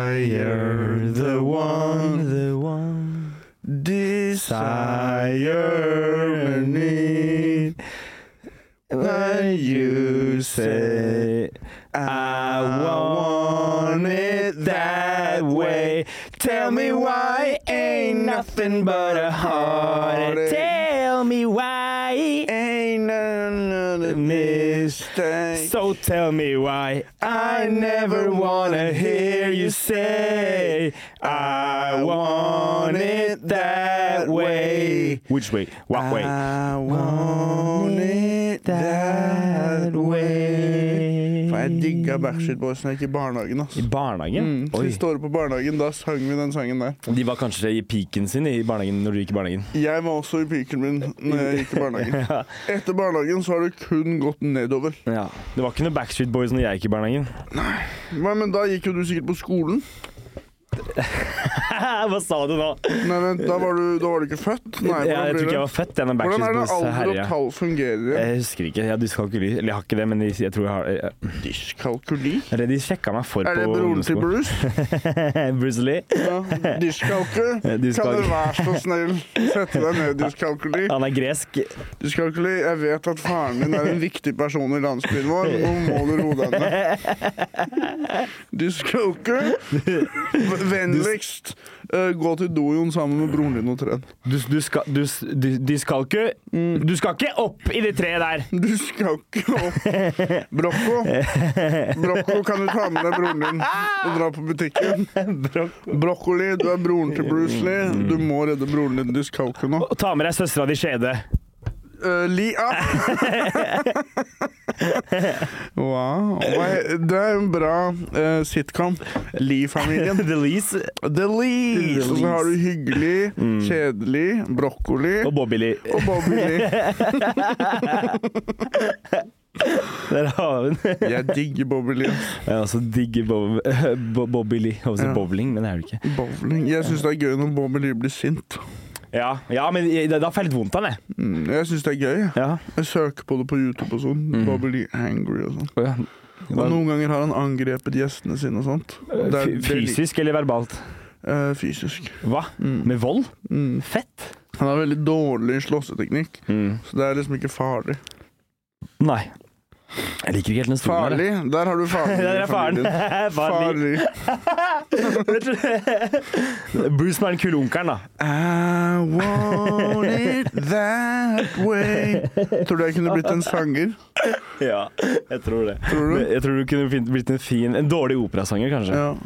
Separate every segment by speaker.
Speaker 1: Desire the one,
Speaker 2: The one.
Speaker 1: desire and need. When you say, I want it that way, tell me why ain't nothing but a heartache.
Speaker 2: Tell me why.
Speaker 1: Ain't another mistake.
Speaker 2: So tell me why
Speaker 1: I never wanna hear you say I want it that way.
Speaker 2: Which way? What way?
Speaker 1: I want it that way. For jeg digga Backstreet Boys da jeg gikk i barnehagen. ass
Speaker 2: I barnehagen?
Speaker 1: Mm,
Speaker 2: Oi.
Speaker 1: Siste året på barnehagen, da sang vi den sangen der.
Speaker 2: De var kanskje i piken sin i barnehagen når du gikk i barnehagen.
Speaker 1: Jeg var også i piken min når jeg gikk i barnehagen.
Speaker 2: Ja.
Speaker 1: Etter barnehagen så har det kun gått nedover.
Speaker 2: ja. Det var ikke noe Backstreet Boys når jeg gikk i barnehagen.
Speaker 1: Nei, men da gikk jo du sikkert på skolen.
Speaker 2: Hva sa du nå?
Speaker 1: Nei, vent, da var du, da var du ikke født?
Speaker 2: jeg,
Speaker 1: Nei,
Speaker 2: jeg
Speaker 1: hvordan blir
Speaker 2: tror ikke
Speaker 1: det?
Speaker 2: jeg var født jeg, når
Speaker 1: Hvordan
Speaker 2: Backstreet
Speaker 1: er det
Speaker 2: Boys Eh,
Speaker 1: alder og
Speaker 2: herja.
Speaker 1: tall fungerer?
Speaker 2: Jeg husker ikke. Jeg, dyskalkuli. Eller jeg har ikke det, men de- jeg tror jeg har jeg-
Speaker 1: Dyskalkuli?
Speaker 2: Det er det de sjekka meg for
Speaker 1: Er
Speaker 2: på
Speaker 1: det broren til
Speaker 2: ungdomsskolen.
Speaker 1: Bruce?
Speaker 2: Bruce Lee.
Speaker 1: Ja. Dyskalkuli? Kan
Speaker 2: Dyskalk-
Speaker 1: du være så snill sette deg ned, dyskalkuli?
Speaker 2: Han er gresk.
Speaker 1: Dyskalkuli, jeg vet at faren din er en viktig person i landsbyen vår. Nå må du roe deg ned. Dyskalkuli, v- vennligst eh, gå til dojoen sammen med broren din og tren.
Speaker 2: Du, du skal du, s- du, de skal ikke Du skal ikke opp i det treet der!
Speaker 1: Du skal ikke opp. Brokko, Brokko, kan du ta med deg broren din og dra på butikken? Brokkoli, du er broren til Bruce Lee. Du må redde broren din. Du skal ikke nå.
Speaker 2: Og ta med deg søstera di skjede.
Speaker 1: Eh, Li up! wow. Hva he- Det er en bra eh, sitcom. Lee-familien.
Speaker 2: The Lees
Speaker 1: The Lees. Og så har du hyggelig, kjedelig, brokkoli
Speaker 2: Mm. og Bobby Lee.
Speaker 1: og Bobby Lee.
Speaker 2: Der har vi den.
Speaker 1: Jeg digger Bobby Lee. ass.
Speaker 2: Jeg også digger Bob, Bo- Bobby Lee. Jeg vil si
Speaker 1: Ja.
Speaker 2: bowling, men det er det ikke.
Speaker 1: Bowling. Jeg syns det er gøy når Bobby Lee blir sint.
Speaker 2: Ja, ja men jeg- da får jeg litt vondt av den, jeg.
Speaker 1: Mm, Jeg syns det er gøy. jeg.
Speaker 2: Ja.
Speaker 1: Jeg søker på det på YouTube og sånn. Bobby Lee angry og sånn.
Speaker 2: Å Mm. ja. Eh,
Speaker 1: Og noen ganger har han angrepet gjestene sine og sånt. Det er-
Speaker 2: Fy-
Speaker 1: det er li-
Speaker 2: Fysisk eller verbalt?
Speaker 1: Eh, fysisk.
Speaker 2: Hva? Med vold?
Speaker 1: Mm.
Speaker 2: Fett?
Speaker 1: Han har veldig dårlig slåsseteknikk, så det er liksom ikke farlig.
Speaker 2: Nei. Jeg liker ikke helt den stolen. her, jeg.
Speaker 1: Farlig? Der har du faren.
Speaker 2: Der er
Speaker 1: i familien.
Speaker 2: faren. Farlig.
Speaker 1: Farlig.
Speaker 2: Bruce som er den kule onkelen, da.
Speaker 1: I want it that way. Tror du jeg kunne blitt en sanger?
Speaker 2: Ja, jeg tror det.
Speaker 1: Tror du?
Speaker 2: Men Jeg tror du kunne fin- blitt en fin En dårlig operasanger, kanskje.
Speaker 1: Ja.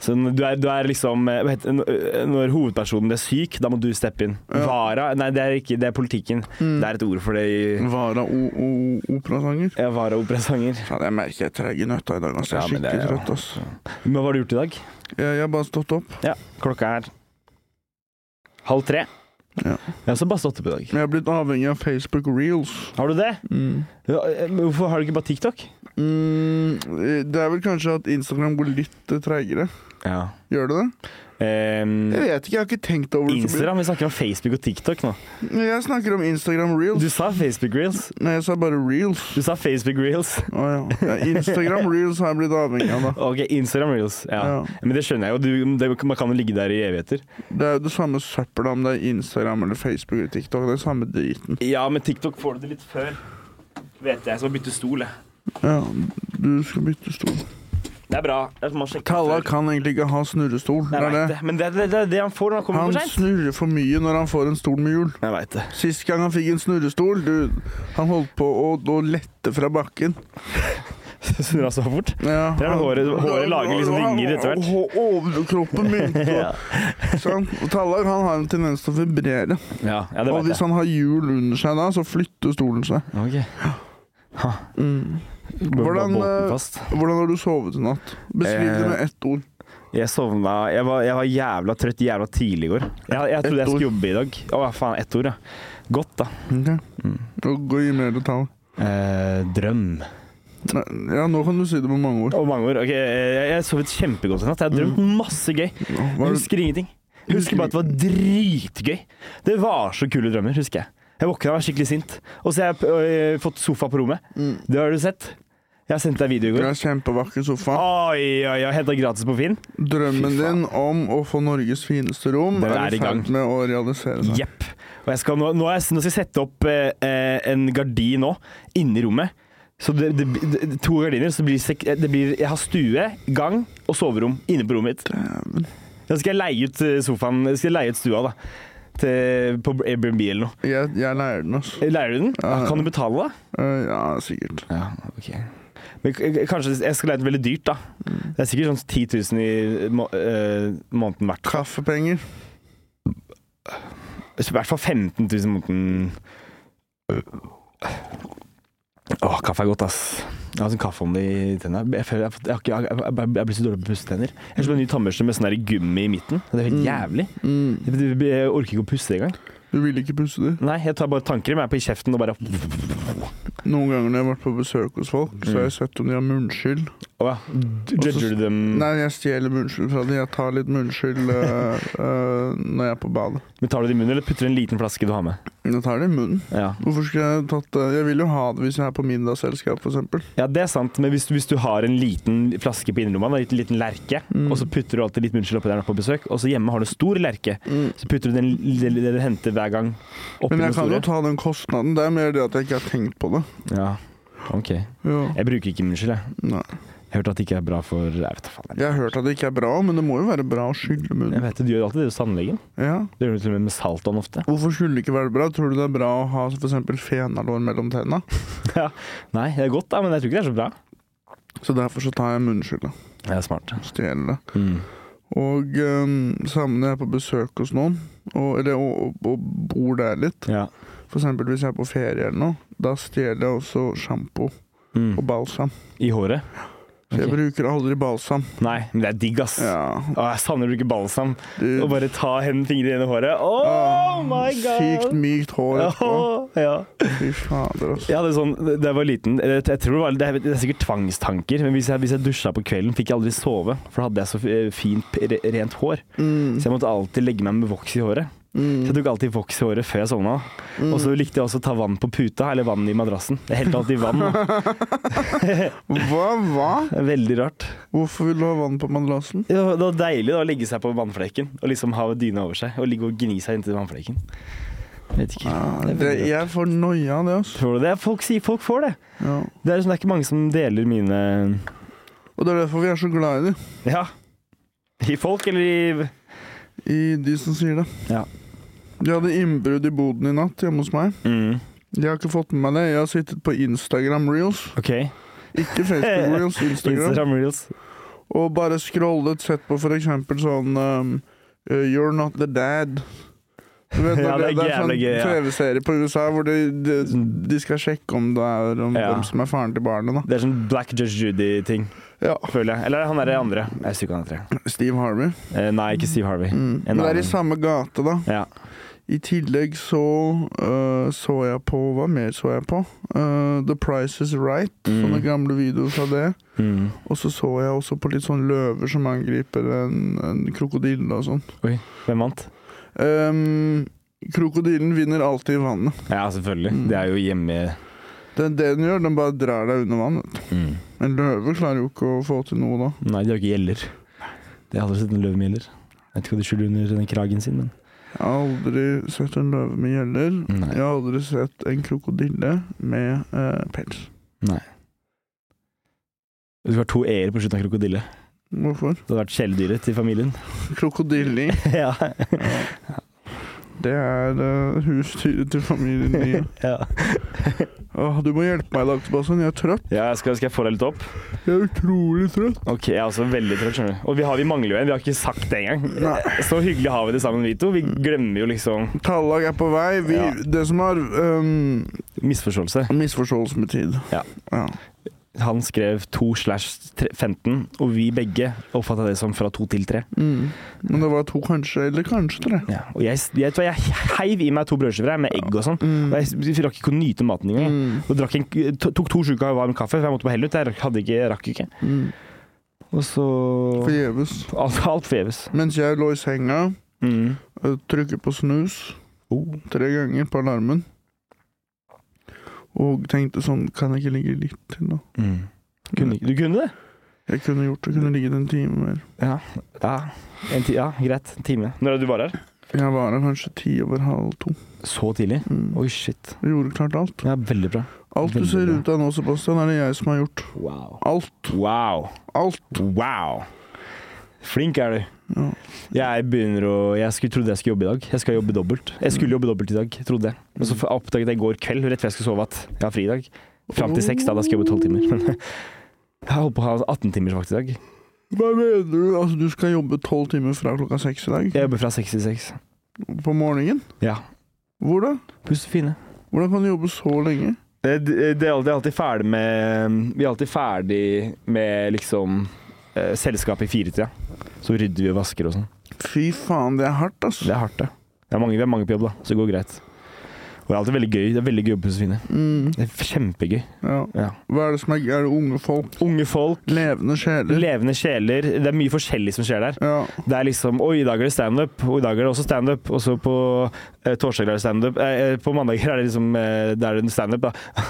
Speaker 2: Så n- du er, du er liksom eh, hva heter det, n- Når hovedpersonen blir syk, da må du steppe inn.
Speaker 1: Ja.
Speaker 2: Vara Nei, det er ikke Det er politikken. Det er et ord for det i
Speaker 1: Vara o- o- operasanger.
Speaker 2: ja, vara-operasanger.
Speaker 1: Faen, Jeg merker jeg er treg i nøtta i dag. Altså. Jeg er
Speaker 2: Ja, men det
Speaker 1: skikkelig
Speaker 2: er jo-
Speaker 1: trøtt. Altså.
Speaker 2: Men hva har du gjort i dag?
Speaker 1: Jeg, jeg har bare stått opp.
Speaker 2: Ja, klokka er halv tre.
Speaker 1: Ja.
Speaker 2: Jeg har også bare stått opp i dag.
Speaker 1: Jeg har blitt avhengig av Facebook reels.
Speaker 2: Har du det?
Speaker 1: Mm.
Speaker 2: Ja, eh, men hvorfor har du ikke bare TikTok?
Speaker 1: Mm, det er vel kanskje at Instagram går litt eh, treigere.
Speaker 2: Ja.
Speaker 1: Gjør det det? Jeg vet ikke, jeg har ikke tenkt over
Speaker 2: Mm. Ehm,
Speaker 1: det. så mye.
Speaker 2: Instagram. Vi snakker om Facebook og TikTok nå.
Speaker 1: Jeg snakker om Instagram reels.
Speaker 2: Du sa Facebook reels.
Speaker 1: Nei, jeg sa bare reels.
Speaker 2: Du sa Facebook reels.
Speaker 1: Å ja. ja. Instagram reels har jeg blitt avhengig av, da.
Speaker 2: Ok, Instagram reels. Ja.
Speaker 1: Ja.
Speaker 2: Men det skjønner jeg jo. Du, det, man kan jo ligge der i evigheter.
Speaker 1: Det er jo det samme søppelet om det er Instagram eller Facebook eller TikTok. Det er samme driten.
Speaker 2: Ja, med TikTok får du det litt før. Vet jeg. Jeg skal bytte stol, jeg.
Speaker 1: Ja, du skal bytte stol.
Speaker 2: Det er bra. Det er at man sjekker
Speaker 1: Talla
Speaker 2: før.
Speaker 1: kan egentlig ikke ha snurrestol.
Speaker 2: Jeg
Speaker 1: Det er
Speaker 2: vet
Speaker 1: det.
Speaker 2: det. Men det er det, det, er det han får når han kommer
Speaker 1: Han
Speaker 2: for seint.
Speaker 1: snurrer for mye når han får en stol med hjul.
Speaker 2: Jeg veit det.
Speaker 1: Sist gang han fikk en snurrestol, du, han holdt på å, å lette fra bakken.
Speaker 2: Snurrer han så fort?
Speaker 1: Ja,
Speaker 2: Det er det håret- håret lager liksom vinger etter hvert.
Speaker 1: Og overkroppen mynt. Sånn. Og Tallag han har en tendens til å vibrere.
Speaker 2: Ja, ja det
Speaker 1: Og
Speaker 2: veit jeg.
Speaker 1: hvis han har hjul under seg da, så flytter stolen seg.
Speaker 2: Ok.
Speaker 1: Mm. Hvordan,
Speaker 2: Hvordan
Speaker 1: eh,
Speaker 2: fast.
Speaker 1: Hvordan har du sovet i natt? Beskriv det
Speaker 2: Eh,
Speaker 1: med ett ord.
Speaker 2: Jeg sovna jeg var, jeg var jævla trøtt jævla tidlig i går. Jeg, jeg trodde jeg
Speaker 1: ord.
Speaker 2: skulle jobbe i dag. Å faen, ett ord, ja. Godt, da.
Speaker 1: Ok. Og Mm. gå i mer detalj.
Speaker 2: Eh, drøm.
Speaker 1: Nei, Ja, nå kan du si det med mange ord.
Speaker 2: Og mange ord. Ok, eh, jeg, jeg sovet kjempegodt i natt. Jeg har drømt masse gøy.
Speaker 1: Hva
Speaker 2: Jeg
Speaker 1: er det?
Speaker 2: husker ingenting. Jeg husker bare at det var dritgøy. Det var så kule drømmer, Mm. husker jeg. Jeg våkna og var skikkelig sint. Og så har jeg øh, fått sofa på rommet. Det har du sett. Jeg sendte deg video i
Speaker 1: Du
Speaker 2: går.
Speaker 1: er kjempevakker sofa.
Speaker 2: Oi, oi, oi. Henta gratis på Finn.
Speaker 1: Drømmen
Speaker 2: Ah, Fy faen.
Speaker 1: din om å få Norges fineste rom
Speaker 2: Den
Speaker 1: er,
Speaker 2: er i
Speaker 1: i ferd
Speaker 2: gang.
Speaker 1: med å realisere seg.
Speaker 2: Jepp. Og jeg skal, nå, nå, er jeg, nå skal jeg sette opp eh, eh, en gardin nå, inni rommet. Så det, det, det, to gardiner, så det blir, sek, det blir Jeg har stue, gang og soverom inne på rommet mitt. Da skal jeg leie ut eh, sofaen Skal jeg leie ut stua, da. Til, på Airbnb eller noe.
Speaker 1: Jeg, jeg leier den, altså.
Speaker 2: Leier du den?
Speaker 1: Ja.
Speaker 2: Ja, kan du betale, da?
Speaker 1: Eh, ja, sikkert.
Speaker 2: Ja, ok. Men k- k- kanskje jeg skal leie den veldig dyrt, da. Det er sikkert sånn 10 000 i må, eh, måneden hvert.
Speaker 1: Kaffepenger.
Speaker 2: I hvert fall 15 000 i måneden. Åh, kaffe er godt, ass. Jeg har sånn kaffeånde i tennene. Jeg, føler, jeg, har fått- jeg, har ikke- jeg, jeg, jeg, jeg blir så dårlig på å pusse tenner. Jeg har en ny tannbørste med sånn der gummi i midten. Det er helt
Speaker 1: Mm.
Speaker 2: jævlig.
Speaker 1: Mm.
Speaker 2: Jeg, jeg, jeg orker ikke å pusse engang.
Speaker 1: Du ville ikke pusse det.
Speaker 2: Nei, jeg tar bare tannkrem jeg er på i kjeften og bare
Speaker 1: Noen ganger når jeg har vært på besøk hos folk, så har
Speaker 2: Mm.
Speaker 1: jeg sett om de har munnskyld.
Speaker 2: Åh, ja. Judger du dem
Speaker 1: Nei, jeg stjeler munnskyld fra dem. Jeg tar litt munnskyld eh, eh, når jeg er på badet.
Speaker 2: Men Tar du det i munnen, eller putter du en liten flaske du har med?
Speaker 1: Men Jeg tar det i munnen.
Speaker 2: Ja,
Speaker 1: Hvorfor skulle jeg tatt det? Jeg vil jo ha det hvis jeg er på middagsselskap, f.eks.
Speaker 2: ja det er sant, men hvis, hvis du har en liten flaske på innerlomma, en liten, liten lerke,
Speaker 1: Mm.
Speaker 2: og så putter du alltid litt munnskyld oppi der når du er på besøk, og så hjemme har du en stor lerke,
Speaker 1: Mm.
Speaker 2: Så putter du den det, det du henter hver gang oppi
Speaker 1: Men
Speaker 2: den
Speaker 1: jeg kan jo
Speaker 2: store.
Speaker 1: ta den kostnaden. Det er mer det at jeg ikke har tenkt på det.
Speaker 2: Ja, ok.
Speaker 1: Ja.
Speaker 2: Jeg bruker ikke munnskyld, jeg.
Speaker 1: Nei.
Speaker 2: Jeg har hørt at det ikke er bra for Jeg vet da faen.
Speaker 1: Jeg har hørt at det ikke er bra, men det må jo være bra å skylle
Speaker 2: Jeg
Speaker 1: munnen.
Speaker 2: vet det, Du gjør alltid det hos tannlegen.
Speaker 1: Ja.
Speaker 2: Det gjør du til og med med saltvann ofte.
Speaker 1: Hvorfor skulle det ikke være bra? Tror du det er bra å ha f.eks. fenalår mellom tenna?
Speaker 2: Nei, det er godt, da, men jeg tror ikke det er så bra.
Speaker 1: Så derfor så tar jeg munnskylda.
Speaker 2: Det er smart.
Speaker 1: Stjeler det.
Speaker 2: Mm.
Speaker 1: Og um, sammen når jeg er på besøk hos noen, og, eller, og, og, og bor der litt
Speaker 2: Ja.
Speaker 1: F.eks. hvis jeg er på ferie eller noe, da stjeler jeg også sjampo og
Speaker 2: Mm.
Speaker 1: balsam.
Speaker 2: I håret?
Speaker 1: Så jeg
Speaker 2: Ok.
Speaker 1: bruker aldri balsam.
Speaker 2: Nei, men det er digg, ass.
Speaker 1: Ja,
Speaker 2: Å, jeg savner å bruke balsam
Speaker 1: du,
Speaker 2: og bare ta hen fingrene inn i håret. Oh
Speaker 1: ah,
Speaker 2: my god!
Speaker 1: Sykt mykt hår etterpå.
Speaker 2: Åh, ja.
Speaker 1: Fy fader, altså.
Speaker 2: Jeg hadde sånn, da jeg var liten jeg, jeg tror det, var, det, er, det er sikkert tvangstanker, men hvis jeg, hvis jeg dusja på kvelden, fikk jeg aldri sove. For da hadde jeg så eh, fint, p- re- rent hår.
Speaker 1: Mm,
Speaker 2: Så jeg måtte alltid legge meg med voks i håret. Så
Speaker 1: mm,
Speaker 2: jeg tok alltid voks i håret før jeg sovna.
Speaker 1: mm.
Speaker 2: Og så likte jeg også å ta vann på puta, eller vann i madrassen. Jeg helte alltid vann. da.
Speaker 1: Hva? Hva?
Speaker 2: Det er Veldig rart.
Speaker 1: Hvorfor vil du ha vann på madrassen?
Speaker 2: Det var, det var deilig da, å ligge seg på vannflekken og liksom ha dyna over seg. Og ligge og gni seg inntil vannflekken. Jeg Vet ikke. Det er
Speaker 1: Ja, Ah, det,
Speaker 2: veldig rart.
Speaker 1: jeg får noia av det, altså.
Speaker 2: Tror du det? Folk sier folk får det.
Speaker 1: Ja.
Speaker 2: Det er, liksom, det er ikke mange som deler mine
Speaker 1: Og det er derfor vi er så glad i dem.
Speaker 2: Ja. I folk eller i
Speaker 1: I de som sier det.
Speaker 2: Ja.
Speaker 1: De hadde innbrudd i boden i natt hjemme hos meg.
Speaker 2: mm.
Speaker 1: Jeg har ikke fått med meg det. Jeg har sittet på Instagram reels.
Speaker 2: OK.
Speaker 1: Ikke Facebook reels, Instagram.
Speaker 2: Instagram reels.
Speaker 1: Og bare scrollet, sett på for eksempel sånn um, uh, You're not the dad. Du vet,
Speaker 2: Ja,
Speaker 1: når det,
Speaker 2: det er
Speaker 1: det er
Speaker 2: jævlig
Speaker 1: sånn
Speaker 2: gøy, ja.
Speaker 1: TV-serie på USA hvor de, de, de skal sjekke om det er om
Speaker 2: Ja.
Speaker 1: hvem som er faren til barnet.
Speaker 2: Det er sånn Black Judge Judy-ting,
Speaker 1: da Ja,
Speaker 2: føler jeg. Eller han er det andre. Jeg husker ikke han heter. det.
Speaker 1: Steve Harvey.
Speaker 2: Eh, Nei, ikke Steve Harvey.
Speaker 1: Mm.
Speaker 2: En
Speaker 1: Men det er
Speaker 2: annen.
Speaker 1: i samme gate, da.
Speaker 2: Ja.
Speaker 1: I tillegg så øh, så jeg på Hva mer så jeg på? Øh, The Price Is Right. Sånne
Speaker 2: Mm.
Speaker 1: gamle videoer fra det.
Speaker 2: Mm.
Speaker 1: Og så så jeg også på litt sånn løver som angriper en, en krokodille og sånn.
Speaker 2: Hvem vant?
Speaker 1: Ehm, krokodillen vinner alltid i vannet.
Speaker 2: Ja, selvfølgelig.
Speaker 1: Mm.
Speaker 2: Det er jo hjemme
Speaker 1: Det, det den gjør, den bare drar deg under vann. vet du.
Speaker 2: mm.
Speaker 1: En løve klarer jo ikke å få til noe da.
Speaker 2: Nei, de har ikke gjeller. Det har aldri sett en løve med gjeller. Jeg vet ikke hva de skjuler under den kragen sin, men
Speaker 1: Jeg har aldri sett en løve med gjeller.
Speaker 2: Nei.
Speaker 1: Jeg har aldri sett en krokodille med eh, pels.
Speaker 2: Nei. Det skulle vært to e-er på slutten av krokodille.
Speaker 1: Hvorfor?
Speaker 2: Det hadde vært kjæledyret til familien.
Speaker 1: Krokodilling,
Speaker 2: ja.
Speaker 1: det er eh, husdyret til familien min.
Speaker 2: ja.
Speaker 1: Åh, du må hjelpe meg i dag, Sebastian. Jeg er trøtt.
Speaker 2: ja skal, skal jeg få deg litt opp?
Speaker 1: Jeg er utrolig trøtt.
Speaker 2: Ok, jeg er også veldig trøtt, skjønner du. Og vi, har, vi mangler jo en, vi har ikke sagt det engang.
Speaker 1: Nei.
Speaker 2: Så hyggelig har vi det sammen, vi to. Vi glemmer jo liksom
Speaker 1: Tallag er på vei. Vi,
Speaker 2: Ja.
Speaker 1: Det som er um,
Speaker 2: misforståelse.
Speaker 1: misforståelse med tid.
Speaker 2: Ja.
Speaker 1: ja.
Speaker 2: Han skrev 2 slash tre- 15, og vi begge oppfatta det som fra 2 til 3.
Speaker 1: Mm. Men det var to kanskje, eller kanskje tre.
Speaker 2: Ja. Og jeg, jeg, vet du hva, jeg heiv i meg to brødskiver her med egg og sånn.
Speaker 1: Mm.
Speaker 2: Og jeg rakk ikke å nyte maten engang. jeg.
Speaker 1: Mm.
Speaker 2: Og drakk en, to- tok to sjuke av varm kaffe, for jeg måtte på hell ut. Jeg rakk, hadde ikke, jeg rakk ikke.
Speaker 1: Mm.
Speaker 2: Og så
Speaker 1: Forgjeves.
Speaker 2: Alt, alt forgjeves.
Speaker 1: Mens jeg lå i senga,
Speaker 2: Mm.
Speaker 1: ø, trykket på snus
Speaker 2: Oh.
Speaker 1: tre ganger på alarmen. Og tenkte sånn, kan jeg ikke ligge litt til, da?
Speaker 2: Mm. Kunne, du kunne det?
Speaker 1: Jeg kunne gjort det. Kunne ligget en time mer.
Speaker 2: Ja. ja. En ti, ja greit. En time. Når er det du var her?
Speaker 1: Jeg var her kanskje ti over halv to.
Speaker 2: Så tidlig?
Speaker 1: Mm.
Speaker 2: Oi, shit.
Speaker 1: Jeg Gjorde klart alt.
Speaker 2: Ja, veldig bra.
Speaker 1: Alt du
Speaker 2: Veldig
Speaker 1: ser
Speaker 2: bra.
Speaker 1: ut av nå, Sebastian, er det jeg som har gjort.
Speaker 2: Wow.
Speaker 1: Alt.
Speaker 2: Wow.
Speaker 1: Alt.
Speaker 2: Wow. Flink er du.
Speaker 1: Ja.
Speaker 2: Jeg begynner å Jeg skulle, trodde jeg skulle jobbe i dag. Jeg skal jobbe dobbelt. Jeg skulle jobbe dobbelt i dag, trodde jeg. Men så f- oppdaget jeg i går kveld, rett før jeg skulle sove, at jeg har fri i dag. Fram til seks, da. Da skal jeg jobbe tolv timer. Men jeg holdt på å ha 18 timers vakt i dag.
Speaker 1: Hva mener du? Altså, du skal jobbe tolv timer fra klokka seks i dag?
Speaker 2: Jeg jobber fra seks til seks.
Speaker 1: På morgenen?
Speaker 2: Ja.
Speaker 1: Hvor da?
Speaker 2: Pust fine.
Speaker 1: Hvordan kan du jobbe så lenge?
Speaker 2: Det, det er alltid, alltid ferdig med Vi er alltid ferdig med liksom eh, selskapet i firetida. Så rydder vi og vasker og sånn.
Speaker 1: Fy faen, det er hardt, ass.
Speaker 2: Det er hardt, det. det er mange, vi er mange på jobb, da, så det går greit. Og det er alltid veldig gøy. Det er veldig gøy å jobbe på Josefine.
Speaker 1: Mm,
Speaker 2: Det er kjempegøy.
Speaker 1: ja.
Speaker 2: Ja.
Speaker 1: Hva er det som er gøy? Er det unge folk?
Speaker 2: Unge folk,
Speaker 1: Levende sjeler?
Speaker 2: levende sjeler. Det er mye forskjellig som skjer der.
Speaker 1: ja.
Speaker 2: Det er liksom Oi, i dag er det standup, og i dag er det også standup. Og så på eh, torsdager er det standup. Eh, eh, på mandager er det liksom eh, det er det standup, da.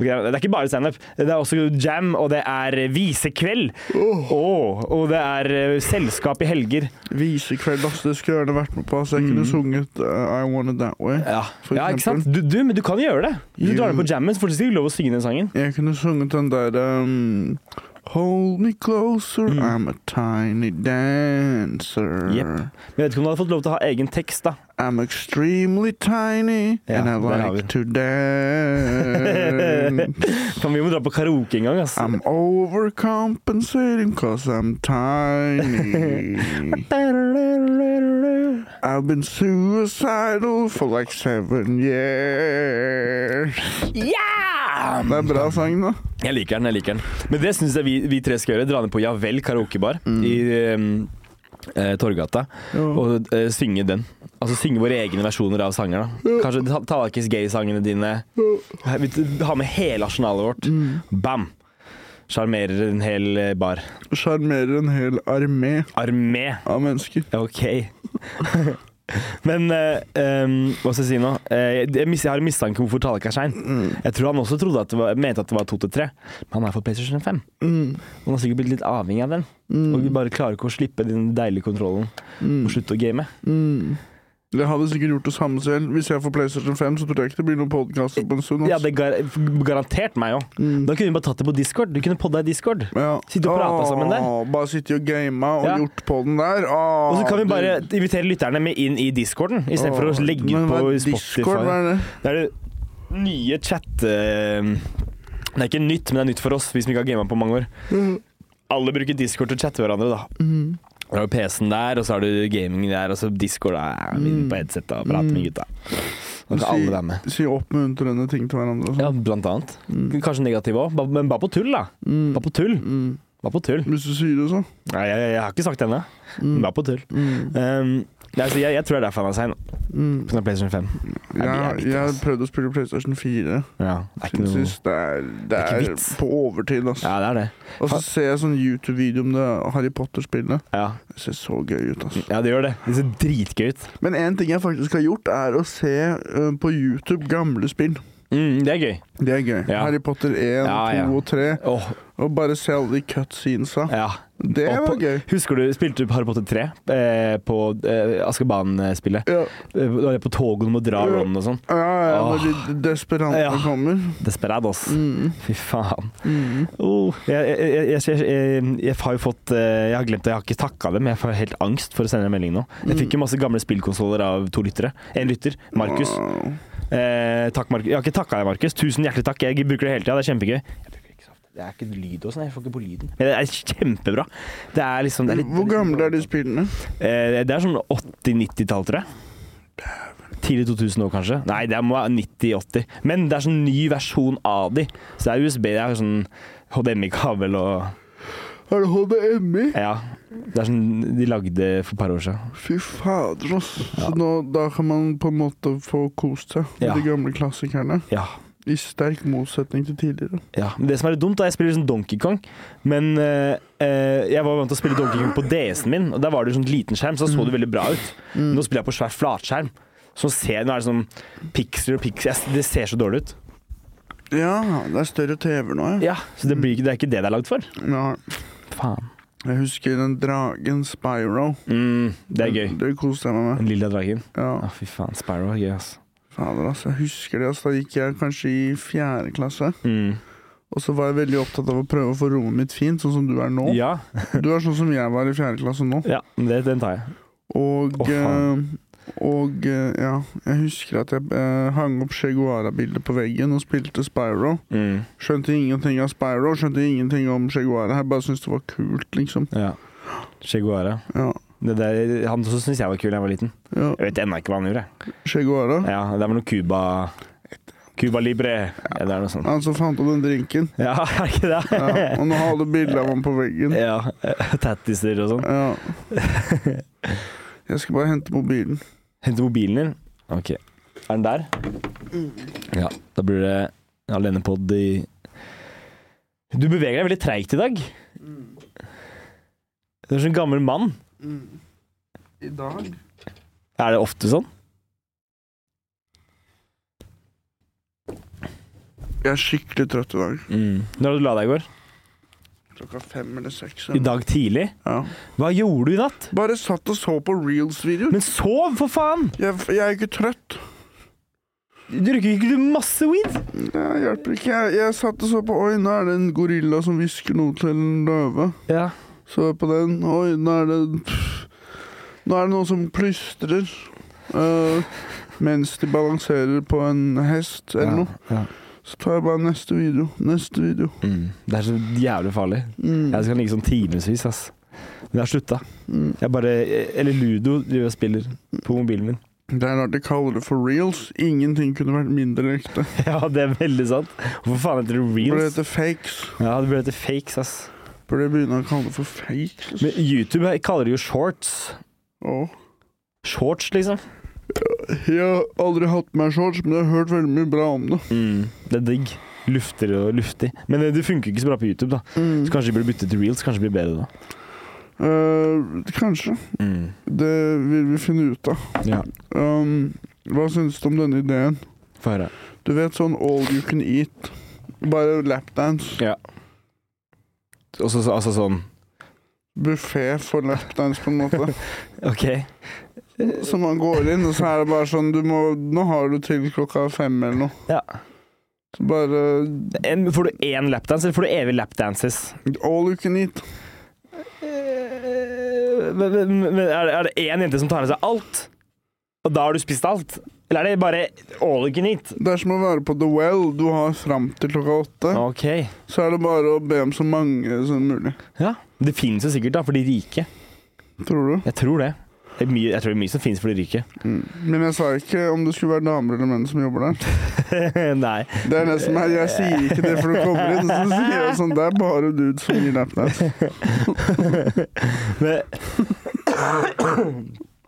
Speaker 2: Ok, det er ikke bare standup. Det er også jam, og det er visekveld.
Speaker 1: Åh,
Speaker 2: Åh, og det er eh, selskap i helger.
Speaker 1: Visekveld, ass. Det skulle jeg gjerne vært med på. ass. jeg kunne
Speaker 2: Mm.
Speaker 1: sunget uh, I Want It That Way.
Speaker 2: Ja,
Speaker 1: For
Speaker 2: ja ikke
Speaker 1: eksempel.
Speaker 2: sant? Du, du, men du kan gjøre det. Hvis du
Speaker 1: Jo.
Speaker 2: drar ned på jammen, så får du ikke lov å synge den sangen.
Speaker 1: Jeg kunne sunget den der um, Hold me closer,
Speaker 2: Mm.
Speaker 1: I'm a tiny dancer.
Speaker 2: Jepp. Men jeg vet ikke om du hadde fått lov til å ha egen tekst, da.
Speaker 1: I'm extremely tiny,
Speaker 2: Ja,
Speaker 1: and I
Speaker 2: der har vi
Speaker 1: like to dance.
Speaker 2: For vi må dra på karaoke en gang, ass.
Speaker 1: I'm overcompensating cause I'm tiny. I've been suicidal for like seven years.
Speaker 2: Yeah!
Speaker 1: Det er bra sang, da.
Speaker 2: Jeg liker den, jeg liker den. Men det syns jeg vi, vi tre skal gjøre. Dra ned på Javel karaokebar i ehm, eh, Torgata. Og eh, synge den. Altså synge våre egne versjoner av sanger, da. Kanskje ta- Talakis Gay-sangene dine. Her, Vi har med hele arsenalet vårt. Bam! Sjarmerer en hel eh, bar.
Speaker 1: Sjarmerer en hel armé
Speaker 2: Armé.
Speaker 1: av mennesker.
Speaker 2: Ok. Men eh, em, hva skal jeg si nå? Eh, jeg, mis, jeg har en mistanke om hvorfor Tallak er sein.
Speaker 1: Mm.
Speaker 2: Jeg tror han også trodde at det var, mente at det var to til tre, men han er for PlayStation 5.
Speaker 1: Mm.
Speaker 2: Og han har sikkert blitt litt avhengig av den. Og bare klarer ikke å slippe den deilige kontrollen
Speaker 1: Mm.
Speaker 2: og slutte å game.
Speaker 1: Mm. Jeg hadde sikkert gjort det samme selv. Hvis jeg får PlayStation 5, så tror jeg ikke det blir noen podkaster på en stund. ass.
Speaker 2: Ja, det gar garantert meg òg.
Speaker 1: Mm.
Speaker 2: Da kunne vi bare tatt det på Discord. Du kunne podda i Discord.
Speaker 1: Ja.
Speaker 2: Sitte og prate
Speaker 1: Åh,
Speaker 2: sammen der.
Speaker 1: Bare sitte og game og
Speaker 2: Ja.
Speaker 1: gjort på den der. Åh,
Speaker 2: Og så kan vi
Speaker 1: Ah, du-
Speaker 2: bare invitere lytterne med inn i discorden, istedenfor
Speaker 1: Åh,
Speaker 2: å legge
Speaker 1: men
Speaker 2: ut
Speaker 1: hva
Speaker 2: på
Speaker 1: er Discord, hva
Speaker 2: Spotify.
Speaker 1: er det?
Speaker 2: Det er det nye chatte... Det er ikke nytt, men det er nytt for oss, vi som ikke har gamet på mange år. Alle bruker Discord til å chatte hverandre, da.
Speaker 1: Mhm.
Speaker 2: Da har du PC-en der, og så har du gaming der, og så Discord er inn på headset og prater med gutta. Da kan Mm. alle være med.
Speaker 1: Si oppmuntrende ting til hverandre. og sånn.
Speaker 2: Ja, blant annet. Kanskje negativ òg, men bare på tull, da.
Speaker 1: Mm.
Speaker 2: Bare på tull.
Speaker 1: Mm.
Speaker 2: Bare på tull.
Speaker 1: Hvis du sier det, så.
Speaker 2: Nei, jeg, jeg har ikke sagt det ennå. men Bare på tull.
Speaker 1: Mm.
Speaker 2: Um, nei, så jeg, jeg tror det er derfor han er sein.
Speaker 1: Mm.
Speaker 2: Pga. PlayStation 5. Nei, det er
Speaker 1: Jeg,
Speaker 2: viktig,
Speaker 1: jeg
Speaker 2: ass.
Speaker 1: prøvde å spille PlayStation 4.
Speaker 2: Ja, det er ikke
Speaker 1: Siden
Speaker 2: noe
Speaker 1: sist. Det er, det
Speaker 2: er ikke
Speaker 1: er
Speaker 2: vits.
Speaker 1: på overtid, ass.
Speaker 2: Ja, det er det.
Speaker 1: Og så ser jeg sånn YouTube-video om det Harry Potter-spillet.
Speaker 2: Ja,
Speaker 1: Det ser så gøy ut, ass.
Speaker 2: ja det gjør det. Det ser dritgøy ut.
Speaker 1: Men en ting jeg faktisk har gjort, er å se eh, på YouTube gamle spill.
Speaker 2: Mm, det er gøy.
Speaker 1: Det er gøy.
Speaker 2: Ja.
Speaker 1: Harry Potter 1,
Speaker 2: Ja,
Speaker 1: 2
Speaker 2: ja.
Speaker 1: og 3.
Speaker 2: Åh,
Speaker 1: Og bare se alle de cutscenesa.
Speaker 2: ja.
Speaker 1: Det
Speaker 2: Og
Speaker 1: var
Speaker 2: på-
Speaker 1: gøy.
Speaker 2: Husker du, spilte du Harry Potter 3 eh, på eh, Askeban-spillet?
Speaker 1: Ja,
Speaker 2: Eh, da er det på toget du må dra
Speaker 1: Ja.
Speaker 2: Ron og sånn.
Speaker 1: ja, ja
Speaker 2: Åh.
Speaker 1: når de desperante
Speaker 2: Ja.
Speaker 1: kommer.
Speaker 2: Desperados.
Speaker 1: Mm,
Speaker 2: Fy faen.
Speaker 1: mm.
Speaker 2: Oh, jeg, jeg, jeg, jeg, jeg, jeg har jo fått eh, Jeg har glemt det, jeg har ikke takka dem. Jeg får helt angst for å sende en melding nå. Jeg
Speaker 1: Mm.
Speaker 2: fikk jo masse gamle spillkonsoller av to lyttere. En lytter, Markus.
Speaker 1: Wow.
Speaker 2: Eh, takk, Markus. Jeg har ikke takka deg, Markus. Tusen hjertelig takk. Jeg bruker det hele tida, det er kjempegøy. Jeg bruker det ikke så ofte. Det er ikke lyd og sånn, jeg får ikke på lyden. Men det er kjempebra. Det er liksom det er litt,
Speaker 1: Hvor gamle er de spillene?
Speaker 2: Eh, Det er sånn 80-90-tall, tror jeg. Tidlig 2000 år, kanskje. Nei, det må være 90-80. Men det er sånn ny versjon av de. Så det er USB, det er sånn HDMI-kabel og
Speaker 1: Er det HDMI?
Speaker 2: Ja. Det er sånn de lagde for et par år siden.
Speaker 1: Fy fader, ass. Så nå, da kan man på en måte få kost seg med
Speaker 2: Ja.
Speaker 1: de gamle klassikerne.
Speaker 2: Ja.
Speaker 1: I sterk motsetning til tidligere.
Speaker 2: ja. Men det som er litt dumt, er at jeg spiller sånn Donkey Kong, men eh, eh, jeg var vant til å spille Donkey Kong på DS-en min, og der var det jo sånn liten skjerm, så da så det veldig bra ut. Nå spiller jeg på svær flatskjerm, så ser, nå er det sånn piksler og piksler Det ser så dårlig ut.
Speaker 1: Ja, det er større TV-er nå,
Speaker 2: Ja,
Speaker 1: ja.
Speaker 2: Så det, blir, ikke- det er ikke det det er lagd for?
Speaker 1: ja.
Speaker 2: Faen.
Speaker 1: Jeg husker den dragen Spyro.
Speaker 2: Mm, det er gøy.
Speaker 1: Det koste jeg meg med.
Speaker 2: Den lilla dragen.
Speaker 1: Ja.
Speaker 2: Mm. Å, fy faen. Sparrow er gøy, ass.
Speaker 1: Fader, altså. Jeg husker det. Altså. Da gikk jeg kanskje i fjerde klasse.
Speaker 2: Mm.
Speaker 1: Og så var jeg veldig opptatt av å prøve å få rommet mitt fint, sånn som du er nå.
Speaker 2: Ja,
Speaker 1: Du er sånn som jeg var i fjerde klasse nå.
Speaker 2: ja det, den tar jeg.
Speaker 1: Og
Speaker 2: Å, faen.
Speaker 1: eh, Og eh, ja, jeg husker at jeg eh, hang opp Che Guevara-bildet på veggen og spilte Spyro.
Speaker 2: Mm.
Speaker 1: Skjønte ingenting av Spyro, skjønte ingenting om Che Guevara. Jeg bare syntes det var kult, liksom.
Speaker 2: Ja. Che Guevara.
Speaker 1: Ja.
Speaker 2: Det der, han også syntes jeg var kul da jeg var liten.
Speaker 1: ja.
Speaker 2: Jeg vet ennå ikke hva han gjorde.
Speaker 1: Che Guevara.
Speaker 2: Ja, Det var noe Cuba Cuba Libre. Ja, det er noe sånt.
Speaker 1: Han som fant opp den drinken.
Speaker 2: Ja, er det ikke det?
Speaker 1: Ja. Og nå har alle bilder av ham på veggen.
Speaker 2: Ja. Tattiser og sånn.
Speaker 1: Ja. Jeg skal bare hente mobilen.
Speaker 2: Hente mobilen din. Ok. Er den der? Ja. Da blir det alenepod i Du beveger deg veldig treigt i dag. Du er som en gammel mann.
Speaker 1: I dag?
Speaker 2: Er det ofte sånn?
Speaker 1: Jeg er skikkelig trøtt i dag.
Speaker 2: Mm. Når var det du la deg i går?
Speaker 1: Klokka fem eller seks.
Speaker 2: I dag tidlig?
Speaker 1: Ja.
Speaker 2: Hva gjorde du i natt?
Speaker 1: Bare satt og så på reels-videoer.
Speaker 2: Men sov, for faen!
Speaker 1: Jeg, jeg er ikke trøtt.
Speaker 2: Du røyker ikke du masse weed?
Speaker 1: Det hjelper ikke. Jeg, jeg satt og så på Oi, nå er det en gorilla som hvisker noe til en løve.
Speaker 2: Ja.
Speaker 1: Så jeg på den. Oi, nå er det Nå er det noen som plystrer. eh, mens de balanserer på en hest eller noe.
Speaker 2: Ja.
Speaker 1: Så tar jeg bare neste video. Neste video.
Speaker 2: Mm. Det er så jævlig farlig.
Speaker 1: Mm.
Speaker 2: Jeg skal ligge sånn timevis, ass. Men jeg har slutta.
Speaker 1: Mm.
Speaker 2: Jeg bare Eller Ludo driver og spiller på mobilen min.
Speaker 1: Det er rart de kaller det for reels. Ingenting kunne vært mindre ekte.
Speaker 2: Ja, det er veldig sant. Hvorfor faen heter det
Speaker 1: Burde
Speaker 2: reels?
Speaker 1: hete fakes.
Speaker 2: Ja, det burde hete fakes, ass.
Speaker 1: Burde jeg begynne å kalle det for fakes?
Speaker 2: Men YouTube her kaller det jo shorts.
Speaker 1: Åh.
Speaker 2: Shorts, liksom.
Speaker 1: Jeg har aldri hatt på meg shorts, men jeg har hørt veldig mye bra om det.
Speaker 2: Det er digg. Lufter og luftig. Men eh, det funker ikke så bra på YouTube, da.
Speaker 1: Mm.
Speaker 2: Så kanskje de burde bytte til reels. Kanskje det blir bedre da.
Speaker 1: Eh, kanskje.
Speaker 2: Mm.
Speaker 1: Det vil vi finne ut av.
Speaker 2: Ja,
Speaker 1: Um, hva syns du om denne ideen?
Speaker 2: få høre.
Speaker 1: Du vet sånn all you can eat. Bare lapdance.
Speaker 2: Ja. Og så altså sånn
Speaker 1: Buffé for lapdance, på en måte.
Speaker 2: OK.
Speaker 1: Så man går inn, og så er det bare sånn du må, Nå har du til klokka fem eller noe.
Speaker 2: Ja.
Speaker 1: Så bare
Speaker 2: En, får du én lapdance, eller får du evig lapdances?
Speaker 1: All you can eat.
Speaker 2: Men, men, men er det- er det én jente som tar med seg alt? Og da har du spist alt? Eller er det bare all you can eat?
Speaker 1: Det er som å være på The Well. Du har fram til klokka åtte.
Speaker 2: OK.
Speaker 1: Så er det bare å be om så mange som mulig.
Speaker 2: Ja. Det finnes jo sikkert, da, for de rike.
Speaker 1: Tror du?
Speaker 2: Jeg tror det. det er mye, jeg tror det er mye som finnes for de rike.
Speaker 1: Mm. Men jeg sa ikke om det skulle være damer eller menn som jobber der.
Speaker 2: Nei.
Speaker 1: Det er det som er, Jeg sier ikke det, for du kommer inn og så sier jeg sånn Det er bare dudes som gir lapdance.
Speaker 2: Men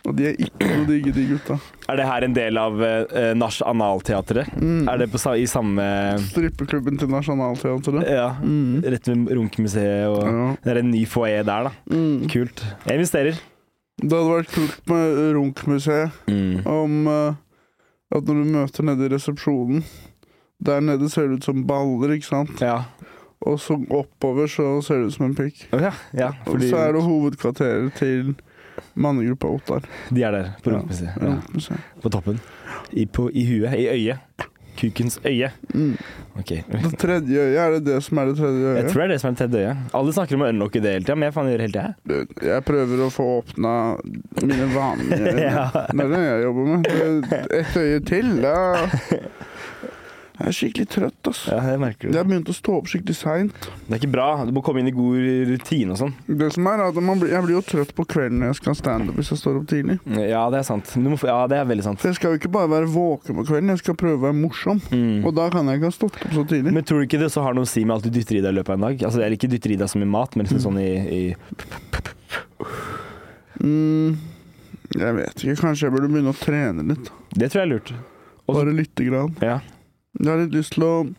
Speaker 1: Og de er ikke noe digge, de gutta.
Speaker 2: er det her en del av uh, nach analteatret?
Speaker 1: Mm.
Speaker 2: Er det på, sa- i samme
Speaker 1: Strippeklubben til Nationaltheatret.
Speaker 2: Ja.
Speaker 1: Mm.
Speaker 2: Rett ved Runkemuseet og
Speaker 1: Ja.
Speaker 2: Det er en ny foajé der, da.
Speaker 1: Mm.
Speaker 2: Kult. Jeg investerer.
Speaker 1: Det hadde vært kult med Runkmuseet
Speaker 2: Mm.
Speaker 1: om eh, at når du møter nede i resepsjonen Der nede ser det ut som baller, ikke sant?
Speaker 2: Ja.
Speaker 1: Og så oppover så ser det ut som en pikk.
Speaker 2: Å ja, ja.
Speaker 1: Og
Speaker 2: Fordi
Speaker 1: så er det hovedkvarteret til mannegruppa Ottar.
Speaker 2: de er der på
Speaker 1: Ja.
Speaker 2: Runkemuseet. Ja.
Speaker 1: Runkmuseet.
Speaker 2: På toppen. I, på, I huet. I øyet. Kukens øye.
Speaker 1: Mm.
Speaker 2: Ok.
Speaker 1: Det tredje øyet, er det det som er det tredje øyet?
Speaker 2: Jeg tror det er det som er det tredje øyet. Alle snakker om å unlocke det hele tida, men jeg faen gjør det hele tida.
Speaker 1: Jeg prøver å få åpna mine vaner.
Speaker 2: Ja.
Speaker 1: Det er det jeg jobber med. Et øye til. Da jeg er skikkelig trøtt, ass.
Speaker 2: Ja, det merker
Speaker 1: Jeg
Speaker 2: du.
Speaker 1: har begynt å stå opp skikkelig seint.
Speaker 2: Det er ikke bra. Du må komme inn i god rutine og sånn.
Speaker 1: Det som er, er at man blir, jeg blir jo trøtt på kvelden når jeg skal standup hvis jeg står opp tidlig.
Speaker 2: Ja, det er sant. Du må, få- ja, det er veldig sant.
Speaker 1: For jeg skal jo ikke bare være våken på kvelden, jeg skal prøve å være morsom.
Speaker 2: Mm.
Speaker 1: Og da kan jeg ikke ha stått opp så tidlig.
Speaker 2: Men tror du ikke det så har noe å si med alt du dytter i deg i løpet av en dag? Altså, Eller ikke dytter i deg som i mat, men liksom sånn i, i
Speaker 1: Mm, jeg vet ikke. Kanskje jeg burde begynne å trene litt.
Speaker 2: Det tror jeg er lurt. Og så-
Speaker 1: Bare lite grann.
Speaker 2: Ja.
Speaker 1: Jeg har litt lyst til å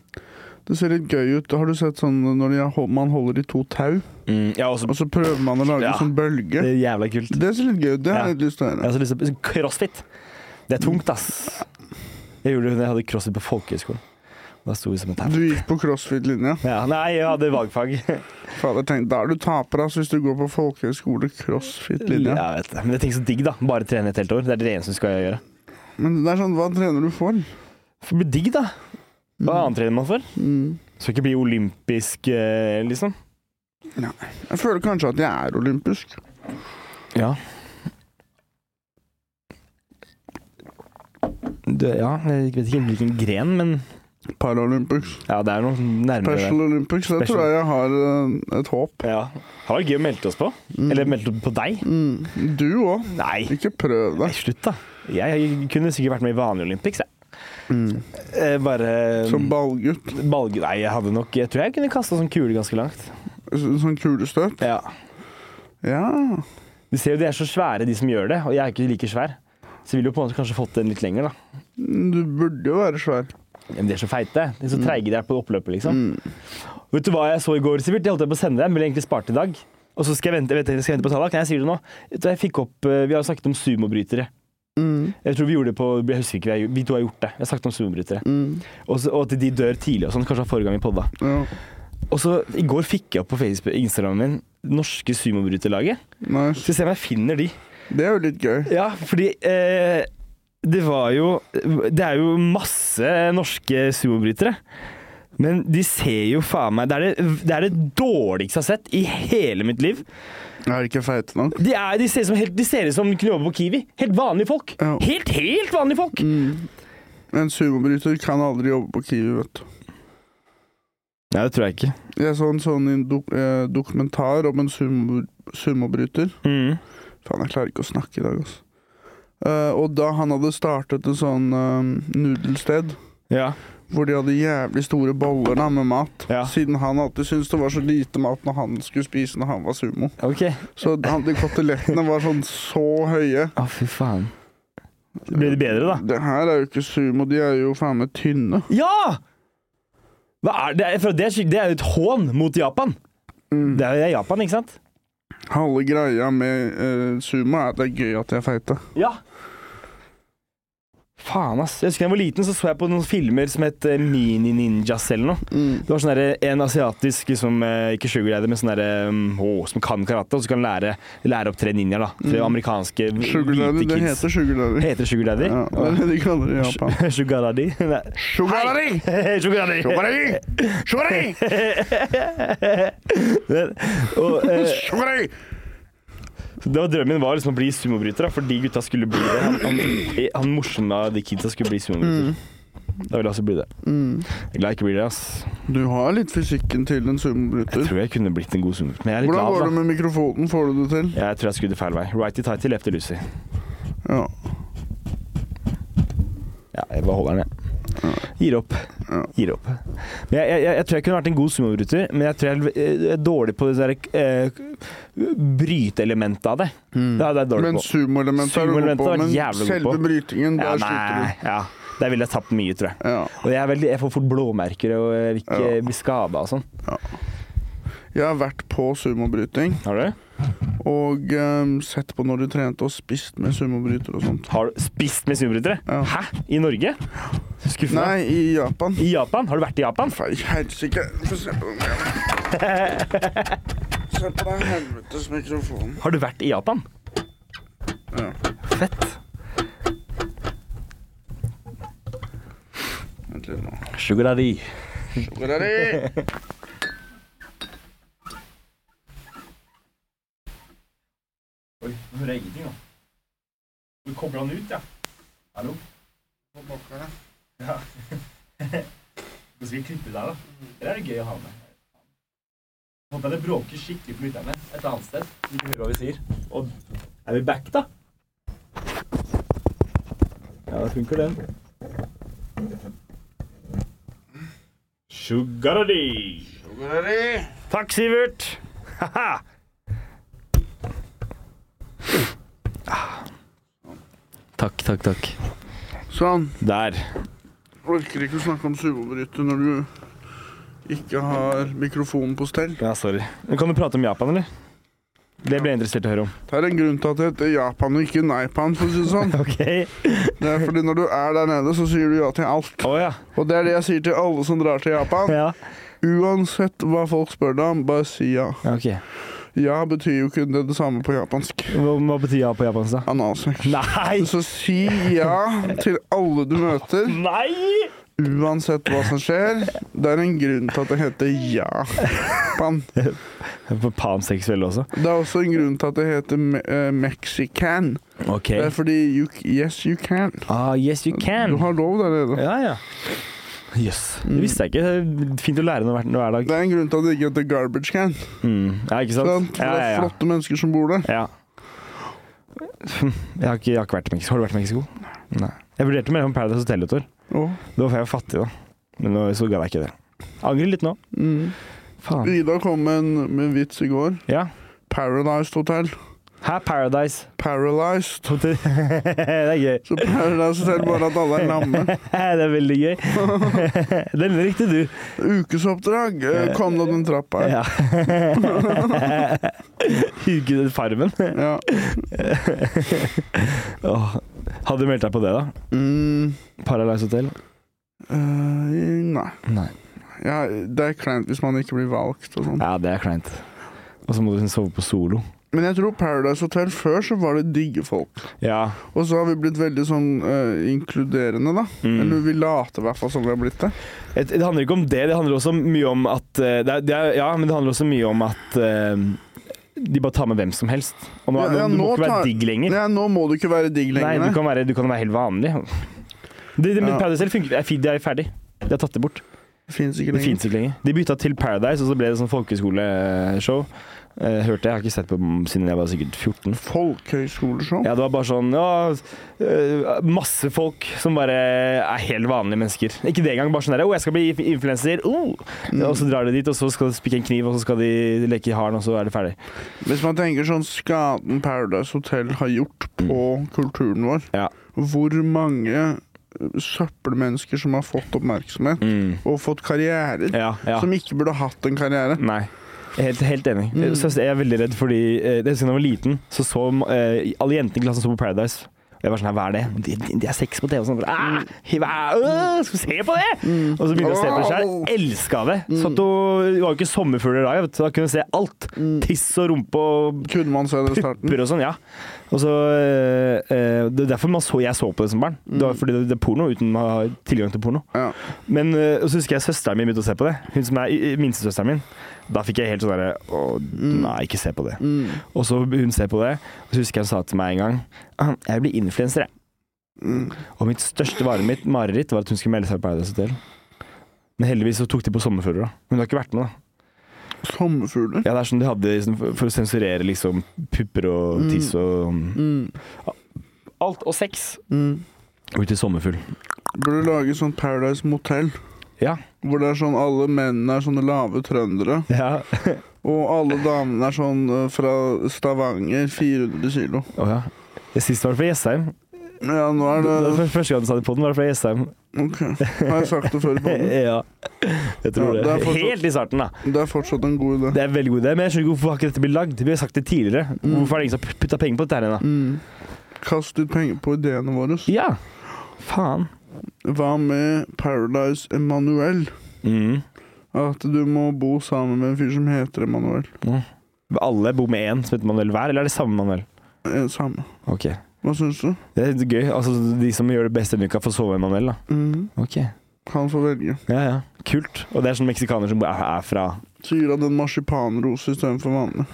Speaker 1: Det ser litt gøy ut. Har du sett sånn når de har- man holder i to tau?
Speaker 2: Mm, ja, også
Speaker 1: Og så prøver man å lage
Speaker 2: Ja.
Speaker 1: en sånn bølge.
Speaker 2: Det er jævla kult.
Speaker 1: Det ser litt gøy ut. Det har
Speaker 2: Ja.
Speaker 1: jeg litt lyst til å
Speaker 2: Jeg har
Speaker 1: gjøre.
Speaker 2: så lyst til å- Crossfit. Det er tungt, ass. Jeg gjorde det da jeg hadde crossfit på folkehøyskolen. Da sto vi som et
Speaker 1: Du
Speaker 2: tau.
Speaker 1: gikk på crossfit-linja.
Speaker 2: Ja, nei, jeg hadde valgfag.
Speaker 1: Fader, tenk, Da er du taper, ass, hvis du går på folkehøyskole crossfit-linja.
Speaker 2: Ja, jeg vet det. Men det er ting så digg, da. Bare trene et helt år. Det er det eneste du skal gjøre.
Speaker 1: Men det er sånn, hva trener du for?
Speaker 2: For det blir digg, da. Hva annet trener man for?
Speaker 1: Mm.
Speaker 2: Skal ikke bli olympisk, eh, liksom.
Speaker 1: Jeg føler kanskje at jeg er olympisk.
Speaker 2: Ja. Det, ja, jeg vet ikke hvilken gren, men
Speaker 1: Paralympics.
Speaker 2: ja, det er noe nærmere der.
Speaker 1: Special Olympics. Der
Speaker 2: Special.
Speaker 1: tror jeg jeg har eh, et håp.
Speaker 2: Ja. Det var gøy å melde oss på.
Speaker 1: Mm.
Speaker 2: Eller melde på deg.
Speaker 1: mm. Du òg.
Speaker 2: Nei,
Speaker 1: Ikke prøv
Speaker 2: nei,
Speaker 1: deg.
Speaker 2: slutt, da. Jeg kunne sikkert vært med i vanlig Olympics, jeg.
Speaker 1: Mm.
Speaker 2: Eh, Bare
Speaker 1: Som ballgutt.
Speaker 2: balge... Nei, jeg hadde nok Jeg tror jeg kunne kasta sånn kule ganske langt.
Speaker 1: Så- Sånn kulestøt.
Speaker 2: Ja.
Speaker 1: Ja.
Speaker 2: Du ser jo de er så svære, de som gjør det, og jeg er ikke like svær. Så jeg ville jo på en måte kanskje fått den litt lenger, da.
Speaker 1: Du burde jo være svær.
Speaker 2: Men de er så feite. De er så treige de er på oppløpet, liksom.
Speaker 1: Mm.
Speaker 2: Vet du hva jeg så i går, Sivert? Jeg holdt på å sende deg, men ville egentlig spart i dag. Og så skal jeg vente, jeg vet, jeg skal vente på tallet. Kan jeg si det nå? Vet du, Jeg fikk opp, eh, vi har snakket om sumobrytere.
Speaker 1: Mm.
Speaker 2: Jeg tror vi gjorde det på Jeg husker ikke, vi to har gjort det. Jeg har snakket om sumobrytere.
Speaker 1: Mm.
Speaker 2: Og, så, og at de dør tidlig og sånn. Kanskje var forrige gang vi podda.
Speaker 1: Ja.
Speaker 2: Og så i går fikk jeg opp på Facebook, Instagramen min norske sumobryterlaget.
Speaker 1: Nice.
Speaker 2: Så se om jeg finner de.
Speaker 1: Det er jo litt gøy.
Speaker 2: Ja, fordi eh, det var jo Det er jo masse norske sumobrytere. Men de ser jo faen meg Det er det, det, er det dårligste jeg har sett i hele mitt liv.
Speaker 1: Jeg er ikke feit nok.
Speaker 2: De, er, de, ser, som, helt, de ser ut som de kunne jobbe på Kiwi. Helt vanlige folk.
Speaker 1: Ja. Mm.
Speaker 2: Helt, helt vanlige folk!
Speaker 1: En sumobryter kan aldri jobbe på Kiwi, vet du.
Speaker 2: Nei, det tror jeg ikke.
Speaker 1: Jeg så en sånn i en dok eh, dokumentar om en sumo sumobryter.
Speaker 2: Mm.
Speaker 1: Faen, jeg klarer ikke å snakke i dag, altså. Eh, og da han hadde startet et sånn eh, nudelsted,
Speaker 2: Ja.
Speaker 1: hvor de hadde jævlig store boller da, med mat,
Speaker 2: Ja.
Speaker 1: siden han alltid syntes det var så lite mat når han skulle spise når han var sumo.
Speaker 2: Ok.
Speaker 1: Så han, de kotelettene var sånn så høye.
Speaker 2: Å, fy faen. Ble det bedre, da?
Speaker 1: Det her er jo ikke sumo, de er jo faen meg tynne.
Speaker 2: Ja! Hva er det? For det er skik- det er jo et hån mot Japan. Det er jo Japan, ikke sant?
Speaker 1: Halve greia med eh, sumo er at det er gøy at de er feite.
Speaker 2: Ja. Faen, ass. Jeg husker da jeg var liten, så så jeg på noen filmer som het eh, Mini Ninjas eller noe. Det var sånn der, en asiatisk liksom, eh, ikke sugarglider, men sånn derre um, å, som kan karate, og så kan lære, lære opp tre ninjaer, da. Tre amerikanske
Speaker 1: Sugar daddy,
Speaker 2: hvite
Speaker 1: det
Speaker 2: kids.
Speaker 1: Mm. heter sugar daddy.
Speaker 2: Heter det sugar daddy?
Speaker 1: Ja, det er det de kaller det i Japan.
Speaker 2: Sugar daddy? Nei.
Speaker 1: Sugar daddy!
Speaker 2: Hei, sugar daddy!
Speaker 1: Sugar daddy! Sugar daddy!
Speaker 2: og, eh,
Speaker 1: Sugar daddy!
Speaker 2: det var drømmen min var liksom å bli sumobryter, da, for de gutta skulle bli det. Han, han, han morsomme av de kidsa skulle bli sumobryter. Da ville jeg også bli det. Jeg
Speaker 1: Mm.
Speaker 2: er glad jeg ikke blir det, ass.
Speaker 1: Du har litt fysikken til en
Speaker 2: Jeg
Speaker 1: sumobryter.
Speaker 2: tror jeg kunne blitt en god summer. Men jeg er litt
Speaker 1: Hvordan
Speaker 2: lav,
Speaker 1: går det
Speaker 2: da.
Speaker 1: med mikrofonen? Får du det til?
Speaker 2: Jeg tror jeg skudde feil vei. Righty tighty, lefty Lucy.
Speaker 1: Ja.
Speaker 2: Ja, jeg bare holder den, jeg. Gir opp.
Speaker 1: Ja.
Speaker 2: Gir opp. Men jeg, jeg, jeg tror jeg kunne vært en god sumobryter, men jeg tror jeg er eh, dårlig på det derre eh, bryteelementet av det. Ja, det er jeg dårlig
Speaker 1: Mm. Men
Speaker 2: på.
Speaker 1: sumoelementet er du god
Speaker 2: Sumoelementet
Speaker 1: på.
Speaker 2: har vært
Speaker 1: Men
Speaker 2: jævlig god
Speaker 1: selve
Speaker 2: på.
Speaker 1: brytingen,
Speaker 2: Ja,
Speaker 1: der
Speaker 2: nei,
Speaker 1: sliter du.
Speaker 2: ja. Der ville jeg tapt mye, tror jeg.
Speaker 1: Ja.
Speaker 2: Og jeg, er veldig, jeg får fort blåmerker og jeg vil ikke
Speaker 1: Ja.
Speaker 2: bli skada og sånn.
Speaker 1: Jeg har vært på sumobryting
Speaker 2: Har du?
Speaker 1: og ehm, sett på når du trente og spist med sumobryter og sånt.
Speaker 2: Har du spist med sumobrytere?
Speaker 1: Ja.
Speaker 2: Hæ? I Norge? Skuffa.
Speaker 1: Nei, i Japan.
Speaker 2: I Japan? Har du vært i Japan?
Speaker 1: Faen, helsike. Få se på den greia. Se på den helvetes mikrofonen.
Speaker 2: Har du vært i Japan?
Speaker 1: Ja.
Speaker 2: Fett.
Speaker 1: Vent litt nå.
Speaker 2: Sugar daddy.
Speaker 1: Hvor er de?
Speaker 2: Oi, nå hører jeg ingenting, da. Du kobler han ut, ja. Hallo? Ja. Nå skal vi klippe der, da. Eller er det gøy å ha med? Håper jeg det bråker skikkelig på lytterne et annet sted. så De kan høre hva vi sier. Og er vi back, da? Ja, det funker, den. Sugar daddy.
Speaker 1: Hvor er de?
Speaker 2: Takk, Sivert. Haha. Takk, takk, takk.
Speaker 1: Sånn.
Speaker 2: Der.
Speaker 1: Orker ikke å snakke om sumobryter når du ikke har mikrofonen på stell.
Speaker 2: Ja, sorry. Kan du prate om Japan, eller? Det ble jeg interessert i å høre om.
Speaker 1: Det er en grunn til at det heter Japan og ikke Naipan, for å si det sånn.
Speaker 2: Ok.
Speaker 1: Det er fordi når du er der nede, så sier du ja til alt.
Speaker 2: Å ja.
Speaker 1: Og det er det jeg sier til alle som drar til Japan.
Speaker 2: ja.
Speaker 1: Uansett hva folk spør deg om, bare si ja.
Speaker 2: Ok.
Speaker 1: Ja betyr jo ikke det, det samme på japansk.
Speaker 2: Hva, hva betyr ja på japansk, da?
Speaker 1: Analsex.
Speaker 2: Nei!
Speaker 1: Så si ja til alle du møter,
Speaker 2: Nei!
Speaker 1: uansett hva som skjer. Det er en grunn til at det heter Japan.
Speaker 2: For panseksuelle også?
Speaker 1: Det er også en grunn til at det heter me eh, Mexican.
Speaker 2: Ok.
Speaker 1: Det er fordi you, yes, you can.
Speaker 2: Ah, yes, you
Speaker 1: Eh, Du
Speaker 2: can.
Speaker 1: har lov der nede.
Speaker 2: Ja, ja. Jøss. Det visste jeg ikke. Det er Fint å lære noe hver, noe hver dag.
Speaker 1: Det er en grunn til at det ikke heter garbage can.
Speaker 2: Mm. Ja, ikke
Speaker 1: sant?
Speaker 2: sant?
Speaker 1: For
Speaker 2: Ja,
Speaker 1: det er
Speaker 2: ja,
Speaker 1: flotte mennesker som bor der.
Speaker 2: ja. ja. Jeg har ikke, jeg har ikke vært i Mexico. Har du vært i Mexico? Nei. Jeg vurderte mer om Paradise Hotel et år.
Speaker 1: Åh.
Speaker 2: Da var jeg fattig, da. Men nå, så gadd jeg ikke det. Angrer litt nå.
Speaker 1: Mm.
Speaker 2: Faen.
Speaker 1: Ida kom med en, med en vits i går.
Speaker 2: Ja.
Speaker 1: Paralyzed Hotel.
Speaker 2: Hæ, Paradise
Speaker 1: Paralyzed.
Speaker 2: Hotel. det er gøy.
Speaker 1: Så Paradise Hotel bare at alle er lamme.
Speaker 2: det er veldig gøy. Den likte du.
Speaker 1: Ukesoppdrag. eh, Kom deg opp den trappa her.
Speaker 2: Ja. Huke den farmen.
Speaker 1: Ja.
Speaker 2: Åh. Hadde du meldt deg på det, da?
Speaker 1: Mm,
Speaker 2: Paradise Hotel?
Speaker 1: eh, nei.
Speaker 2: Nei.
Speaker 1: Ja, det er kleint hvis man ikke blir valgt og sånn.
Speaker 2: Ja, det er kleint. Og så må du liksom sove på solo.
Speaker 1: Men jeg tror Paradise Hotel før så var det digge folk.
Speaker 2: Ja.
Speaker 1: Og så har vi blitt veldig sånn eh, inkluderende, da. Eller
Speaker 2: Mm.
Speaker 1: vi later i hvert fall som vi har blitt det.
Speaker 2: Det det handler ikke om det. Det handler også mye om at eh, det er, det er, Ja, men det handler også mye om at eh, de bare tar med hvem som helst. Og nå,
Speaker 1: Ja, ja,
Speaker 2: nå, du må
Speaker 1: nå
Speaker 2: ikke
Speaker 1: tar-
Speaker 2: være digg lenger.
Speaker 1: Nei, nå må du ikke være digg lenger.
Speaker 2: Mm. Nei,
Speaker 1: nei.
Speaker 2: du kan være, du kan være helt vanlig. Det, det, men
Speaker 1: Ja. Paradise
Speaker 2: Paradise Hotel funker, er, fi- det er ferdig. De har tatt det bort.
Speaker 1: Det fins
Speaker 2: Det
Speaker 1: ikke lenger.
Speaker 2: fins ikke lenger. De bytta til Paradise, og så ble det sånn folkeskoleshow. Eh, Hørte jeg. Jeg har ikke sett på dem siden jeg var sikkert 14.
Speaker 1: Folkehøyskoleshow.
Speaker 2: Ja, det var bare sånn ja, øh, Masse folk som bare er helt vanlige mennesker. Ikke det engang. Bare sånn der, 'Å, jeg skal bli influenser'. Oh. Og så drar de dit, og så skal de spikke en kniv, og så skal de leke haren, og så er det ferdig.
Speaker 1: Hvis man tenker sånn skaden Paradise Hotel har gjort på kulturen vår
Speaker 2: Ja.
Speaker 1: Hvor mange eh, søppelmennesker som har fått oppmerksomhet og fått karrierer,
Speaker 2: Ja, ja.
Speaker 1: som ikke burde hatt en karriere.
Speaker 2: Nei. Jeg er Helt, helt enig. Så jeg er veldig redd, fordi eh, jeg husker da jeg var liten, så så eh, alle jentene i klassen så på Paradise. Og Jeg var sånn, her, Hva er det? De, de- de er sex på TV og sånn. Ah, hva, øh, skal vi se på det?! Og så begynte jeg å se på det sjøl. Elska det. Satt og, det var jo ikke sommerfugler da, jeg vet, du, da kunne jeg se alt. Tiss og rumpe og
Speaker 1: Kunne man se det i starten?
Speaker 2: pupper og sånn. ja. Og så, eh, eh, det er derfor man så, jeg så på det som barn. Det var fordi det, det er porno uten å ha tilgang til porno.
Speaker 1: Ja.
Speaker 2: Men øh, og så husker jeg søsteren min begynte å se på det. Hun som er i- i- minstesøsteren min. Da fikk jeg helt sånn derre Å,
Speaker 1: Mm.
Speaker 2: nei, ikke se på det. Og så hun ser på det, og så husker jeg hun sa til meg en gang «Ah, Jeg blir influenser, jeg.
Speaker 1: Mm.
Speaker 2: Og mitt største vare mitt, mareritt var at hun skulle melde seg på Paradise Hotel. Men heldigvis så tok de på sommerfugler, da. Men hun har ikke vært med, da.
Speaker 1: Sommerfugler?
Speaker 2: Ja, det er sånn de hadde liksom, for- for å sensurere liksom pupper og tiss og um,
Speaker 1: Mm.
Speaker 2: Alt. Og sex.
Speaker 1: Mm.
Speaker 2: Og ut til sommerfugl.
Speaker 1: Burde lage sånn Paradise Motel.
Speaker 2: Ja.
Speaker 1: Hvor det er sånn alle mennene er sånne lave trøndere,
Speaker 2: Ja.
Speaker 1: og alle damene er sånn eh, fra Stavanger, 400 kilo.
Speaker 2: Å ja. Sist var det fra Jessheim.
Speaker 1: Ja, nå er det
Speaker 2: Første gang du sa det på den, var det fra Jessheim.
Speaker 1: Ok. Har jeg sagt det før i podden?
Speaker 2: Ja, jeg tror
Speaker 1: Ja,
Speaker 2: det.
Speaker 1: det er fortsatt-
Speaker 2: Helt i starten, da.
Speaker 1: Det er fortsatt en god idé.
Speaker 2: Det er veldig god idé, men jeg skjønner ikke hvorfor har ikke dette blitt lagd? Vi har sagt det tidligere. Hvorfor er det ingen som har putta penger på dette her ennå?
Speaker 1: Mm. Kast ut penger på ideene våre.
Speaker 2: Ja. Faen.
Speaker 1: Hva med Paradise Emanuel?
Speaker 2: Mm.
Speaker 1: At du må bo sammen med en fyr som heter Emanuel.
Speaker 2: Alle bor med én som heter Manuel hver, eller er det samme Manuel?
Speaker 1: Eh, Samme.
Speaker 2: Ok.
Speaker 1: Hva syns du?
Speaker 2: Det er litt gøy. Altså, de som gjør det best denne uka, får sove med Manuel, da.
Speaker 1: Mhm.
Speaker 2: Ok.
Speaker 1: Han får velge.
Speaker 2: Ja, ja. Kult. Og det er sånn meksikaner som er er fra
Speaker 1: Så gir han en marsipanrose istedenfor vanlig.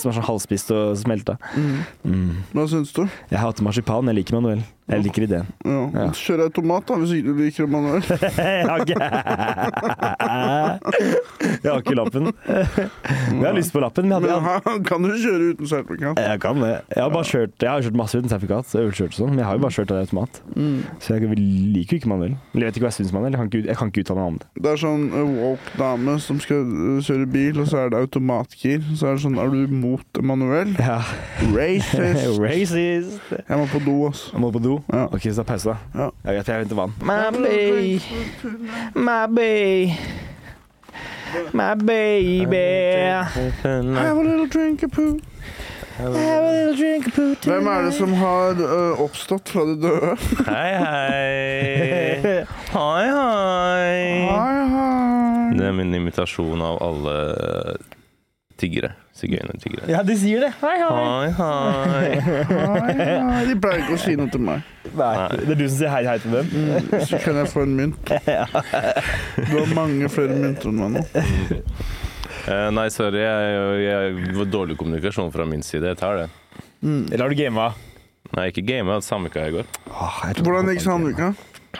Speaker 2: Som er sånn halvspist og smelta.
Speaker 1: Mhm.
Speaker 2: Mm.
Speaker 1: Hva syns du?
Speaker 2: Jeg hater marsipan, jeg liker Manuel. Jeg liker ideen.
Speaker 1: Ja.
Speaker 2: Ja.
Speaker 1: Kjør automat, da, hvis ikke du liker Emanuel.
Speaker 2: Jeg har ikke Jeg har ikke lappen. Men jeg har lyst på lappen. Men jeg,
Speaker 1: Men
Speaker 2: hadde,
Speaker 1: han kan jo kjøre uten sertifikat.
Speaker 2: jeg kan det. Jeg har bare kjørt, jeg har kjørt masse uten sertifikat, og ølkjørt og sånn, men jeg har jo bare kjørt av automat.
Speaker 1: Mm.
Speaker 2: Så jeg liker jo ikke manuell. Eller jeg vet ikke hva jeg syns manuell. Jeg kan ikke, jeg kan ikke uttale meg om det.
Speaker 1: Det er sånn eh, woke dame som skal eh, kjøre bil, og så er det automatgir. Så er det sånn Er du mot Emanuel?
Speaker 2: Ja.
Speaker 1: Racist!
Speaker 2: Racist.
Speaker 1: Jeg må på do, altså.
Speaker 2: Jeg må på do.
Speaker 1: Ja.
Speaker 2: OK, så ta pause, da.
Speaker 1: Ja.
Speaker 2: Ja, greit, jeg henter vann. My baby. My baby. My baby.
Speaker 1: Have a little drink of poo. Hvem er det som har ø, oppstått fra de døde?
Speaker 3: Hei, hei. Hei, hei.
Speaker 1: Hei, hei.
Speaker 3: Det er min imitasjon av alle tiggere. Sigøynertiggere.
Speaker 2: Ja, de sier det. Hei,
Speaker 3: Hei, hei.
Speaker 1: Hei, hei. De pleier ikke å si noe til meg.
Speaker 2: Nei, det er du som sier hei, hei til dem.
Speaker 1: Mm. Så kan jeg få en mynt. Du har mange flere mynter enn meg nå.
Speaker 3: Eh, nei, sorry. Jeg, jeg var dårlig kommunikasjon fra min side. Jeg tar det.
Speaker 2: Eller har du gama?
Speaker 3: Nei, ikke game. Jeg hadde Sandvika i går.
Speaker 2: Ah,
Speaker 1: Hvordan gikk sånn? Sandvika?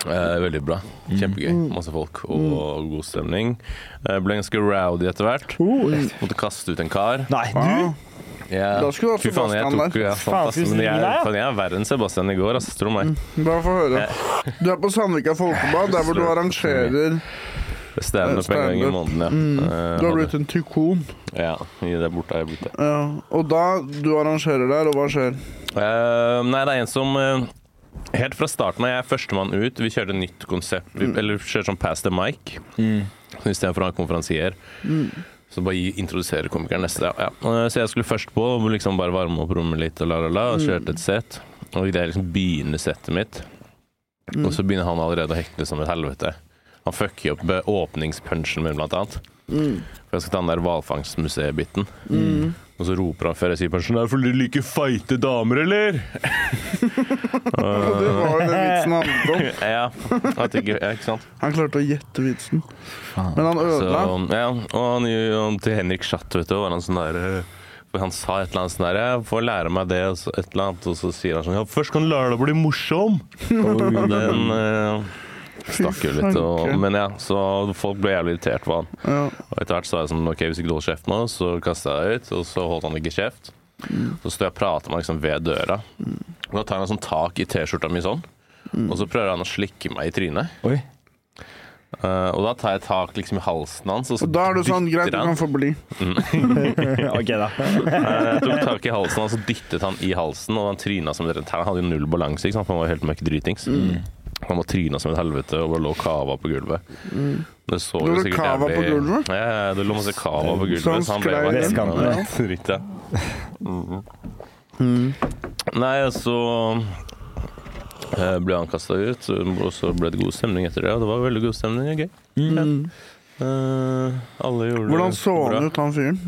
Speaker 3: Eh, veldig bra. Kjempegøy. Masse folk og god stemning. Eh, ble ganske rowdy etter hvert. Måtte kaste ut en kar.
Speaker 2: Nei,
Speaker 1: Ah,
Speaker 2: du?
Speaker 3: Ja.
Speaker 1: Da skulle du hatt
Speaker 3: Fy faen, jeg
Speaker 1: Sebastian
Speaker 3: tok, ja, sant,
Speaker 2: Faen,
Speaker 3: ass,
Speaker 2: skulle du
Speaker 3: men
Speaker 2: ringe
Speaker 3: jeg,
Speaker 2: deg, ja?
Speaker 3: faen, jeg er verre enn Sebastian i går, ass, tro meg.
Speaker 1: bare få høre.
Speaker 3: Eh.
Speaker 1: Du er på Sandvika Folkebad, der hvor du arrangerer
Speaker 3: Standup en gang i
Speaker 1: Standup.
Speaker 3: måneden, ja. Eh,
Speaker 1: Mm. Du har
Speaker 3: hadde-
Speaker 1: blitt en tykon.
Speaker 3: Ja, i det borte har jeg blitt det.
Speaker 1: Ja. Og da du arrangerer der, og hva skjer?
Speaker 3: Eh, nei, det er en som eh, Helt fra starten av, jeg er førstemann ut. Vi kjørte nytt konsept. Vi,
Speaker 1: Mm.
Speaker 3: Eller kjørte sånn pass the mic.
Speaker 2: Mm.
Speaker 3: Så Istedenfor å ha en konferansier.
Speaker 1: Mm.
Speaker 3: Så bare gi- introdusere komikeren neste. Ja, ja. Eh, Så jeg skulle først på og liksom bare varme opp rommet litt og la, la,
Speaker 1: Mm.
Speaker 3: la. Og kjørte et sett. Og idet jeg liksom begynner settet mitt,
Speaker 1: Mm.
Speaker 3: og så begynner han allerede å hekle som et helvete. Han fucker opp eh, åpningspunchen min, blant annet.
Speaker 1: Mm.
Speaker 3: For jeg skal ta den der hvalfangstmuseet-biten. Og så roper han før jeg sier punchen Er det fordi du liker feite damer, eller?
Speaker 1: Og det var jo den vitsen han hadde om.
Speaker 3: ja, at ikke, ja, ikke sant?
Speaker 1: Han klarte å gjette vitsen. Men han
Speaker 3: Så,
Speaker 1: ødela.
Speaker 3: ja, og han, han til Henrik Schatt, vet du, var han sånn der eh, for Han sa et eller annet sånn der Jeg får lære meg det, og så et eller annet, og så sier han sånn Ja, først kan du lære deg å bli morsom! Og den eh, stakk jo litt, og,
Speaker 1: fanken.
Speaker 3: men ja, så folk ble jævlig irritert på han.
Speaker 1: Ja.
Speaker 3: Og etter hvert så var jeg sånn OK, hvis ikke du holder kjeft nå, så kaster jeg deg ut. Og så holdt han ikke kjeft. Så står jeg og prater med han liksom ved døra. Og da tar han sånn tak i T-skjorta mi sånn. Og så prøver han å slikke meg i trynet.
Speaker 2: Oi.
Speaker 3: Eh, og da tar jeg tak liksom i halsen hans. Og så
Speaker 1: Og da er du sånn
Speaker 3: dytter
Speaker 1: Greit, du kan få bli.
Speaker 2: OK, da.
Speaker 3: Eh, jeg tok tak i halsen hans og dyttet han i halsen, og han tryna som et rent Han hadde jo null balanse, ikke sant? for han var helt møkk dritings.
Speaker 1: Mm.
Speaker 3: Han var tryna som et helvete og bare lå og kava på gulvet. Det så
Speaker 1: Mm. Lå
Speaker 3: jo
Speaker 1: det
Speaker 3: sikkert
Speaker 1: kava på gulvet? Sånn
Speaker 3: Ja, ja, det lå masse kava på gulvet.
Speaker 1: Så han
Speaker 3: Så han ble
Speaker 1: sklei
Speaker 3: bare
Speaker 2: ned?
Speaker 3: Ja, dritt, ja. Mm. Nei, og så eh, ble han kasta ut, og så ble det god stemning etter det. Og det var veldig god stemning. og Gøy.
Speaker 2: Mm.
Speaker 3: Ja. Eh, alle gjorde
Speaker 1: Hvordan
Speaker 3: det
Speaker 1: så
Speaker 3: bra.
Speaker 1: han ut, han fyren?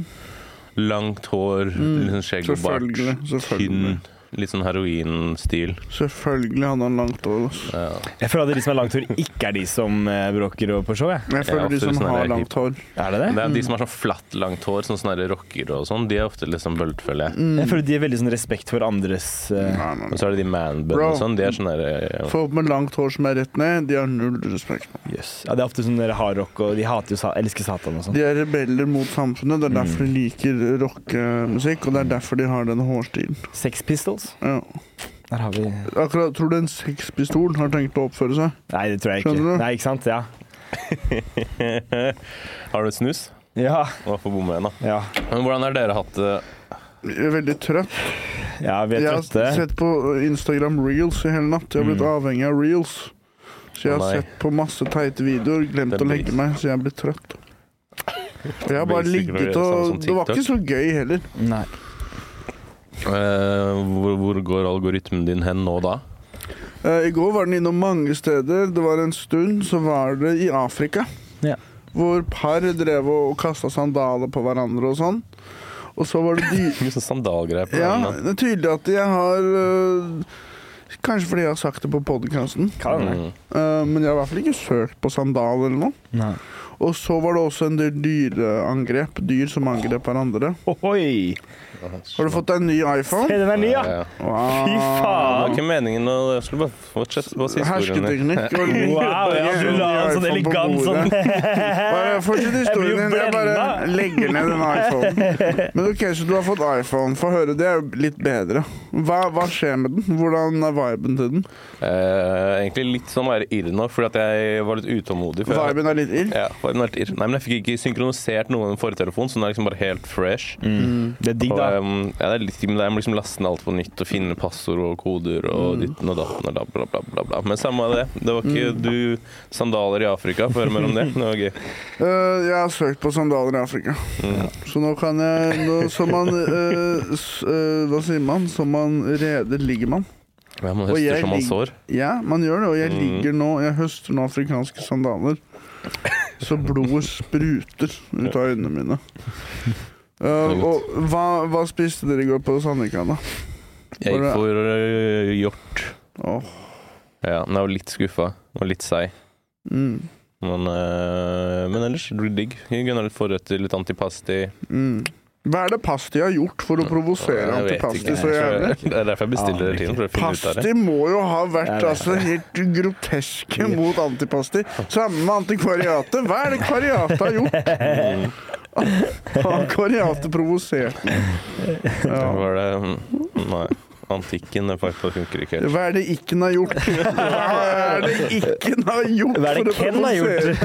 Speaker 3: Langt hår, liksom skjegg og bart.
Speaker 1: Selvfølgelig. Selvfølgelig.
Speaker 3: Tynn. Litt sånn heroinstil.
Speaker 1: Selvfølgelig hadde han langt hår. ass.
Speaker 3: Ja.
Speaker 2: Jeg føler at de som har langt hår, ikke er de som eh, bråker og på show. jeg.
Speaker 1: Jeg føler
Speaker 3: Ja,
Speaker 1: de som
Speaker 3: absolutt, sånn er
Speaker 1: har
Speaker 3: det
Speaker 1: langt hår.
Speaker 2: Er det det?
Speaker 3: Det er de som har sånn flatt, langt hår, sånn sånne rockere og sånn, de er ofte liksom bøltfølge.
Speaker 1: Mm.
Speaker 2: Jeg føler de har veldig sånn respekt for andres eh,
Speaker 1: Nei, nei,
Speaker 3: Og
Speaker 1: nei.
Speaker 3: så er det de manbun
Speaker 1: Bro.
Speaker 3: og sånn, de er sånn derre
Speaker 1: Folk med langt hår som er rett ned, de har null respekt.
Speaker 2: Jøss. Ja, det er ofte sånn der hardrock, og de hater jo sa elsker Satan og sånn.
Speaker 1: De er rebeller mot samfunnet. Det er derfor de liker rockemusikk, og det er derfor de har den hårstilen.
Speaker 2: Sex Pistols.
Speaker 1: Ja.
Speaker 2: Der har vi
Speaker 1: Akkurat, Tror du en sexpistol har tenkt å oppføre seg?
Speaker 2: Nei, det tror jeg ikke.
Speaker 1: Skjønner du?
Speaker 2: Nei, ikke sant? Ja.
Speaker 3: Har du et snus?
Speaker 2: Ja.
Speaker 3: Å, få bomme igjen, da.
Speaker 2: Ja,
Speaker 3: Men hvordan har dere hatt det?
Speaker 1: Jeg er veldig trøtt.
Speaker 2: ja vi
Speaker 1: Jeg
Speaker 2: er
Speaker 1: har
Speaker 2: trøtte.
Speaker 1: sett på Instagram reels i hele natt. Jeg har blitt avhengig av reels. Så jeg
Speaker 3: Å,
Speaker 1: har
Speaker 3: Mm. nei.
Speaker 1: sett på masse teite videoer, glemt
Speaker 3: Det
Speaker 1: å
Speaker 3: blir-
Speaker 1: legge meg, så jeg blir trøtt. Jeg har bare
Speaker 3: blir sikkert
Speaker 1: ligget
Speaker 3: det samme
Speaker 1: og
Speaker 3: som
Speaker 1: Det var
Speaker 3: TikTok.
Speaker 1: ikke så gøy heller.
Speaker 2: Nei.
Speaker 3: Eh, hvor, hvor går algoritmen din hen nå da?
Speaker 1: Eh, I går var den innom mange steder. Det var en stund så var det i Afrika.
Speaker 2: Ja.
Speaker 1: Hvor par drev og kasta sandaler på hverandre og sånn. Og så var det de
Speaker 3: Mye sånn sandalgreier på
Speaker 1: Ja,
Speaker 3: den.
Speaker 1: det er tydelig at jeg har øh, Kanskje fordi jeg har sagt det på podkasten,
Speaker 3: da.
Speaker 2: Kan
Speaker 3: Mm.
Speaker 1: men jeg har i hvert fall ikke søkt på sandal eller noe.
Speaker 2: Nei.
Speaker 1: Og så var det også en del dyreangrep. Dyr som angrep hverandre.
Speaker 2: Ohoi!
Speaker 1: Har du fått deg en ny iPhone?
Speaker 2: Hey, den er ny, ja!
Speaker 3: Ja, ja.
Speaker 1: Wow.
Speaker 2: Fy
Speaker 3: Det var
Speaker 2: faen!
Speaker 3: ikke meningen å Jeg skulle bare fortsette på siste historien din.
Speaker 1: Hersketeknikk. og litt-
Speaker 2: Wow, ja, du la en sånn
Speaker 1: iPhone på
Speaker 2: elegant
Speaker 1: bordet.
Speaker 2: sånn
Speaker 1: Bare Fortsett historien
Speaker 2: Eh, Jeg blir
Speaker 1: din.
Speaker 2: jo
Speaker 1: Jeg bare
Speaker 2: blendet.
Speaker 1: legger ned den iPhonen. Men OK, så du har fått iPhone. Få høre, det er jo litt bedre. Hva, hva skjer med den? Hvordan er viben til den?
Speaker 3: Eh, egentlig litt sånn være irr nå, fordi at jeg var litt utålmodig. For jeg,
Speaker 1: Viben er litt ill?
Speaker 3: ja, var helt irr. Nei, men jeg fikk ikke synkronisert noe med den forrige telefonen, så den er liksom bare helt fresh.
Speaker 2: Mm. Det er digg,
Speaker 3: Og,
Speaker 2: da.
Speaker 3: ehm, ja, det er litt, men det er liksom laste ned alt på nytt og finne passord og koder kultur og ditten og datten og bla, bla, bla. bla, bla. Men samme av det. Det var ikke du sandaler i Afrika før mellom det. Det var gøy. Mm.
Speaker 1: Eh, jeg har søkt på sandaler i Afrika. Så nå kan jeg nå, Som man eh, s, eh, Hva sier man? Som man reder, ligger man.
Speaker 3: Ja, man
Speaker 1: Og
Speaker 3: høster
Speaker 1: jeg
Speaker 3: som man
Speaker 1: ligg-
Speaker 3: sår.
Speaker 1: Ja, man gjør det. Og jeg
Speaker 3: Mm.
Speaker 1: ligger nå Jeg høster nå afrikanske sandaler. Så blodet spruter ut av øynene mine. Eh, og hva, hva spiste dere i går på Sandvika, da?
Speaker 3: Jeg
Speaker 1: Var
Speaker 3: gikk
Speaker 1: det-
Speaker 3: for øh, hjort.
Speaker 1: Åh,
Speaker 3: Ja, men jeg var litt skuffa. Og litt seig.
Speaker 1: mm,
Speaker 3: Men, øh, men ellers det blir digg. Gunnar litt forretter, litt antipasti.
Speaker 1: mm. Hva er det Pasti har gjort for å provosere
Speaker 3: Jeg
Speaker 1: ham til
Speaker 3: vet
Speaker 1: Pasti
Speaker 3: ikke.
Speaker 1: så jævlig?
Speaker 3: Det er derfor jeg bestiller
Speaker 2: Aner
Speaker 3: hele tiden. For å finne ut av det.
Speaker 1: Pasti må jo ha
Speaker 2: Jeg vet
Speaker 1: vært altså, helt groteske mot antipasti. Sammen med antikvariatet. Hva er det kvariatet har gjort?
Speaker 3: Mm.
Speaker 1: Har kvariatet provosert meg?
Speaker 3: Det
Speaker 1: Ja.
Speaker 3: var det Mm, Nei. Antikken det faktisk funker ikke helt.
Speaker 1: Hva er det ikke-en har gjort? Hva er det ikke-en har gjort
Speaker 2: Hva er
Speaker 1: for
Speaker 2: det
Speaker 1: å
Speaker 2: Ken har
Speaker 1: provosere?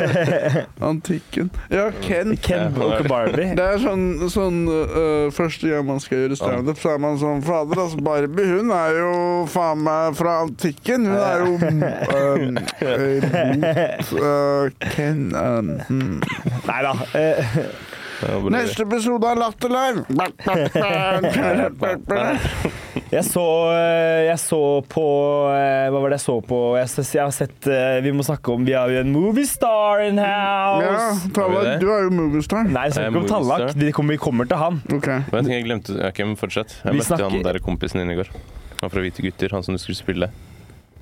Speaker 2: gjort?
Speaker 1: Antikken. Ja, Ken.
Speaker 2: Ken Broke Barbie.
Speaker 1: Det er sånn, sånn øh, Første gang man skal gjøre standup, så er man sånn Fader, altså, Barbie hun er jo faen meg fra antikken. Hun er jo øh, øh, mot øh, Ken øh, mm.
Speaker 2: Nei da. Eh,
Speaker 3: Det var bare-
Speaker 1: Neste episode av Latterlive!
Speaker 2: Jeg så, jeg så på eh, Hva var det jeg så på? Jeg, s- jeg har sett eh, Vi må snakke om Vi har jo en movie star in
Speaker 1: Ja,
Speaker 2: house!
Speaker 1: Talla, du er jo moviestar.
Speaker 2: Nei, vi snakker ikke
Speaker 3: Jeg er
Speaker 2: om
Speaker 3: movie star.
Speaker 2: Tallak. Vi kommer, vi kommer til han.
Speaker 1: Ok.
Speaker 3: Men jeg tenker jeg glemte Ok, men fortsett. Jeg
Speaker 2: Vi
Speaker 3: møtte han
Speaker 2: snakker-
Speaker 3: der kompisen din i går. Han fra Hvite gutter, han som du skulle spille.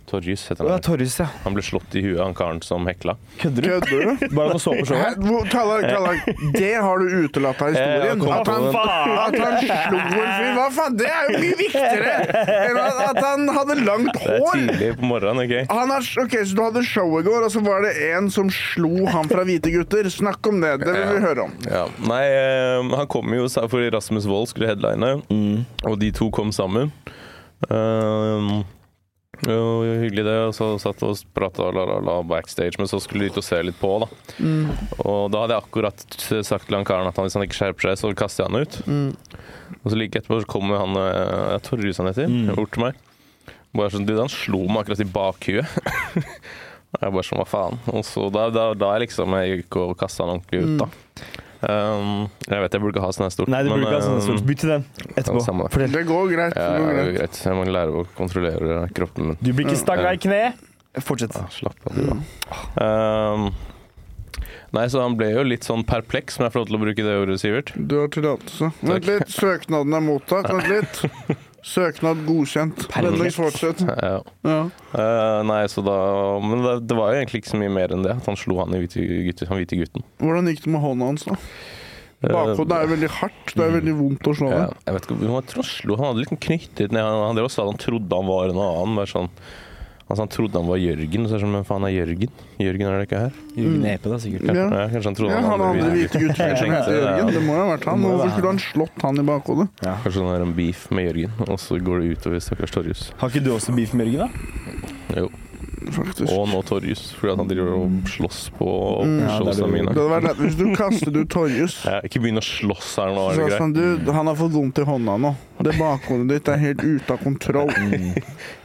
Speaker 3: Torjus heter
Speaker 2: Å, ja,
Speaker 3: han.
Speaker 2: Torjus, ja.
Speaker 3: Han ble slått i huet av han karen som hekla.
Speaker 2: Kødder du?
Speaker 1: Kødder du?
Speaker 2: Bare han så på
Speaker 1: Hæ?
Speaker 2: showet?
Speaker 1: Hvor- Tallak, Tallak, det har du utelatt av
Speaker 3: Eh, jeg
Speaker 1: historien.
Speaker 3: kom
Speaker 1: At
Speaker 3: på
Speaker 1: han,
Speaker 3: den.
Speaker 1: at han slo en fyr. Hva faen, det er jo mye viktigere enn at at han hadde langt
Speaker 3: Det er
Speaker 1: hår.
Speaker 3: tidlig på morgenen, OK?
Speaker 1: Han har, ok, Så du hadde show i går, og så var det en som slo han fra Hvite gutter. Snakk om det. Det vil vi høre om.
Speaker 3: Ja. Nei, eh, han kom jo sa- fordi Rasmus Wold skulle headline, og de to kom sammen. Um, jo, hyggelig det, og så satt vi og prata la, la, la, backstage, men så skulle de ut og se litt på, da. Og da hadde jeg akkurat sagt til han karen at han, hvis han ikke skjerper seg, så kaster jeg han ut. Og så like etterpå så kommer han eh, jeg tror Rus han heter,
Speaker 2: Mm.
Speaker 3: bort til meg. Bare sånn, du, Han slo meg akkurat i bakhuet. Og jeg bare sånn, hva faen? Og så da, da, da jeg liksom jeg gikk og kasta han ordentlig ut, da. Um, jeg vet jeg burde ikke ha sånn her stort,
Speaker 2: Nei, du burde ikke ha sånn
Speaker 3: eh,
Speaker 2: stort. Bytt til den etterpå.
Speaker 3: ja, samme det.
Speaker 2: Fortell.
Speaker 1: Det går greit.
Speaker 3: ja,
Speaker 1: Det
Speaker 3: ja,
Speaker 1: går
Speaker 3: det er
Speaker 1: greit.
Speaker 3: greit. Jeg må lære å kontrollere kroppen min.
Speaker 2: Du blir ikke stanga i kne. Fortsett.
Speaker 3: Mm. Ja, slapp av, du, da. Um, nei, så han ble jo litt sånn perpleks, om jeg får lov til å bruke det ordet, Sivert.
Speaker 1: Du har tillatelse. Vent litt. Søknaden er mottatt. Vent litt. Søknad godkjent. Vennligst fortsett.
Speaker 3: Ja.
Speaker 1: Ja.
Speaker 3: Eh, nei, så da Men det, det var jo egentlig ikke så mye mer enn det. At han slo han i hvite, gutt, han hvite gutten.
Speaker 1: Hvordan gikk det med hånda hans, da?
Speaker 3: Eh, mm.
Speaker 1: Bakhodet er jo veldig hardt. Det er veldig vondt å slå
Speaker 3: ja,
Speaker 1: det.
Speaker 3: jeg vet ikke, han, tror han, slo, han hadde liksom knyttet ned Han, han, drev og sa han trodde han var en annen. Bare sånn, altså, han trodde han var Jørgen. Og så er det sånn, men faen er Jørgen? Jørgen er det ikke her?
Speaker 2: Jørgen Epe, da, sikkert.
Speaker 1: Ja.
Speaker 3: Kanskje, ja. kanskje han trodde
Speaker 1: Ja, han
Speaker 3: var
Speaker 1: andre hvite gutten som
Speaker 3: tenkte
Speaker 1: heter
Speaker 3: det, ja.
Speaker 1: Jørgen. Det må jo ha vært
Speaker 2: Det
Speaker 1: han.
Speaker 2: må jo
Speaker 1: Hvorfor
Speaker 2: være
Speaker 1: skulle han slått han i bakhodet?
Speaker 3: Kanskje han har en beef med Jørgen, og så går det utover stakkars Torjus.
Speaker 2: Har ikke du også beef med Jørgen, da?
Speaker 3: Jo.
Speaker 1: Faktisk.
Speaker 3: Og nå Torjus, fordi at han driver og slåss på
Speaker 1: Mm.
Speaker 2: Ja, det er
Speaker 3: showsene
Speaker 2: det.
Speaker 1: Det
Speaker 3: mine.
Speaker 1: hadde vært lett hvis du kastet ut Torjus.
Speaker 3: Ja, Ikke begynn å slåss her nå,
Speaker 1: Så
Speaker 3: er det
Speaker 1: jeg
Speaker 3: greit?
Speaker 1: sa, du, han har fått vondt i hånda nå. Det bakhodet ditt er helt ute av kontroll.
Speaker 3: Mm.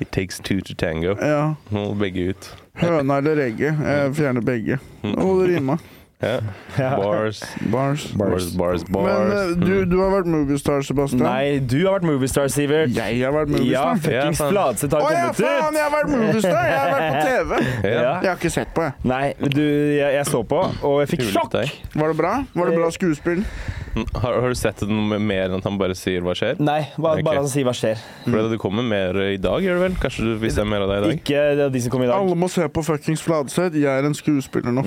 Speaker 3: It takes two to tango.
Speaker 1: Ja.
Speaker 3: Nå må begge ut. Hm.
Speaker 1: Høna eller egget? Jeg fjerner begge.
Speaker 2: Oh.
Speaker 1: Og det rima.
Speaker 3: Ja. Bars.
Speaker 1: Bars.
Speaker 3: Bars, bars,
Speaker 1: Men
Speaker 3: bars.
Speaker 1: eh, du, du har vært moviestar, Sebastian.
Speaker 2: Nei, du har vært moviestar, Sivert.
Speaker 1: Jeg har vært
Speaker 2: Ja,
Speaker 1: moviestar.
Speaker 2: fuckings
Speaker 3: Ja, faen.
Speaker 2: Fladseth har
Speaker 1: Å ja,
Speaker 2: kommet
Speaker 1: faen!
Speaker 2: ut!
Speaker 1: Jeg har vært moviestar! Jeg har vært på TV.
Speaker 3: Ja.
Speaker 1: Jeg har ikke sett på, jeg.
Speaker 2: Nei, du, jeg, jeg så på, og jeg fikk
Speaker 3: Kul
Speaker 2: sjokk.
Speaker 3: deg.
Speaker 1: Var det bra? Var det bra skuespill?
Speaker 3: Hm. Har, har du sett det noe mer enn at han bare sier hva skjer?
Speaker 2: Nei, bare,
Speaker 3: Ok.
Speaker 2: bare han sier hva skjer.
Speaker 3: For det- det kommer mer i dag, gjør det vel? Kanskje du, hvis det er mer av deg i dag?
Speaker 2: Ikke det er de som kom i dag.
Speaker 1: Alle må se på fuckings Fladseth. Jeg er en skuespiller nå.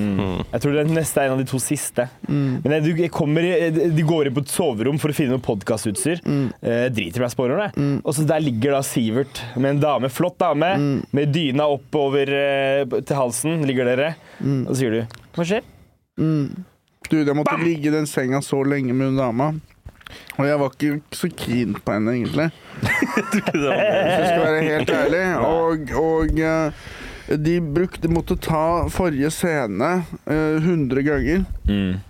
Speaker 2: Jeg tror det neste er en av de to siste. Men jeg, jeg kommer, i- eh, De går inn på et soverom for å finne noe podkastutstyr. Eh, driter i meg sporene. Og så der ligger da Sivert med en dame, flott dame, med dyna oppover eh, til halsen. ligger dere. Og så sier du Hva skjer?
Speaker 1: Du, jeg måtte ligge i den senga så lenge med hun dama. Og jeg var ikke så keen på henne, egentlig. Hvis jeg skal være helt ærlig. Og, og eh, de
Speaker 3: Mm.
Speaker 1: brukte, måtte ta forrige scene eh, 100 ganger.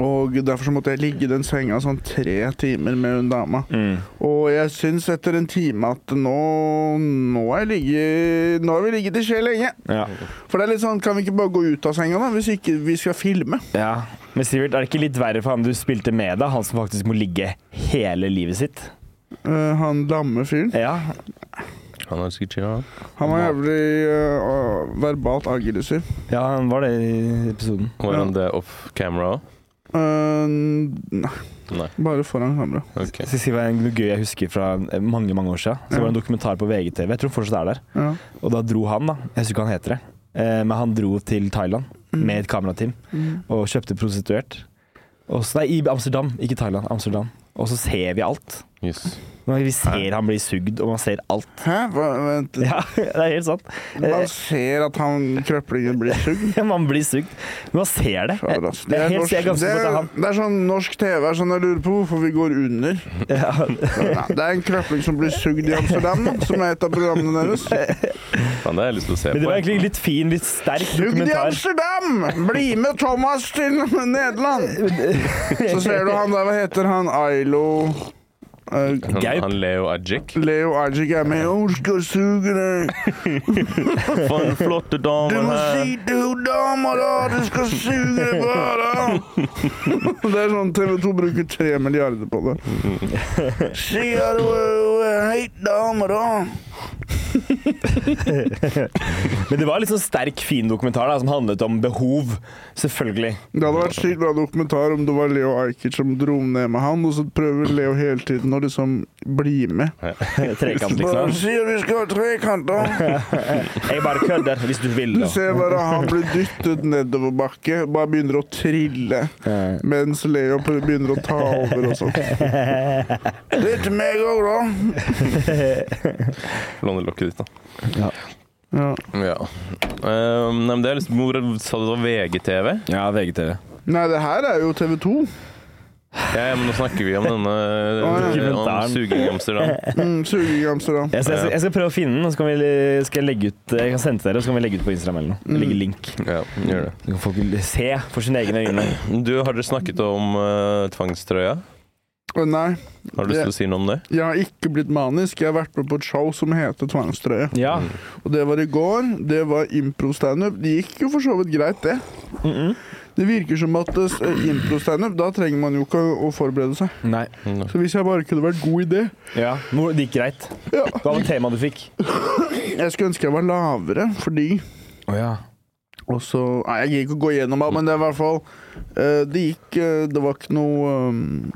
Speaker 1: Og derfor så måtte jeg ligge i den senga sånn tre timer med hun dama.
Speaker 2: Mm.
Speaker 1: Og jeg syns etter en time at nå Nå har jeg ligget Nå har vi ligget i skje lenge.
Speaker 2: Ja.
Speaker 1: For det er litt sånn, kan vi ikke bare gå ut av senga, da? Hvis ikke vi skal filme.
Speaker 2: ja. Men Sivert, er det ikke litt verre for han du spilte med, da? Han som faktisk må ligge hele livet sitt?
Speaker 1: Eh, han lamme fyren.
Speaker 2: Ja.
Speaker 3: Han er sikkert chill, han.
Speaker 1: Han var jævlig eh, verbalt aggressiv.
Speaker 2: ja, han var det i episoden.
Speaker 3: Var han det off camera òg?
Speaker 1: Eh, nei,
Speaker 3: Nei.
Speaker 1: bare foran kamera.
Speaker 3: Ok.
Speaker 2: Jeg skal si hva en noe gøy jeg husker fra eh, mange mange år siden. Så var det en dokumentar på VGTV. Jeg tror fortsatt det er der.
Speaker 1: Ja.
Speaker 2: Og da dro han, da. Jeg husker ikke hva han heter det. Eh, Men han dro til Thailand med et kamerateam
Speaker 1: Mm.
Speaker 2: og kjøpte prostituert. Og så, nei, i Amsterdam, ikke Thailand. Amsterdam. Og så ser vi alt.
Speaker 3: Yes.
Speaker 2: Men Vi ser han blir sugd, og man ser alt.
Speaker 1: Hæ? Hva, vent.
Speaker 2: Ja, det er helt sant. Eh,
Speaker 1: Man ser at han krøplingen blir sugd.
Speaker 2: Man blir sugd. Men man ser det.
Speaker 1: Fader, ass.
Speaker 2: Jeg er helt-
Speaker 1: norsk,
Speaker 2: jeg er ganske
Speaker 1: det,
Speaker 2: sikker på at
Speaker 1: er,
Speaker 2: det er han.
Speaker 1: det er sånn norsk TV er sånn jeg lurer på hvorfor vi går under.
Speaker 2: Ja,
Speaker 1: Ja, det er en krøpling som blir sugd i Amsterdam, som er et av programmene deres.
Speaker 2: Eh,
Speaker 3: Faen, det har jeg lyst til å
Speaker 2: men det
Speaker 3: se på.
Speaker 2: var
Speaker 3: jeg.
Speaker 2: egentlig litt fin, litt sterk
Speaker 1: Sugd i
Speaker 2: dokumentar.
Speaker 1: Amsterdam! Bli med Thomas til Nederland! Så ser du han der, hva heter han? Ailo eh,
Speaker 3: Han,
Speaker 2: Gaup.
Speaker 3: han Leo Ajik.
Speaker 1: Leo Ajik er med. Hun skal suge deg.
Speaker 3: For en flott
Speaker 1: Du
Speaker 3: dame
Speaker 1: må
Speaker 3: her.
Speaker 1: si til hun dama, da! Du skal suge deg bra, da! Det er sånn TV 2 bruker tre milliarder på det. øh, Si at hun hun er en heit dame, da!
Speaker 2: Men det var litt sånn sterk, fin dokumentar da, som handlet om behov. Selvfølgelig.
Speaker 1: Det hadde vært sykt bra dokumentar om det var Leo Ajkic som dro ned med han, og så prøver Leo hele tiden å liksom bli med.
Speaker 2: Trekant,
Speaker 1: Bare
Speaker 2: liksom.
Speaker 1: sier vi skal ha trekanter.
Speaker 2: Jeg bare kødder, hvis du vil,
Speaker 1: Du
Speaker 2: da.
Speaker 1: ser bare han blir dyttet nedoverbakke, bare begynner å trille. Mens Leo begynner å ta over og sånt. Litt meg òg, da.
Speaker 3: Låne lokket ditt, da.
Speaker 1: Ja.
Speaker 3: Ja. Ehm, nei, men det er liksom, hvor sa du det var VGTV?
Speaker 2: Ja, VGTV.
Speaker 1: Nei, det her er jo TV 2.
Speaker 3: Ja, ja, men nå snakker vi om denne
Speaker 1: Å,
Speaker 2: ja.
Speaker 3: om suging i Amsterdam.
Speaker 1: Mm, Suging i Amsterdam.
Speaker 2: Jeg skal, jeg, skal, jeg skal prøve å finne den, og så kan vi, skal jeg legge ut Jeg kan sende til dere, og så kan vi legge ut på Instagram eller noe. Legge link.
Speaker 3: Ja, gjør det.
Speaker 2: Så kan folk se for sine egne øyne.
Speaker 3: Du, har dere snakket om eh, tvangstrøya?
Speaker 1: Å, Nei,
Speaker 3: Har du lyst til å si noe om det?
Speaker 1: jeg har ikke blitt manisk. Jeg har vært med på et show som heter Tvangstrøye.
Speaker 2: Ja.
Speaker 1: Og det var i går. Det var impro-standup. Det gikk jo for så vidt greit, det.
Speaker 2: Mm -mm.
Speaker 1: Det virker som at eh, impro-standup, da trenger man jo ikke å forberede seg.
Speaker 2: Nei.
Speaker 3: Mm.
Speaker 1: Så hvis jeg bare kunne vært god i det
Speaker 2: Ja. Nå- Det gikk greit.
Speaker 1: Ja.
Speaker 2: Hva var temaet du fikk?
Speaker 1: Jeg skulle ønske jeg var lavere, fordi
Speaker 2: Å ja.
Speaker 1: Og så Nei, jeg gidder ikke å gå gjennom alt, men det er i hvert fall eh, Det gikk eh, Det var ikke noe um,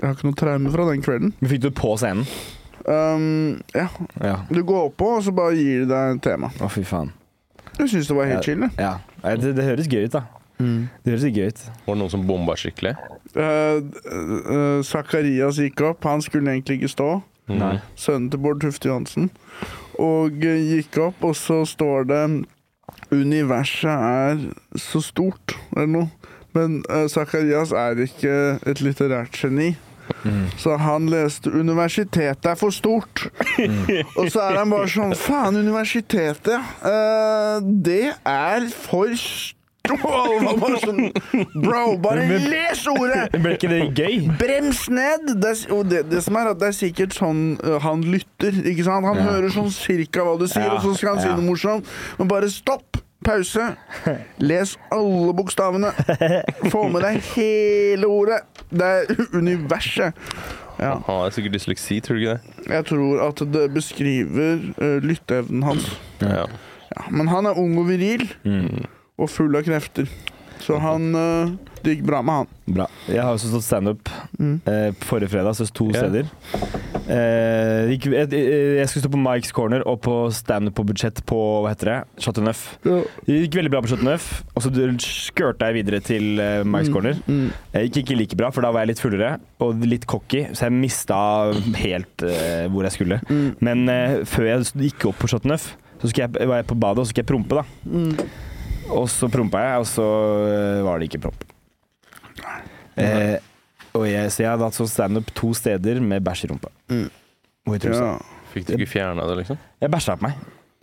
Speaker 1: Jeg har ikke noe traume fra den kvelden.
Speaker 2: Men fikk du det på scenen?
Speaker 1: Um, ja.
Speaker 2: Ja.
Speaker 1: Du går opp på, og så bare gir de deg et tema.
Speaker 2: Å, fy faen.
Speaker 1: Jeg syns det var helt chill. jeg.
Speaker 2: Ja. Nei, Det, det høres gøy ut, da. Det høres gøy ut.
Speaker 3: Var det noen som bomba skikkelig?
Speaker 1: Eh, eh, Zakarias gikk opp. Han skulle egentlig ikke stå.
Speaker 2: Nei.
Speaker 1: sønnen til Bård Tufte Johansen, og eh, gikk opp, og så står det Universet er så stort, eller noe. Men uh, Zakarias er ikke et litterært geni.
Speaker 2: Mm.
Speaker 1: Så han leste 'Universitetet er for stort'.
Speaker 2: Mm.
Speaker 1: og så er han bare sånn 'Faen, universitetet, eh, det er for stort'. Og han var bare sånn, Bro, bare
Speaker 2: Men-
Speaker 1: les ordet!
Speaker 2: Men Ble ikke det gøy?
Speaker 1: Brems ned! Det, er s- og det, det som er at det er sikkert sånn ø, han lytter. ikke sant? Han
Speaker 2: Ja.
Speaker 1: hører sånn cirka hva du sier,
Speaker 2: Ja,
Speaker 1: og så skal han si
Speaker 2: ja.
Speaker 1: noe morsomt. Men bare stopp! Pause. Les alle bokstavene. Få med deg hele ordet. Det er universet. Ja.
Speaker 3: Han har Ah, sikkert dysleksi, tror du ikke det?
Speaker 1: Jeg tror at det beskriver ø, lytteevnen hans.
Speaker 3: Ja.
Speaker 1: Ja, men han er ung og viril,
Speaker 2: Mm.
Speaker 1: og full av krefter. Så han ø, Det gikk bra med han.
Speaker 2: Bra. Jeg har også stått standup
Speaker 1: Mm.
Speaker 2: eh, forrige fredag, så to
Speaker 3: Ja.
Speaker 2: steder. Eh, gikk, jeg, jeg skulle stå på Mikes Corner og på standup på budsjett på hva heter det? Chateau Neuf. Det gikk veldig bra på Chateau Neuf, og så skørta jeg videre til eh, Mikes Corner.
Speaker 1: Mm.
Speaker 2: Jeg gikk ikke like bra, for da var jeg litt fullere og litt cocky, så jeg mista helt eh, hvor jeg skulle.
Speaker 1: Mm.
Speaker 2: Men eh, før jeg s- gikk opp på Chateau Neuf, så skulle jeg, var jeg på badet og så skulle jeg prompe, da.
Speaker 1: Mm.
Speaker 2: Og så prompa jeg, og så eh, var det ikke promp. Eh, og jeg, så jeg hadde hatt sånn standup to steder med bæsj i rumpa.
Speaker 1: Mm.
Speaker 2: Og i trusa.
Speaker 1: Ja.
Speaker 3: Fikk du ikke fjerna det, liksom?
Speaker 2: Jeg bæsja på meg,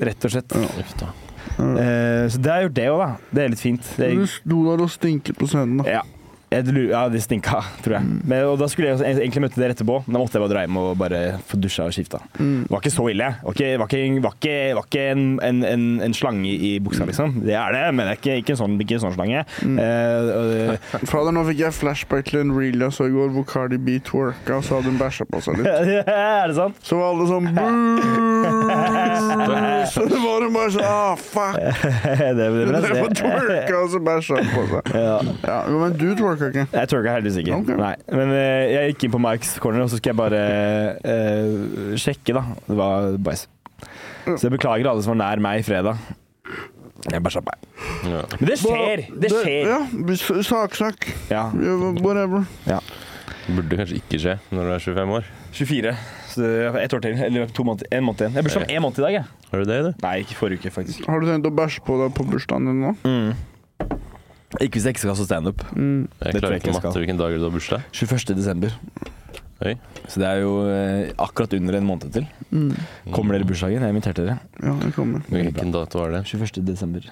Speaker 2: rett og slett.
Speaker 3: Uff da.
Speaker 1: øh.
Speaker 2: Eh, så det har jeg gjort, det òg, da. Det er litt fint. Det
Speaker 1: Du
Speaker 2: er,
Speaker 1: sto der og stinket på scenen, da.
Speaker 2: ja. Jeg lurer, ja, det stinka, tror jeg. Men, og da skulle jeg også egentlig møte dere etterpå, men da måtte jeg bare dra hjem og bare få dusja og skifta. Det var ikke så ille. Det var ikke, var ikke, var ikke, var ikke en, en, en, en slange i buksa, liksom. Det er det, men det er ikke, ikke, en, sånn, ikke en sånn slange. Eh, og det-
Speaker 1: Fader, nå fikk jeg flashback til en reel jeg så i går hvor Cardi B twerka, og så hadde hun bæsja på seg litt.
Speaker 2: er det sant?
Speaker 1: Så var alle sånn «Boo!» Så det var hun bare sånn ah, fuck.
Speaker 2: det, det vil
Speaker 1: Det
Speaker 2: jeg
Speaker 1: var
Speaker 2: si.
Speaker 1: twerka, og så bæsja hun på seg.
Speaker 2: Ja.
Speaker 1: Ja, jo, men du twerka ikke.
Speaker 2: Jeg twerka heldigvis ikke.
Speaker 1: Ok.
Speaker 2: Nei. Men eh, jeg gikk inn på Marks corner, og så skal jeg bare eh, sjekke, da. Det var bæsj. Så jeg beklager alle som var nær meg fredag. Jeg bæsja på meg.
Speaker 3: Ja.
Speaker 2: Men det skjer! Det skjer.
Speaker 1: Ja, s- saksnakk.
Speaker 2: Ja.
Speaker 1: Ja, Whatever.
Speaker 3: Burde kanskje ikke skje når du er 25 år.
Speaker 2: 24. Så det er ett år til. Eller to måneder. En måned igjen. Jeg har bursdag om én måned i dag, jeg.
Speaker 3: Har du det, du?
Speaker 2: Nei, ikke forrige uke, faktisk.
Speaker 1: Har du tenkt å bæsje på deg på bursdagen din nå?
Speaker 2: Mm. Ikke hvis jeg ikke skal stå standup.
Speaker 1: Mm.
Speaker 3: Jeg
Speaker 2: Det tror
Speaker 3: klarer
Speaker 2: jeg ikke
Speaker 3: ikke
Speaker 2: jeg
Speaker 3: matte
Speaker 2: skal.
Speaker 3: hvilken dag du har bursdag.
Speaker 2: 21. desember.
Speaker 3: Oi.
Speaker 2: Så det er jo eh, akkurat under en måned til.
Speaker 1: Mm.
Speaker 2: Kommer dere i bursdagen? Jeg inviterte dere.
Speaker 1: Ja, jeg kommer.
Speaker 2: Veldig
Speaker 3: Hvilken dato var det?
Speaker 2: 21. desember.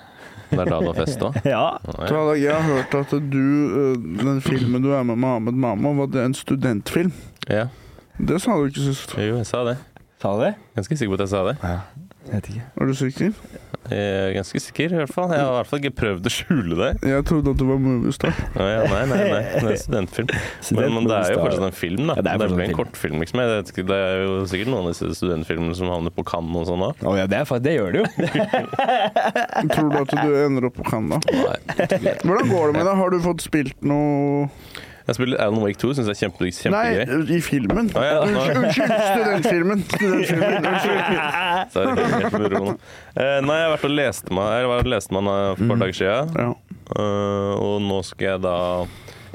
Speaker 3: Det er da det var fest òg?
Speaker 2: Ja.
Speaker 1: Tadak, Jeg har hørt at du, eh, den filmen du er med med Ahmed Mama, var det en studentfilm.
Speaker 3: Ja.
Speaker 1: Det sa du ikke sist.
Speaker 3: Jo, jeg sa det.
Speaker 2: Sa du det?
Speaker 3: Ganske sikker på at jeg sa det.
Speaker 2: Ja. Jeg vet ikke.
Speaker 1: Er du sikker?
Speaker 3: Jeg er ganske sikker, i hvert fall. Jeg har i hvert fall ikke prøvd å skjule det.
Speaker 1: Jeg trodde at du var moviestar.
Speaker 3: Nei, nei, nei. nei. Det er en studentfilm. Men, men det er jo fortsatt en film, da.
Speaker 2: Ja,
Speaker 3: det,
Speaker 2: det er fortsatt
Speaker 3: blir
Speaker 2: en
Speaker 3: en
Speaker 2: film.
Speaker 3: kortfilm, liksom. Jeg vet ikke, det er jo sikkert noen av disse studentfilmene som havner på Cannes og sånn òg.
Speaker 2: Å ja, det, er, fa- det gjør det jo.
Speaker 1: Tror du at du ender opp på Canada? Hvordan går det med deg? Har du fått spilt noe
Speaker 3: Jeg spiller Alan Wake 2, syns jeg er kjempe, kjempegøy.
Speaker 1: Nei, i filmen.
Speaker 3: Å, ja, nå-
Speaker 1: Unnskyld, unnskyld, studentfilmen. studentfilmen. Unnskyld.
Speaker 3: Så er det ikke helt med ro nå. Eh, nei, jeg har vært og leste meg Jeg var og leste meg nå for
Speaker 2: Mm.
Speaker 3: et par dager siden.
Speaker 1: Ja.
Speaker 3: Eh, og nå skal jeg da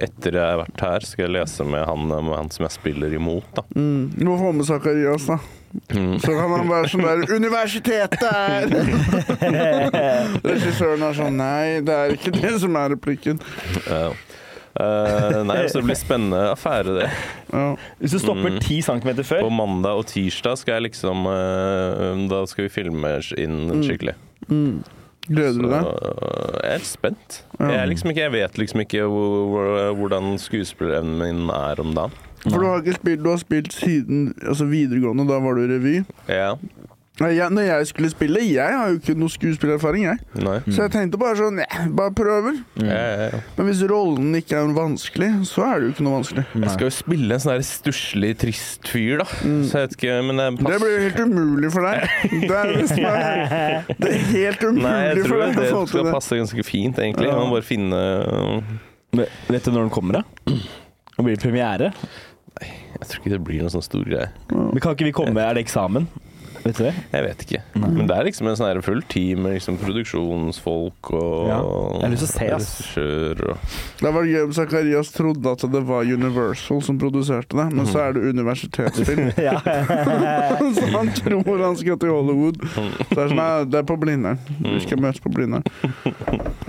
Speaker 3: etter jeg har vært her, skal jeg lese med han, med han som jeg spiller imot. da.
Speaker 1: Mm. Du må få med Zakarias, da.
Speaker 3: Mm.
Speaker 1: Så kan han være sånn der 'Universitetet er Regissøren er sånn Nei, det er ikke det som er replikken.
Speaker 3: Eh, eh, nei, så det blir spennende affære, det.
Speaker 1: Ja.
Speaker 2: Hvis du stopper ti centimeter før
Speaker 3: Mm. På mandag og tirsdag skal jeg liksom eh, Da skal vi filme inn skikkelig.
Speaker 1: Mm. Gleder du
Speaker 3: Så
Speaker 1: deg?
Speaker 3: øh, jeg er litt spent.
Speaker 1: Ja.
Speaker 3: Jeg, er liksom ikke, jeg vet liksom ikke hvor- hvor- hvordan skuespillerevnen min er om dagen.
Speaker 1: For du har ikke spilt Du har spilt siden altså videregående. Da var du i revy.
Speaker 3: Ja.
Speaker 1: Nei, jeg, når jeg skulle spille Jeg har jo ikke noe skuespillererfaring, jeg.
Speaker 3: Nei.
Speaker 1: Så jeg tenkte bare sånn eh, Bare prøver.
Speaker 3: Jeg, jeg,
Speaker 1: Men hvis rollen ikke er vanskelig, så er det jo ikke noe vanskelig.
Speaker 3: jeg skal jo spille en sånn her stusslig, trist fyr, da. Så jeg vet ikke Men jeg
Speaker 1: Mm. Det
Speaker 3: passer
Speaker 1: blir jo helt umulig for deg. Det er, det som er, det er helt umulig
Speaker 3: Nei, jeg
Speaker 1: for
Speaker 3: tror
Speaker 1: deg å få
Speaker 3: det
Speaker 1: til
Speaker 3: skal
Speaker 1: det.
Speaker 3: passe ganske fint, egentlig.
Speaker 1: Ja.
Speaker 3: Man bare finne
Speaker 2: Men Vet du når den kommer, da? Og blir det premiere?
Speaker 3: Jeg tror ikke det blir noen sånn stor greie.
Speaker 2: Men kan ikke vi komme Er det eksamen? Vet du det?
Speaker 3: Jeg vet ikke. Men det er liksom en sånn her full team med liksom produksjonsfolk og
Speaker 2: Ja. Jeg har lyst til å se, ass.
Speaker 3: regissør og
Speaker 1: Det var gøy om Zakarias trodde at det var Universal som produserte det, men så
Speaker 3: Mhm.
Speaker 1: er det universitetsfilm.
Speaker 2: Ja.
Speaker 1: så han tror han skal til Hollywood. Så det er sånn, nei, det er på Blindern. Vi skal møtes på Blindern.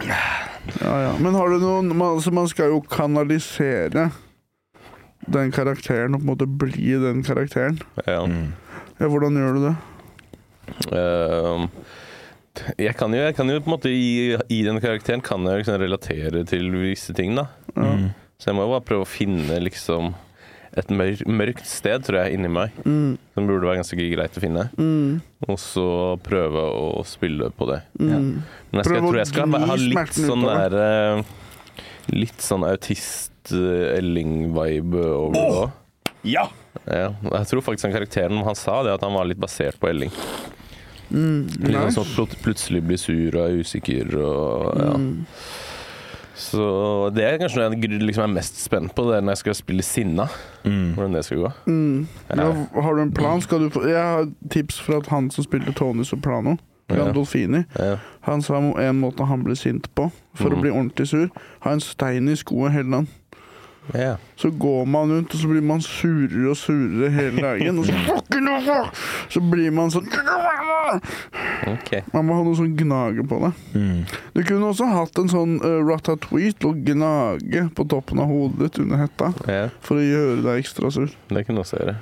Speaker 1: Ja, ja. Men har du noen man, altså, man skal jo kanalisere den karakteren og på en måte bli den karakteren.
Speaker 3: ja.
Speaker 1: Ja, hvordan gjør du det?
Speaker 3: Ehm, jeg kan, jo, jeg kan jo på en måte i, i den karakteren kan jeg liksom relatere til visse ting, da.
Speaker 1: Ja.
Speaker 2: Mm.
Speaker 3: Så jeg må jo bare prøve å finne liksom et mør- mørkt sted, tror jeg, inni meg.
Speaker 1: Mm,
Speaker 3: Som burde være ganske greit å finne.
Speaker 1: mm,
Speaker 3: Og så prøve å spille på det.
Speaker 1: mm.
Speaker 3: Men jeg, skal, jeg
Speaker 1: Prøv å
Speaker 3: tror jeg skal
Speaker 1: gni
Speaker 3: ha litt
Speaker 1: smerten ut
Speaker 3: sånn
Speaker 1: av
Speaker 3: der eh, Litt sånn autist-Elling-vibe over det òg.
Speaker 2: ja!
Speaker 3: Ja, jeg tror faktisk den karakteren han sa, det at han var litt basert på Elling.
Speaker 1: Mm,
Speaker 3: Litt
Speaker 1: nice.
Speaker 3: sånn som plut- plutselig blir sur og er usikker og ja.
Speaker 1: Mm.
Speaker 3: Så det er kanskje noe jeg gr- liksom er mest spent på, det er når jeg skal spille sinna. Hvordan det skal gå.
Speaker 1: Mm.
Speaker 3: Ja.
Speaker 1: Ja, har du en plan? Skal du få Jeg har tips fra at han som spilte Tony Soprano, Gandolfini,
Speaker 3: Ja.
Speaker 1: han sa om en måte han ble sint på for
Speaker 3: Mhm.
Speaker 1: å bli ordentlig sur. Ha en stein i skoen hele dagen.
Speaker 3: Ja.
Speaker 1: Så går man rundt, og så blir man surere og surere hele dagen. Og så fucking no, fuck! altså! Så blir man sånn altså!»
Speaker 3: Ok.
Speaker 1: Man må ha noe sånn gnage på det.
Speaker 2: Mm.
Speaker 1: Du kunne også hatt en sånn uh, ratatouille og gnage på toppen av hodet ditt under hetta
Speaker 3: Ja,
Speaker 1: for å gjøre deg ekstra sur. Mm.
Speaker 3: det kunne jeg også gjøre.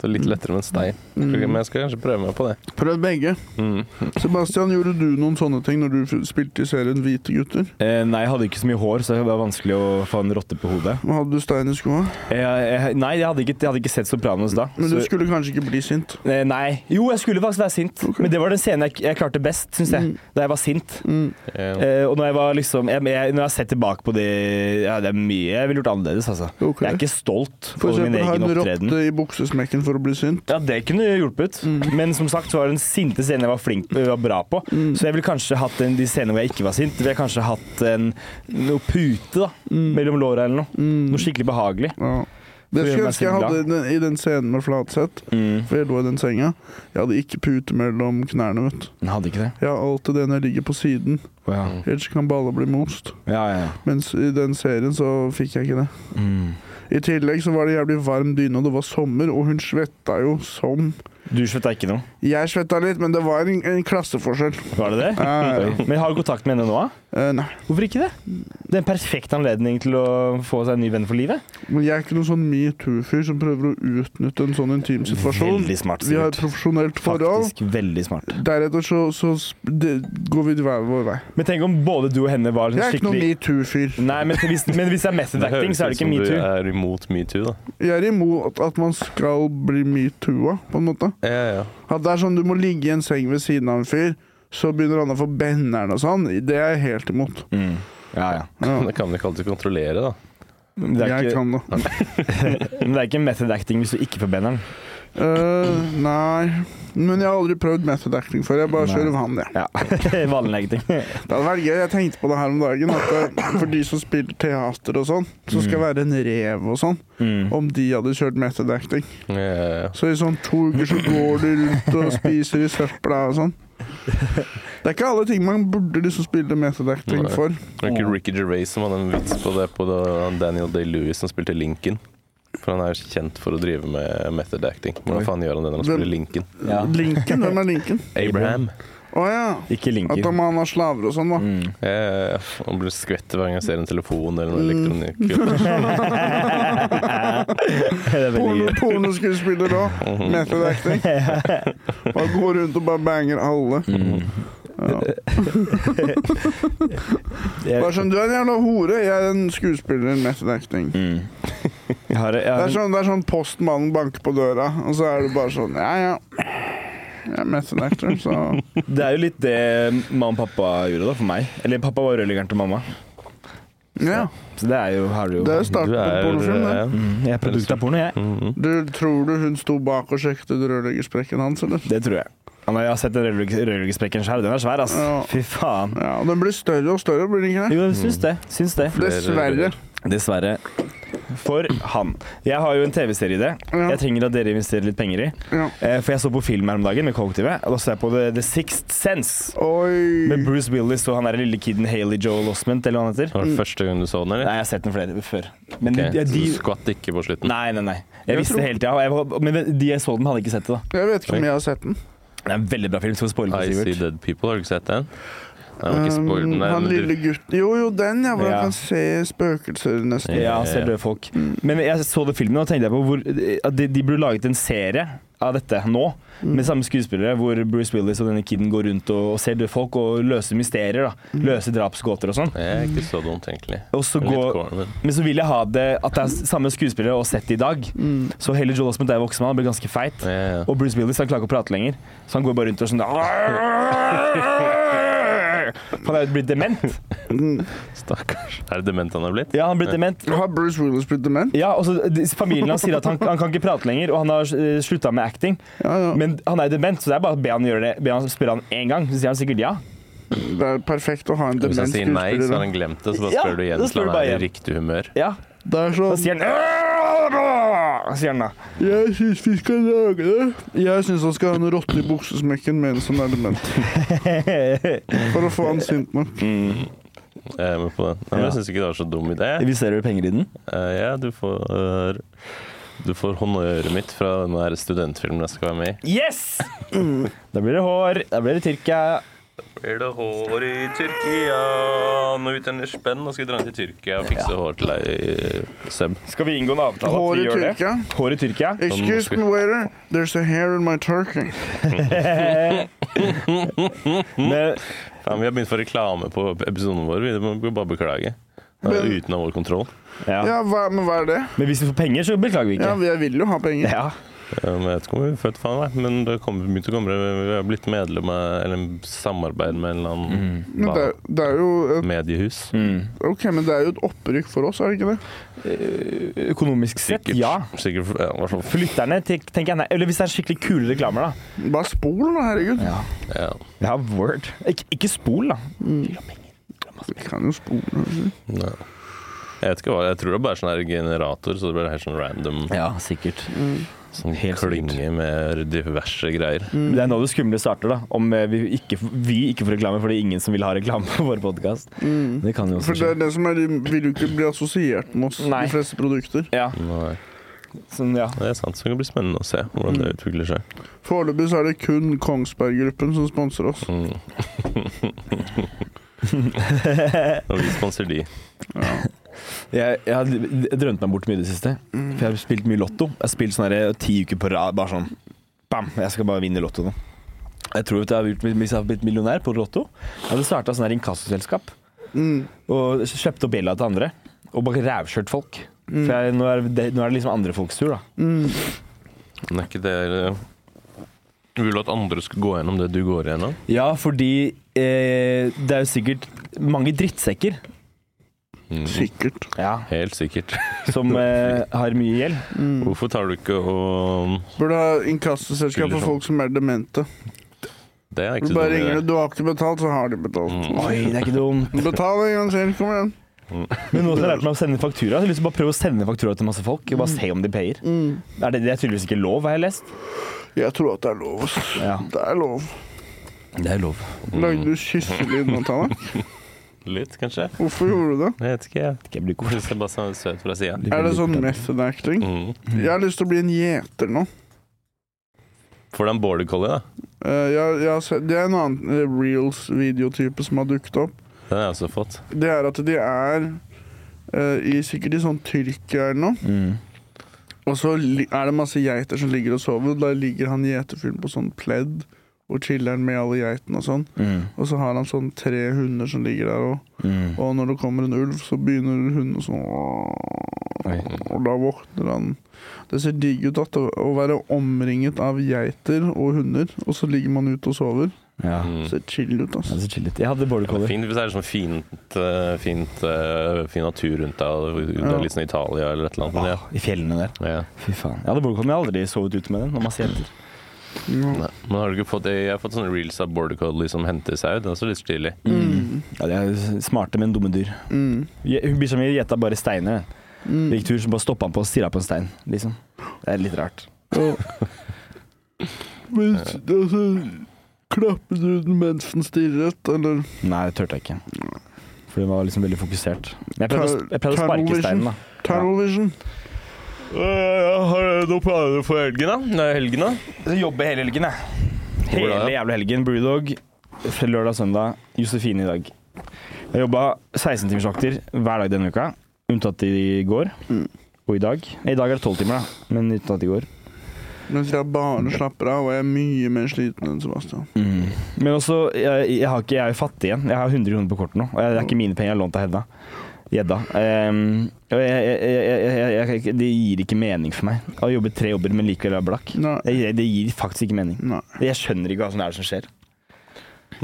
Speaker 3: Så litt lettere med en stein. Men jeg skal kanskje prøve meg på det.
Speaker 1: Prøv begge.
Speaker 3: Mm.
Speaker 1: Sebastian, gjorde du noen sånne ting når du f- spilte i serien Hvite gutter?
Speaker 2: Eh, nei, jeg hadde ikke så mye hår, så det var vanskelig å få en rotte på hodet.
Speaker 1: Hva Hadde du stein i skoa?
Speaker 2: Eh, jeg, nei, jeg hadde, ikke, jeg hadde ikke sett Sopranos da.
Speaker 1: Men du
Speaker 2: så-
Speaker 1: skulle kanskje ikke bli sint.
Speaker 2: Eh, Nei. Jo, jeg skulle faktisk være sint,
Speaker 1: Ok.
Speaker 2: men det var den scenen jeg, jeg klarte best, syns jeg.
Speaker 1: Mm.
Speaker 2: Da jeg var sint.
Speaker 1: Mm.
Speaker 3: Eh,
Speaker 2: Eh, og når jeg var liksom jeg, jeg, Når jeg har sett tilbake på det ja, Det er mye jeg ville gjort annerledes, altså.
Speaker 1: Ok.
Speaker 2: Jeg er ikke stolt
Speaker 1: For
Speaker 2: over min
Speaker 1: eksempel ha
Speaker 2: egen
Speaker 1: en
Speaker 2: opptreden.
Speaker 1: rotte i buksesmekken for å bli sint.
Speaker 2: Ja, det kunne hjulpet,
Speaker 1: Mm.
Speaker 2: men som sagt så var den sinte scenen jeg var flink jeg var bra på. Så jeg ville kanskje hatt en, de scenene hvor jeg ikke var sint, ville jeg kanskje hatt en noe pute da,
Speaker 1: Mm.
Speaker 2: mellom låra eller noe. Noe skikkelig behagelig.
Speaker 1: Ja. Det
Speaker 2: For å gjøre
Speaker 1: skulle jeg
Speaker 2: meg
Speaker 1: ønske jeg
Speaker 2: sint
Speaker 1: hadde i den, i den scenen med Flatseth, for jeg lå i den senga. Jeg hadde ikke pute mellom knærne, vet du.
Speaker 2: Den hadde ikke det.
Speaker 1: Jeg har alltid det når jeg ligger på siden,
Speaker 2: Ja,
Speaker 1: ellers kan balla bli most.
Speaker 2: ja. ja.
Speaker 1: Mens i den serien så fikk jeg ikke det. I tillegg så var det jævlig varm dyne, og det var sommer, og hun svetta jo som
Speaker 2: Du slutta ikke noe?
Speaker 1: Jeg svetta litt, men det var en, en klasseforskjell.
Speaker 2: Var det det?
Speaker 1: Eh,
Speaker 2: Men har du kontakt med henne nå? da?
Speaker 1: eh, nei.
Speaker 2: Hvorfor ikke det? Det er en perfekt anledning til å få seg en ny venn for livet.
Speaker 1: Men jeg er ikke noen sånn metoo-fyr som prøver å utnytte en sånn intim situasjon.
Speaker 2: Veldig smart,
Speaker 1: Vi har et
Speaker 2: Sivert.
Speaker 1: profesjonelt forhold.
Speaker 2: Faktisk veldig smart.
Speaker 1: Deretter så, så sp- det, går vi hver vår vei.
Speaker 2: Men tenk om både du og henne var
Speaker 1: Jeg er ikke noen
Speaker 2: skikkelig
Speaker 1: metoo-fyr.
Speaker 2: Nei, men hvis, men hvis det er method
Speaker 3: det
Speaker 2: acting, så
Speaker 3: høres
Speaker 2: er det
Speaker 3: ut
Speaker 2: ikke
Speaker 3: som
Speaker 2: metoo.
Speaker 3: Du er imot metoo, da.
Speaker 1: Jeg er imot at man skal bli metoo-a, på en måte.
Speaker 3: Ja, ja.
Speaker 1: At det er sånn du må ligge i en seng ved siden av en fyr, så begynner han å få benneren og sånn. Det er jeg helt imot.
Speaker 2: Mm. Ja, ja.
Speaker 1: Ja.
Speaker 3: Det kan vi ikke alltid kontrollere, da.
Speaker 2: Men det, er
Speaker 1: Jeg
Speaker 2: ikke,
Speaker 1: kan det.
Speaker 2: men det er ikke method acting hvis du ikke får benneren.
Speaker 1: Øh, nei. Men jeg har aldri prøvd method acting før. Jeg bare
Speaker 2: Nei.
Speaker 1: kjører vann, jeg.
Speaker 2: Ja. Vanlig acting.
Speaker 1: Det hadde vært gøy. Jeg tenkte på det her om dagen. At øh, for de som spiller teater og sånn, som skal være en rev og sånn,
Speaker 2: Mm.
Speaker 1: om de hadde kjørt method acting.
Speaker 3: Ja, ja, ja.
Speaker 1: Så i sånn to uker så går du rundt og spiser i søpla og sånn. Det er ikke alle ting man burde liksom spille method acting
Speaker 3: Nei.
Speaker 1: for.
Speaker 3: Det var ikke Ricky Gervais som hadde en vits på det på da Daniel Day-Lewis som spilte Lincoln. For han er jo kjent for å drive med method acting. Hvordan faen gjør han det når han
Speaker 1: Hvem-
Speaker 3: spiller Lincoln?
Speaker 2: Ja.
Speaker 1: Lincoln? Hvem er Lincoln?
Speaker 2: Abraham.
Speaker 3: Abraham.
Speaker 1: Å ja.
Speaker 2: Ikke
Speaker 1: At
Speaker 2: linker.
Speaker 1: han må ha slaver og sånn, da.
Speaker 2: Mm.
Speaker 3: Ja, ja, ja. Han blir skvett hver gang jeg ser en telefon eller
Speaker 1: Mm.
Speaker 3: noe elektronikk.
Speaker 2: det er veldig
Speaker 1: Porno,
Speaker 2: gøy. Mhm.
Speaker 1: pornoskuespiller òg. Method acting. Bare går rundt og bare banger alle. Mm. Ja.
Speaker 2: Eh,
Speaker 1: Bare
Speaker 2: Jeg,
Speaker 1: sånn, Du er en jævla hore, jeg er en skuespiller. Method acting.
Speaker 2: mm. jeg har, jeg
Speaker 1: Det
Speaker 2: har
Speaker 1: er
Speaker 2: en,
Speaker 1: sånn, det er sånn postmannen banker på døra, og så er du bare sånn Ja, ja. Jeg er method actor, så
Speaker 2: det er jo litt det mamma og pappa gjorde da, for meg. Eller pappa var rørleggeren til mamma.
Speaker 1: Ja.
Speaker 2: Så det er jo, har du jo
Speaker 1: Det er jo starten
Speaker 3: Du
Speaker 1: på en
Speaker 3: er
Speaker 1: pornofilm. det.
Speaker 3: ja.
Speaker 2: Mm, Jeg er produkt av porno, jeg.
Speaker 3: Mhm.
Speaker 1: Du, tror du hun sto bak og sjekket ut rørleggersprekken hans, eller?
Speaker 2: Det tror jeg. Ja, men Jeg har sett den rørlegg- rørleggersprekken sjøl. Den er svær, ass.
Speaker 1: Ja.
Speaker 2: Fy faen.
Speaker 1: Ja, og Den blir større og større, blir den ikke det?
Speaker 2: Jo, jeg syns det. Syns det.
Speaker 1: Dessverre.
Speaker 2: Dessverre. For han. Jeg har jo en TV-serieidé.
Speaker 1: Ja.
Speaker 2: Jeg trenger at dere investerer litt penger i.
Speaker 1: Ja.
Speaker 2: Eh, For jeg så på film her om dagen med kollektivet. Og da så jeg på The, The Sixth Sense. Med
Speaker 1: Oi.
Speaker 2: Bruce Willis og han der lille kiden Haley Joel Osment, eller hva han heter.
Speaker 3: Var
Speaker 1: Mm.
Speaker 3: det første gang du så den,
Speaker 2: Nei,
Speaker 3: eller?
Speaker 2: jeg har sett den flere før. Men
Speaker 3: Ok,
Speaker 2: de, ja,
Speaker 3: så
Speaker 2: de
Speaker 3: du skvatt ikke på slutten?
Speaker 2: Nei, nei, nei. Jeg,
Speaker 1: Jeg
Speaker 2: visste
Speaker 1: tror-
Speaker 2: det hele tida. og jeg var- Men de jeg så den, hadde ikke sett det. da
Speaker 1: Jeg vet ikke om jeg har sett den.
Speaker 2: Det er en veldig bra film. Skal vi spoile på,
Speaker 3: I See
Speaker 2: Sivert?
Speaker 3: Dead People, har du ikke sett den? Nei, jeg har ikke
Speaker 1: Um,
Speaker 3: spoilt den,
Speaker 1: han
Speaker 3: men
Speaker 1: lille
Speaker 3: du-
Speaker 1: gutten Jo, jo, den, ja. Hvor
Speaker 2: Ja.
Speaker 1: han kan se spøkelser, nesten.
Speaker 2: Ja,
Speaker 3: Ja,
Speaker 2: ser
Speaker 3: ja.
Speaker 2: døde folk. Men jeg så det filmen og tenkte jeg på hvor, at de, de burde laget en serie av dette nå,
Speaker 3: Mm.
Speaker 1: Mm.
Speaker 2: med samme skuespillere, hvor Bruce Willis og denne kiden går rundt og, og ser døde folk og løser mysterier. da Løser drapsgåter og sånn.
Speaker 3: Det er ikke så dumt, egentlig.
Speaker 2: Og så
Speaker 3: Mm. Litt
Speaker 2: går,
Speaker 3: corn, men-
Speaker 2: men så vil jeg ha det at det er samme skuespillere og sett i dag.
Speaker 1: Mm.
Speaker 2: Så Haley Joel Osment er jo voksen mann, han blir ganske feit.
Speaker 3: Ja, ja.
Speaker 2: Og Bruce Willis han klarer ikke å prate lenger, så han går bare rundt og sånn Han er jo blitt dement.
Speaker 1: Mm.
Speaker 3: Stakkars. Er det dement han er blitt?
Speaker 2: Ja, han er blitt dement.
Speaker 1: Har Bruce Willis blitt dement?
Speaker 2: Ja, og så de- Familien hans sier at han, han kan ikke prate lenger, og han har eh, slutta med acting.
Speaker 1: Ja, ja.
Speaker 2: Men han er jo dement, så det er bare å be han gjøre det. Be han spørre han én gang, så sier han sikkert ja.
Speaker 1: Det er perfekt å ha en
Speaker 3: Hvis
Speaker 1: dement
Speaker 3: han sier nei, så har
Speaker 1: skuespiller.
Speaker 3: han glemt det, så bare
Speaker 2: Ja,
Speaker 3: spør du
Speaker 2: da
Speaker 3: igjen
Speaker 2: spør
Speaker 3: til
Speaker 2: du
Speaker 3: han
Speaker 2: bare
Speaker 3: er i
Speaker 2: igjen.
Speaker 3: riktig humør.
Speaker 2: ja.
Speaker 1: da. Det er
Speaker 2: Da
Speaker 1: sånn
Speaker 2: sier han «Åh!» sier han da.
Speaker 1: Jeg syns vi skal lage det. Jeg syns han skal ha en rotte i buksesmekken mens han er dement. For å få han sint nok.
Speaker 3: Eh, Jeg er med på den. Nei, men Jeg syns ikke det var så dum idé.
Speaker 2: Investerer du penger i den?
Speaker 3: Eh, ja, du får, eh, du får honnøret mitt fra den der studentfilmen jeg skal være med i.
Speaker 2: Yes! Da blir det hår, da blir det Tyrkia.
Speaker 3: er det hår i Tyrkia? Nå ut en spenn, nå skal vi dra til Tyrkia og fikse hår til deg, eh, Seb.
Speaker 2: Skal vi inngå en avtale at
Speaker 1: Hår
Speaker 2: vi
Speaker 1: i
Speaker 2: gjør det?
Speaker 1: Tyrkia?
Speaker 2: Hår i Tyrkia?
Speaker 1: Excuse me, waiter. There's a hair in my turkey.
Speaker 2: Men,
Speaker 3: Ja, vi har begynt å få reklame på episoden vår. Vi må bare beklage. Det er
Speaker 1: Men-
Speaker 3: uten av vår kontroll.
Speaker 2: ja.
Speaker 1: Ja, hva, men hva er det?
Speaker 2: Men hvis vi får penger, så beklager vi
Speaker 1: Ja,
Speaker 2: ikke.
Speaker 1: jeg vil jo ha penger.
Speaker 2: Ja.
Speaker 3: Um, Jeg vet ikke om vi er født faen, nei, men det kom, begynte å komme Vi har blitt medlem av eller samarbeid med en eller
Speaker 2: Mm.
Speaker 3: annen
Speaker 1: Men det, er- det er jo et,
Speaker 3: mediehus.
Speaker 1: Ok, men det er jo et opprykk for oss, er det ikke det?
Speaker 2: Økonomisk sett,
Speaker 3: Sikkert.
Speaker 2: ja.
Speaker 3: Sikkert ja, i hvert fall
Speaker 2: For lytterne, tenk- tenker jeg nei. Eller hvis det er skikkelig kule reklamer, da.
Speaker 1: Bare spol, da, herregud.
Speaker 3: ja.
Speaker 2: Ja, word. Ik ikke spol, da.
Speaker 1: Vi kan jo spole.
Speaker 3: Nei. Jeg vet ikke hva, jeg tror det er bare sånn her generator, så det blir helt sånn random
Speaker 2: Ja, sikkert.
Speaker 3: sånn
Speaker 2: helt sikkert. Mm.
Speaker 3: klynge med diverse greier.
Speaker 2: Det er nå det skumle starter, da. Om eh, vi ikke, vi ikke får reklame fordi ingen som vil ha reklame på vår podkast. Det kan jo også
Speaker 1: For det
Speaker 2: skje.
Speaker 1: er det som er De vil jo ikke bli assosiert med oss,
Speaker 2: Nei.
Speaker 1: de fleste produkter.
Speaker 2: Ja,
Speaker 3: Nei,
Speaker 2: sånn, ja.
Speaker 3: eh, det er sant, så det kan bli spennende å se hvordan
Speaker 2: Mm.
Speaker 3: det utvikler seg.
Speaker 1: Foreløpig så er det kun Kongsberg-gruppen som sponser oss.
Speaker 3: Mm. Og vi sponser de.
Speaker 2: Jeg, jeg har drømt meg bort mye i det siste. For jeg har spilt mye lotto. Jeg har spilt sånn her ti uker på rad, bare sånn Bam! Jeg skal bare vinne lotto nå. Jeg tror at jeg har gjort- hvis jeg hadde blitt millionær på lotto Jeg hadde starta sånn her inkassoselskap
Speaker 1: Mm.
Speaker 2: og kjøpte opp gjelda til andre. Og bare rævkjørt folk. For jeg, nå, er det, nå er det liksom andre folks tur, da.
Speaker 1: Mm.
Speaker 3: Men er ikke det eh, Vil du at andre skal gå gjennom det du går gjennom?
Speaker 2: Ja, fordi eh, det er jo sikkert mange drittsekker
Speaker 3: Mm.
Speaker 1: Sikkert.
Speaker 2: ja,
Speaker 3: Helt sikkert.
Speaker 2: som eh, har mye gjeld.
Speaker 3: Hvorfor tar du ikke og
Speaker 1: Burde ha inkassoselskap
Speaker 3: Spiller
Speaker 1: for folk som er demente.
Speaker 3: Det er ikke
Speaker 1: Du
Speaker 3: så
Speaker 1: bare
Speaker 3: dum
Speaker 1: ringer
Speaker 3: idé.
Speaker 1: du, du har ikke betalt, så har de betalt.
Speaker 3: Mm.
Speaker 2: Oi, det er ikke dumt.
Speaker 1: Betal en gang til, kom igjen.
Speaker 2: Men nå som jeg har lært meg å sende faktura, så har jeg lyst til å bare prøve å sende faktura til masse folk. Og bare se om de payer.
Speaker 1: Mm.
Speaker 2: Er det, det er tydeligvis ikke lov, har jeg lest.
Speaker 1: Jeg tror at det er lov. ass.
Speaker 2: Ja.
Speaker 1: Det er lov.
Speaker 2: Det er lov.
Speaker 3: Mm.
Speaker 1: Lagde du kysselyd nå, Tana?
Speaker 3: Litt, kanskje?
Speaker 1: Hvorfor gjorde du det?
Speaker 3: Jeg vet ikke, jeg.
Speaker 2: Ikke jeg blir
Speaker 3: Hvorfor ser bare sånn søt fra sida?
Speaker 2: koselig.
Speaker 1: Er det sånn method acting?
Speaker 3: Mm.
Speaker 1: Jeg har lyst til å bli en gjeter nå.
Speaker 3: Får du en border collie, da?
Speaker 1: Eh, jeg, jeg har sett, det er en annen eh, reels-videotype som har dukket opp.
Speaker 3: Den har jeg også fått.
Speaker 1: Det er at de er eh, i, sikkert i sånn Tyrkia eller noe.
Speaker 2: Mm.
Speaker 1: Og så li- er det masse geiter som ligger og sover, og da ligger han gjeterfyren på sånn pledd og chiller'n med alle geitene og sånn.
Speaker 2: Mm.
Speaker 1: Og så har han sånn tre hunder som ligger der, og,
Speaker 2: Mm.
Speaker 1: og når det kommer en ulv, så begynner hunden sånn
Speaker 2: Oi.
Speaker 1: Og da våkner han. Det ser digg ut at å å være omringet av geiter og hunder, og så ligger man ute og sover.
Speaker 2: Ja.
Speaker 3: Mm.
Speaker 1: Ser chill ut,
Speaker 2: Det
Speaker 1: altså.
Speaker 2: er så chill. Jeg hadde border
Speaker 3: Ja, det er
Speaker 2: collie.
Speaker 3: fint hvis det er sånn fint, eh, fint eh, fin natur rundt deg, og det
Speaker 1: Ja.
Speaker 3: er litt sånn Italia eller et eller annet. Men ja.
Speaker 2: Ah, I fjellene der.
Speaker 3: Ja.
Speaker 2: Fy faen. Jeg hadde border collie, men jeg har aldri sovet ute med den. Når man ser etter.
Speaker 1: Ja.
Speaker 3: Nei. Men har du ikke fått Jeg har fått sånne reels av border collie som henter seg ut. Det er også litt stilig.
Speaker 1: Mm.
Speaker 2: Ja, de er smarte, men dumme dyr.
Speaker 1: Mm.
Speaker 2: Je- Hun blir som jeg gjetta bare steiner.
Speaker 1: Mm.
Speaker 2: Vi gikk tur, så bare stoppa han på og stirra på en stein, liksom. Det er litt rart.
Speaker 1: Ja. Men altså Klappet du den mens den stirret, eller?
Speaker 2: Nei, det turte jeg ikke. For hun var liksom veldig fokusert. Men jeg pleide å, jeg pleide å sparke
Speaker 1: Tunnel vision.
Speaker 2: steinen, da.
Speaker 1: Terrorvision?
Speaker 3: Eh, har du noen planer for helgen, da? Det er helgen, da.
Speaker 2: Så jobber hele helgen, jeg. Hele
Speaker 3: Hvordan?
Speaker 2: jævla helgen. Brewdog fra lørdag og søndag. Josefine i dag. Jeg jobba 16-timersvakter hver dag denne uka, unntatt i går
Speaker 1: Mm.
Speaker 2: og i dag. I dag er det 12 timer, da, men unntatt i går.
Speaker 1: Mens jeg bare slapper av, og jeg er mye mer sliten enn Sebastian.
Speaker 3: Mm.
Speaker 2: Men også, jeg, jeg, har ikke, jeg er jo fattig igjen. Jeg har 100 kroner på kortet nå, og jeg, det er ikke mine penger jeg har lånt av Hedda. Gjedda. Ehm, og jeg, jeg, jeg, jeg, jeg, jeg, det gir ikke mening for meg å jobbe tre jobber, men likevel være blakk.
Speaker 1: Nei.
Speaker 2: Det, det gir faktisk ikke mening.
Speaker 1: Nei.
Speaker 2: Jeg skjønner ikke hva som er det som skjer.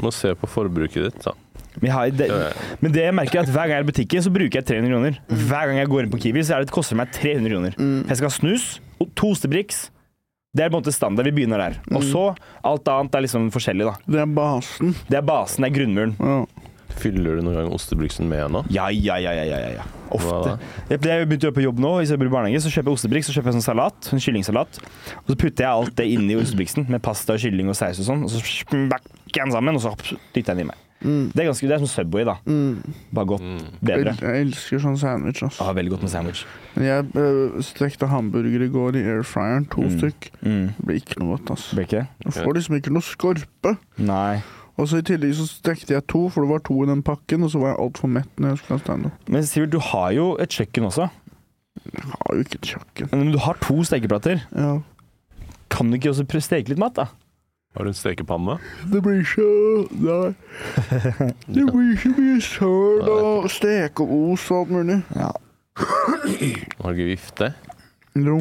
Speaker 3: Må se på forbruket ditt, da.
Speaker 2: Men, jeg har, det,
Speaker 3: Ja, ja. Mm.
Speaker 2: men det jeg merker er at hver gang jeg er i butikken, så bruker jeg 300 kroner. Hver gang jeg går inn på Kiwi, så er det, det koster meg 300 kroner.
Speaker 1: Mm.
Speaker 2: Jeg skal ha snus og to Ostebrix. Det er på en måte standard. Vi begynner der.
Speaker 3: Mm.
Speaker 2: Og så alt annet er liksom forskjellig, da.
Speaker 1: Det er basen.
Speaker 2: Det er basen, det er grunnmuren.
Speaker 1: Ja.
Speaker 3: Fyller du noen gang ostebruksen med ennå?
Speaker 2: Ja, ja, ja, ja, ja, ja, ja. Ofte.
Speaker 3: Hva da?
Speaker 2: Jeg jeg begynte å gjøre på jobb nå, hvis jeg bor i barnehage, så kjøper jeg ostebriks, så kjøper jeg sånn salat, en kyllingsalat, og så putter jeg alt det inn i ostebriksen med pasta, kylling og saus og sånn, og så smakker jeg den sammen, og så dytter jeg den i meg.
Speaker 1: Mm.
Speaker 2: Det er ganske, det er som Subway, da. Bare godt,
Speaker 3: Mm.
Speaker 2: bedre.
Speaker 1: Jeg, jeg elsker sånn sandwich, ass.
Speaker 2: Ja, veldig godt med sandwich.
Speaker 1: Men jeg øh, stekte hamburger i går i air fryeren, to stykk.
Speaker 2: Mm.
Speaker 1: Det blir ikke noe godt, ass.
Speaker 2: Blir ikke det?
Speaker 1: Jeg får liksom ikke noe skorpe.
Speaker 2: Nei.
Speaker 1: Og Og så I tillegg så stekte jeg to, for det var to i den pakken, og så var jeg altfor mett når jeg skulle ha standup.
Speaker 2: Men Sivert, du har jo et kjøkken også.
Speaker 1: Jeg har jo ikke et kjøkken.
Speaker 2: Men du har to stekeplater.
Speaker 1: Ja.
Speaker 2: Kan du ikke også pre- steke litt mat, da?
Speaker 3: Har du en stekepanne?
Speaker 1: Det blir ikke Nei. Det blir ikke mye søl og stekeos og alt mulig.
Speaker 3: Har du ikke vifte?
Speaker 1: Jo.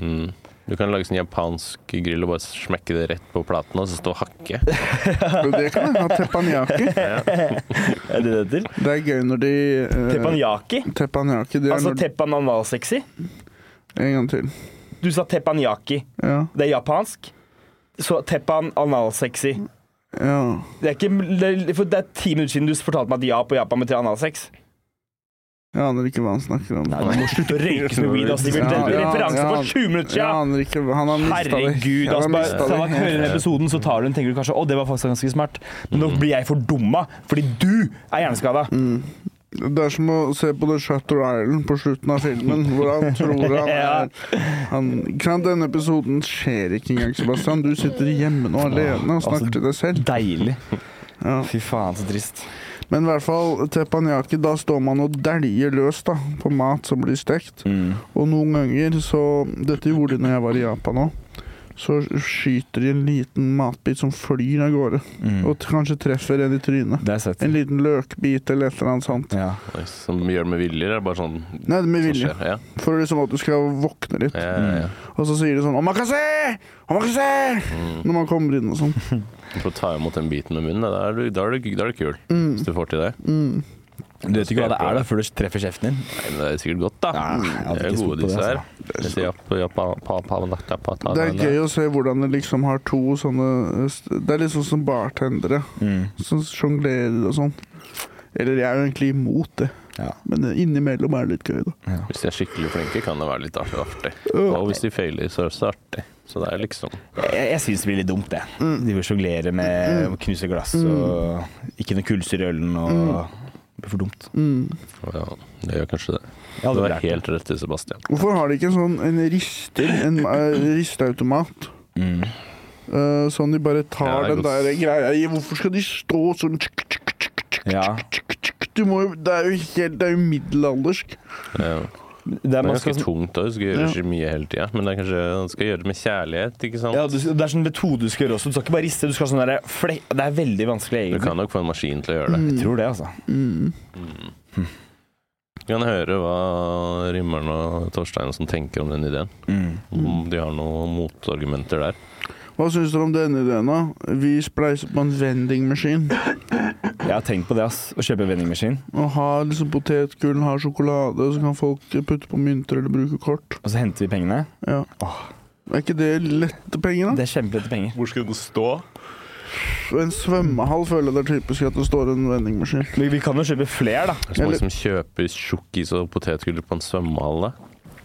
Speaker 3: Mm. Du kan lage sånn japansk grill og bare smekke det rett på platen og så stå og hakke.
Speaker 1: Men Det kan jeg ha teppanyaki.
Speaker 2: Er det det heter?
Speaker 1: Det er gøy når de eh,
Speaker 2: Teppanyaki?
Speaker 1: Teppanyaki. Det er
Speaker 2: Altså
Speaker 1: når
Speaker 2: teppananasexy?
Speaker 1: En gang til.
Speaker 2: Du sa teppanyaki.
Speaker 1: Ja.
Speaker 2: Det er japansk. Så teppan analsexy.
Speaker 1: ja.
Speaker 2: Det er, ikke, det, er- for det er ti minutter siden du fortalte meg at ja på Japan betyr analsex.
Speaker 1: Jeg aner ikke hva han snakker om.
Speaker 2: Nei, du må slutte å røyke som weed, ass. Sivert. Det er en
Speaker 1: Ja,
Speaker 2: referanse
Speaker 1: ja.
Speaker 2: for 20 minutter
Speaker 1: Jeg
Speaker 2: siden!
Speaker 1: aner ikke hva- Han har mista det.
Speaker 2: Herregud,
Speaker 1: Han har
Speaker 2: ass. Bare,
Speaker 1: mistet
Speaker 2: ta deg
Speaker 1: det.
Speaker 2: hører den episoden, så tar du den, tenker du kanskje å, det var faktisk ganske smart. Men nå blir jeg fordumma, fordi du er hjerneskada.
Speaker 1: Mm. Det er som å se på The Shutter Island på slutten av filmen, hvor han tror han
Speaker 2: Ja.
Speaker 1: er han, Ikke sant, Denne episoden skjer ikke engang, Sebastian. Du sitter hjemme nå alene og
Speaker 2: altså,
Speaker 1: snakker til deg selv.
Speaker 2: Deilig.
Speaker 1: Ja.
Speaker 2: Fy faen, så trist.
Speaker 1: Men i hvert fall, teppanyaki, da står man og dæljer løs da, på mat som blir stekt.
Speaker 2: Mm.
Speaker 1: Og noen ganger, så Dette gjorde de når jeg var i Japan òg. Så skyter de en liten matbit som flyr av gårde, og t- kanskje treffer en i trynet.
Speaker 2: Mm. Det er søtt.
Speaker 1: En liten løkbit eller et eller annet sånt.
Speaker 2: Ja.
Speaker 3: Oi, Som gjør det med vilje, eller er det bare sånn
Speaker 1: Nei, det er med
Speaker 3: som
Speaker 1: vilje.
Speaker 3: skjer? Ja.
Speaker 1: For liksom at du skal våkne litt.
Speaker 3: Ja, ja, ja.
Speaker 1: Og så sier de sånn 'Omakase! Omakase!' når man kommer inn og sånn.
Speaker 3: Du får ta imot den biten med munnen. Da er du, da er du, da er du kul,
Speaker 1: Mm,
Speaker 3: hvis du får til det.
Speaker 2: Du vet ikke hva det er da, før du treffer kjeften din.
Speaker 3: Nei, men det er sikkert godt, da.
Speaker 2: jeg hadde
Speaker 3: det er
Speaker 2: ikke
Speaker 3: jo
Speaker 2: spurt
Speaker 3: gode,
Speaker 2: på Ah. det,
Speaker 3: disse her.
Speaker 2: altså.
Speaker 3: Disse jap- japa- pa- pa- lata- pata-
Speaker 1: Det er
Speaker 3: denne.
Speaker 1: gøy å se hvordan det liksom har to sånne st- Det er liksom som bartendere
Speaker 2: Mm.
Speaker 1: som sjonglerer og sånn. Eller jeg er jo egentlig imot det,
Speaker 2: Ja.
Speaker 1: men innimellom er det litt gøy, da.
Speaker 3: Hvis de er skikkelig flinke, kan det være litt artig. artig. Og hvis de feiler, så er det så artig. Så det er liksom
Speaker 2: Jeg, jeg syns det blir litt dumt, det. De vil sjonglere
Speaker 1: Mm,
Speaker 2: med å knuse glass og ikke noe kullsyre i ølen og
Speaker 1: Mm.
Speaker 2: Det blir for dumt.
Speaker 3: ja, Det gjør kanskje det.
Speaker 2: Jeg hadde
Speaker 3: Du er
Speaker 2: lært det.
Speaker 3: helt rett til Sebastian.
Speaker 1: Hvorfor har de ikke en sånn en rister, en eh, risteautomat?
Speaker 2: Mm.
Speaker 1: Eh, sånn de bare
Speaker 3: Ja,
Speaker 1: tar
Speaker 3: det er
Speaker 1: den
Speaker 3: godt.
Speaker 1: der greia i Hvorfor skal de stå sånn tsk, tsk, tsk, tsk,
Speaker 2: Ja.
Speaker 1: tsk, tsk? Du må jo Det er jo helt Det er jo middelaldersk.
Speaker 3: Ja.
Speaker 2: Det er,
Speaker 3: Det er
Speaker 2: man
Speaker 3: ganske
Speaker 2: skal, sånn-
Speaker 3: tungt òg, du skal gjøre så mye hele tida. Men det er kanskje du skal gjøre det med kjærlighet, ikke sant?
Speaker 2: ja, du, det er sånn metode du skal gjøre også. Du skal ikke bare riste. Du skal ha sånn derre flek... Det er veldig vanskelig,
Speaker 3: Du
Speaker 2: egentlig.
Speaker 3: kan nok få en maskin til å gjøre
Speaker 1: Mm,
Speaker 3: det.
Speaker 2: Jeg tror det, altså. Mm.
Speaker 3: Du kan høre hva Rimmeren og Torstein og sånn tenker om den ideen.
Speaker 2: Mm.
Speaker 3: Om de har noen motargumenter der.
Speaker 1: Hva syns dere om denne ideen, da? Vi spleiser på en vendingmaskin.
Speaker 2: Jeg har tenkt på det, ass. Å kjøpe en vendingmaskin.
Speaker 1: Og har liksom potetgull, har sjokolade, og så kan folk putte på mynter eller bruke kort.
Speaker 2: Og så henter vi pengene.
Speaker 1: Ja. Er ikke det lette penger, da?
Speaker 2: Det er kjempelette penger.
Speaker 3: Hvor skal den stå?
Speaker 1: Og En svømmehall føler jeg det er typisk at det står en vendingmaskin.
Speaker 2: Men vi kan jo kjøpe flere, da.
Speaker 3: Det er så mange som kjøper tjukkis og potetgull på en svømmehall, da.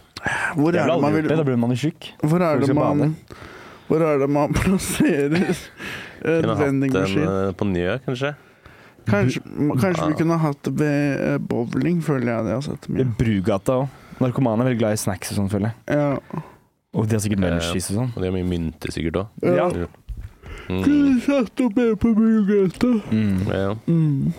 Speaker 1: Hvor
Speaker 2: Jeg ville
Speaker 1: er det man
Speaker 2: aldri
Speaker 1: vil
Speaker 2: gjort det. Da blir man jo tjukk.
Speaker 1: Hvor er
Speaker 2: Folk
Speaker 1: det
Speaker 2: skal
Speaker 1: man Hvor er det man plasserer en
Speaker 3: Kunne hatt den
Speaker 1: vendingmaskin?
Speaker 3: eh, på Njø, kanskje.
Speaker 1: Kanskje, kanskje vi kunne hatt det ved eh, bowling, føler jeg det jeg har sett
Speaker 2: Det
Speaker 1: mye.
Speaker 2: er Brugata òg. Narkomane er veldig glad i snacks og sånn, føler jeg.
Speaker 1: Ja.
Speaker 2: Og de har sikkert
Speaker 3: Ja, ja.
Speaker 2: munchies og sånn.
Speaker 3: Eh, Og de har mye mynter sikkert òg.
Speaker 1: Ja.
Speaker 2: Ja.
Speaker 3: Mm.
Speaker 1: Kunne satt opp mer på Brugata.
Speaker 2: Mm.
Speaker 3: Ja.
Speaker 1: Mm.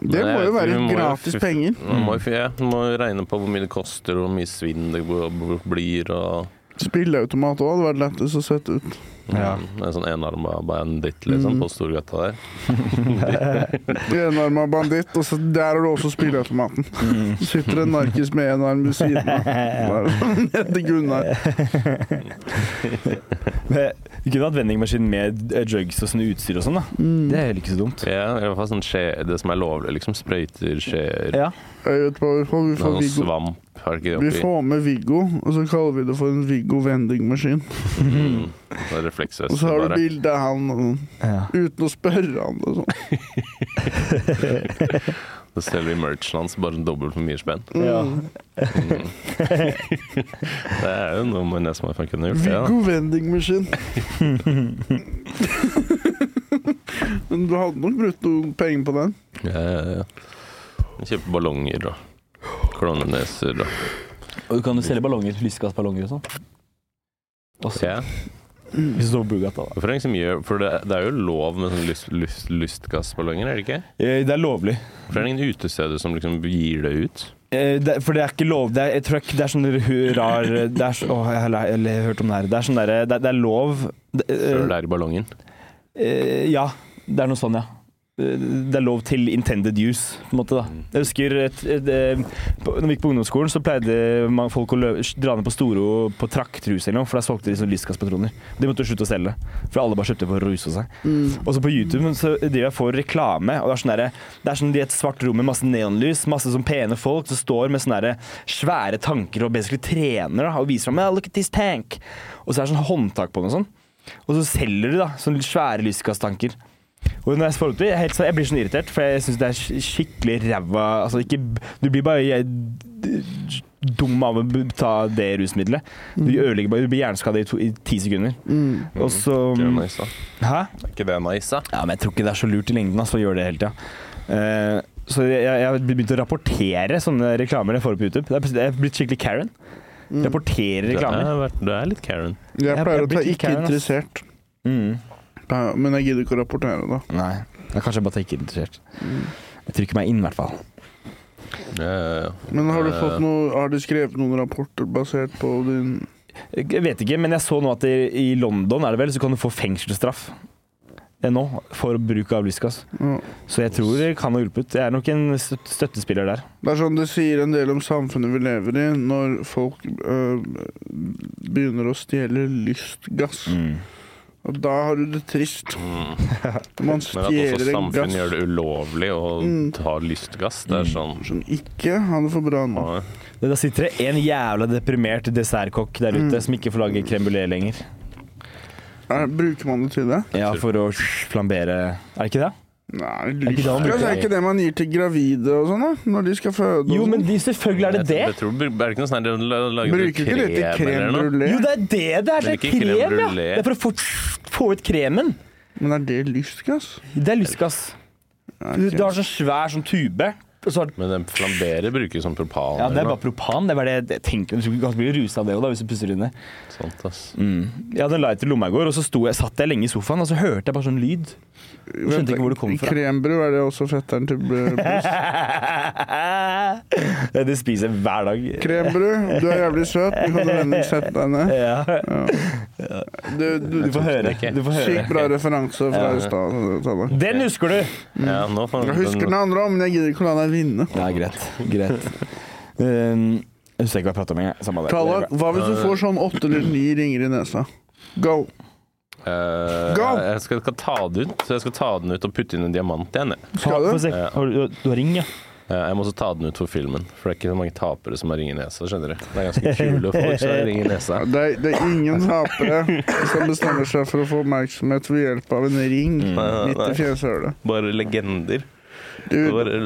Speaker 1: Det
Speaker 3: Men
Speaker 1: må
Speaker 3: jeg
Speaker 1: jo
Speaker 3: vet
Speaker 1: være
Speaker 3: ikke, vi må jo
Speaker 1: gratis
Speaker 3: fif-
Speaker 1: penger.
Speaker 3: Man
Speaker 2: Mm.
Speaker 3: må, jo- ja, man må jo regne på hvor mye det koster, og hvor mye svinn det b- b- blir. Og,
Speaker 1: Spilleautomat òg hadde vært lettest å sette ut.
Speaker 2: Ja.
Speaker 3: mm, En sånn enarma banditt liksom,
Speaker 1: Mm.
Speaker 3: på Storgata der.
Speaker 1: Enarma banditt, og så der har du også spilleautomaten.
Speaker 2: Mm.
Speaker 1: Sitter en narkis med en arm ved siden av. Der, Nede Gunnar.
Speaker 2: Men Vi kunne hatt vendingmaskin med eh, drugs og sånn utstyr og sånn, da.
Speaker 1: Mm.
Speaker 2: Det er heller ikke så dumt.
Speaker 3: Ja, i hvert fall sånn skje, det som er lovlig, liksom. Sprøyter, skjeer
Speaker 2: Ja.
Speaker 1: Jeg vet hva vi får. Vi
Speaker 3: Det er
Speaker 1: får
Speaker 3: noe
Speaker 1: Viggo.
Speaker 3: svamp. Har ikke
Speaker 1: Vi
Speaker 3: det oppi?
Speaker 1: får med Viggo, og så kaller vi det for en Viggo vendingmaskin.
Speaker 3: Mm. Det er refleksvest.
Speaker 1: Og så har du
Speaker 3: bare.
Speaker 1: bilde av han og sånn,
Speaker 2: Ja.
Speaker 1: uten å spørre han og sånn.
Speaker 3: Da selger vi merchen hans bare sånn dobbelt for mye spenn. Mm. det er jo noe med nesten man kunne gjort. Ja.
Speaker 1: Viggo vendingmaskin. Men du hadde nok brukt noen penger på den.
Speaker 3: Ja, ja, ja. Kjøpe ballonger og klovneneser og
Speaker 2: Og du kan jo selge ballonger, lysgassballonger og sånn. Og så-
Speaker 3: Ja.
Speaker 2: Hvis du står på Bugata, da.
Speaker 3: Hvorfor er det ingen som gjør For det, det er jo lov med sånn lyst, lyst, lystgassballonger, er det ikke?
Speaker 2: Eh, Det er lovlig.
Speaker 3: Hvorfor er det ingen utesteder som liksom gir det ut?
Speaker 2: Eh, det, for det er ikke lov det er, Jeg tror ikke det er sånn hu- rar det er, så- åh, jeg, har, læ- jeg har hørt om det her. Det er sånn derre det, det er lov det, eh,
Speaker 3: Før det er i ballongen?
Speaker 2: eh, Ja, det er noe sånn, ja. Eh, Det er lov til intended use, på en måte. da Jeg husker et, et, eh, på- Når vi gikk på ungdomsskolen, så pleide man, folk å lø dra ned på Storo på traktrus eller noe, for der solgte de sånn lystgasspatroner. De måtte jo slutte å selge, for alle bare kjøpte for å ruse seg. Og så på YouTube så driver jeg for reklame. Og det er sånn derre- Det er sånn de i et svart rom med masse neonlys, masse sånn pene folk som står med sånne derre svære tanker og basically trener da, og viser fram yeah, 'Look at this tank'. Og så er det sånn håndtak på den og sånn. Og så selger de da sånne svære lystgasstanker. Og når jeg spør til, jeg, er helt sånn, jeg blir sånn irritert, for jeg syns det er sk- skikkelig ræva Altså ikke Du blir bare jeg, d- dum av å b- ta det rusmiddelet. Du ødelegger bare Du blir hjerneskada i, to- i ti sekunder.
Speaker 1: Mm.
Speaker 2: Og så
Speaker 3: Ikke det nice, da?
Speaker 2: Hæ?
Speaker 3: Er ikke det nice, da?
Speaker 2: Ja, men jeg tror ikke det er så lurt i lengden altså, å gjøre det hele tida. Eh, så jeg, jeg har begynt å rapportere sånne reklamer jeg får på YouTube. Det er- Jeg er blitt skikkelig Karen. Rapporterer
Speaker 3: Det
Speaker 2: reklamer.
Speaker 3: er, vært- det er litt Karen.
Speaker 1: Jeg
Speaker 2: Jeg-
Speaker 1: pleier
Speaker 2: jeg
Speaker 1: å ta
Speaker 2: blir ikke
Speaker 1: ikke
Speaker 2: Karen, ass.
Speaker 1: interessert,
Speaker 2: Mm.
Speaker 1: Pleier- men jeg gidder ikke å rapportere da.
Speaker 2: Nei. Da kanskje jeg bare tenker interessert. Jeg trykker meg inn, i hvert fall.
Speaker 3: Ja, ja, ja.
Speaker 1: Men har du
Speaker 3: Eh,
Speaker 1: fått noe Har du skrevet noen rapporter basert på din
Speaker 2: Jeg vet ikke, men jeg så nå at i, i London er det vel, så kan du få fengselsstraff eh, nå for bruk av lystgass.
Speaker 1: ja.
Speaker 2: Så jeg tror det kan ha hjulpet. Jeg er nok en stø- støttespiller der.
Speaker 1: Det er sånn det sier en del om samfunnet vi lever i, når folk øh, begynner å stjele lystgass.
Speaker 3: Mm.
Speaker 1: Og da har du det trist. Man
Speaker 3: Men at også
Speaker 1: stjeler en
Speaker 3: samfunnet
Speaker 1: gass
Speaker 3: gjør det ulovlig å
Speaker 1: Mm.
Speaker 3: ta lystgass, det er sånn
Speaker 1: som ikke han får brann.
Speaker 3: ja.
Speaker 2: Det- Da sitter det en jævla deprimert dessertkokk der ute som ikke får lage crème brulé lenger.
Speaker 1: Er- Bruker man det til det?
Speaker 2: Ja, for å flambere Er det ikke det? ikke
Speaker 1: Nei,
Speaker 2: det man bruker
Speaker 1: lystgass er
Speaker 2: det.
Speaker 1: ikke det man gir til gravide og sånn, da? Når de skal føde og
Speaker 2: Jo,
Speaker 1: sånn.
Speaker 2: men de, selvfølgelig er det
Speaker 3: Jeg tror-
Speaker 2: det.
Speaker 3: Jeg tror, er det ikke noe sånn her la- lager du
Speaker 1: Bruker ikke det til
Speaker 3: eller
Speaker 1: crème
Speaker 3: noe?
Speaker 1: brulé?
Speaker 2: Jo, det er det det er. Det
Speaker 3: Men
Speaker 2: er
Speaker 3: ikke
Speaker 2: krem,
Speaker 3: crème
Speaker 2: ja.
Speaker 3: brûlée.
Speaker 2: Det er for å få, få ut kremen.
Speaker 1: Men er det lystgass?
Speaker 2: Det er lystgass.
Speaker 1: Ja,
Speaker 2: Du,
Speaker 1: ok.
Speaker 2: du har sånn svær sånn tube. Og så har,
Speaker 3: Men den flamberer bruker jo som propan.
Speaker 2: ja, det
Speaker 3: eller
Speaker 2: er
Speaker 3: noe
Speaker 2: bare propan. Det er bare det jeg tenker. Du kan bli rusa av det òg, hvis du puster inne.
Speaker 3: sånt, ass.
Speaker 2: Jeg hadde en lighter i lomma i går, og så sto jeg, satt jeg lenge i sofaen, og så hørte jeg bare sånn lyd. Jeg skjønte ikke hvor det kom fra.
Speaker 1: Krembru, er det også fetteren til br- Bruce?
Speaker 2: Det det spiser jeg hver dag.
Speaker 1: Krembru, du er jævlig søt. Du kan vennlig sette deg ned.
Speaker 2: Ja.
Speaker 1: Du, du,
Speaker 2: Du får høre.
Speaker 3: ikke.
Speaker 2: Du får høre.
Speaker 1: Sykt bra referanse fra
Speaker 2: Ja.
Speaker 1: i stad. Tale.
Speaker 2: Den husker du!
Speaker 3: Ja, nå får
Speaker 1: Jeg husker den andre òg, men jeg gidder ikke å la deg vinne.
Speaker 2: Ja, greit. Greit. Um, jeg husker ikke hva jeg prata om engang. Samme det.
Speaker 1: Tallak,
Speaker 2: Det er bra.
Speaker 1: hva hvis du får sånn åtte eller ni ringer i nesa? Go!
Speaker 3: Eh,
Speaker 1: Go!
Speaker 3: Jeg skal, skal ta den ut, så jeg skal ta den ut og putte inn en diamant igjen. Jeg.
Speaker 1: Skal
Speaker 2: Få
Speaker 1: du?
Speaker 2: se. Har du, du har ring, ja?
Speaker 3: Eh, jeg må også ta den ut for filmen, for det er ikke så mange tapere som har ring i nesa. skjønner du? Det er ganske kule folk som har ring i nesa.
Speaker 1: Ja, Det er, det er ingen tapere som bestemmer seg for å få oppmerksomhet ved hjelp av en ring midt i fjeshølet.
Speaker 3: Bare legender.
Speaker 1: Du,
Speaker 3: Bare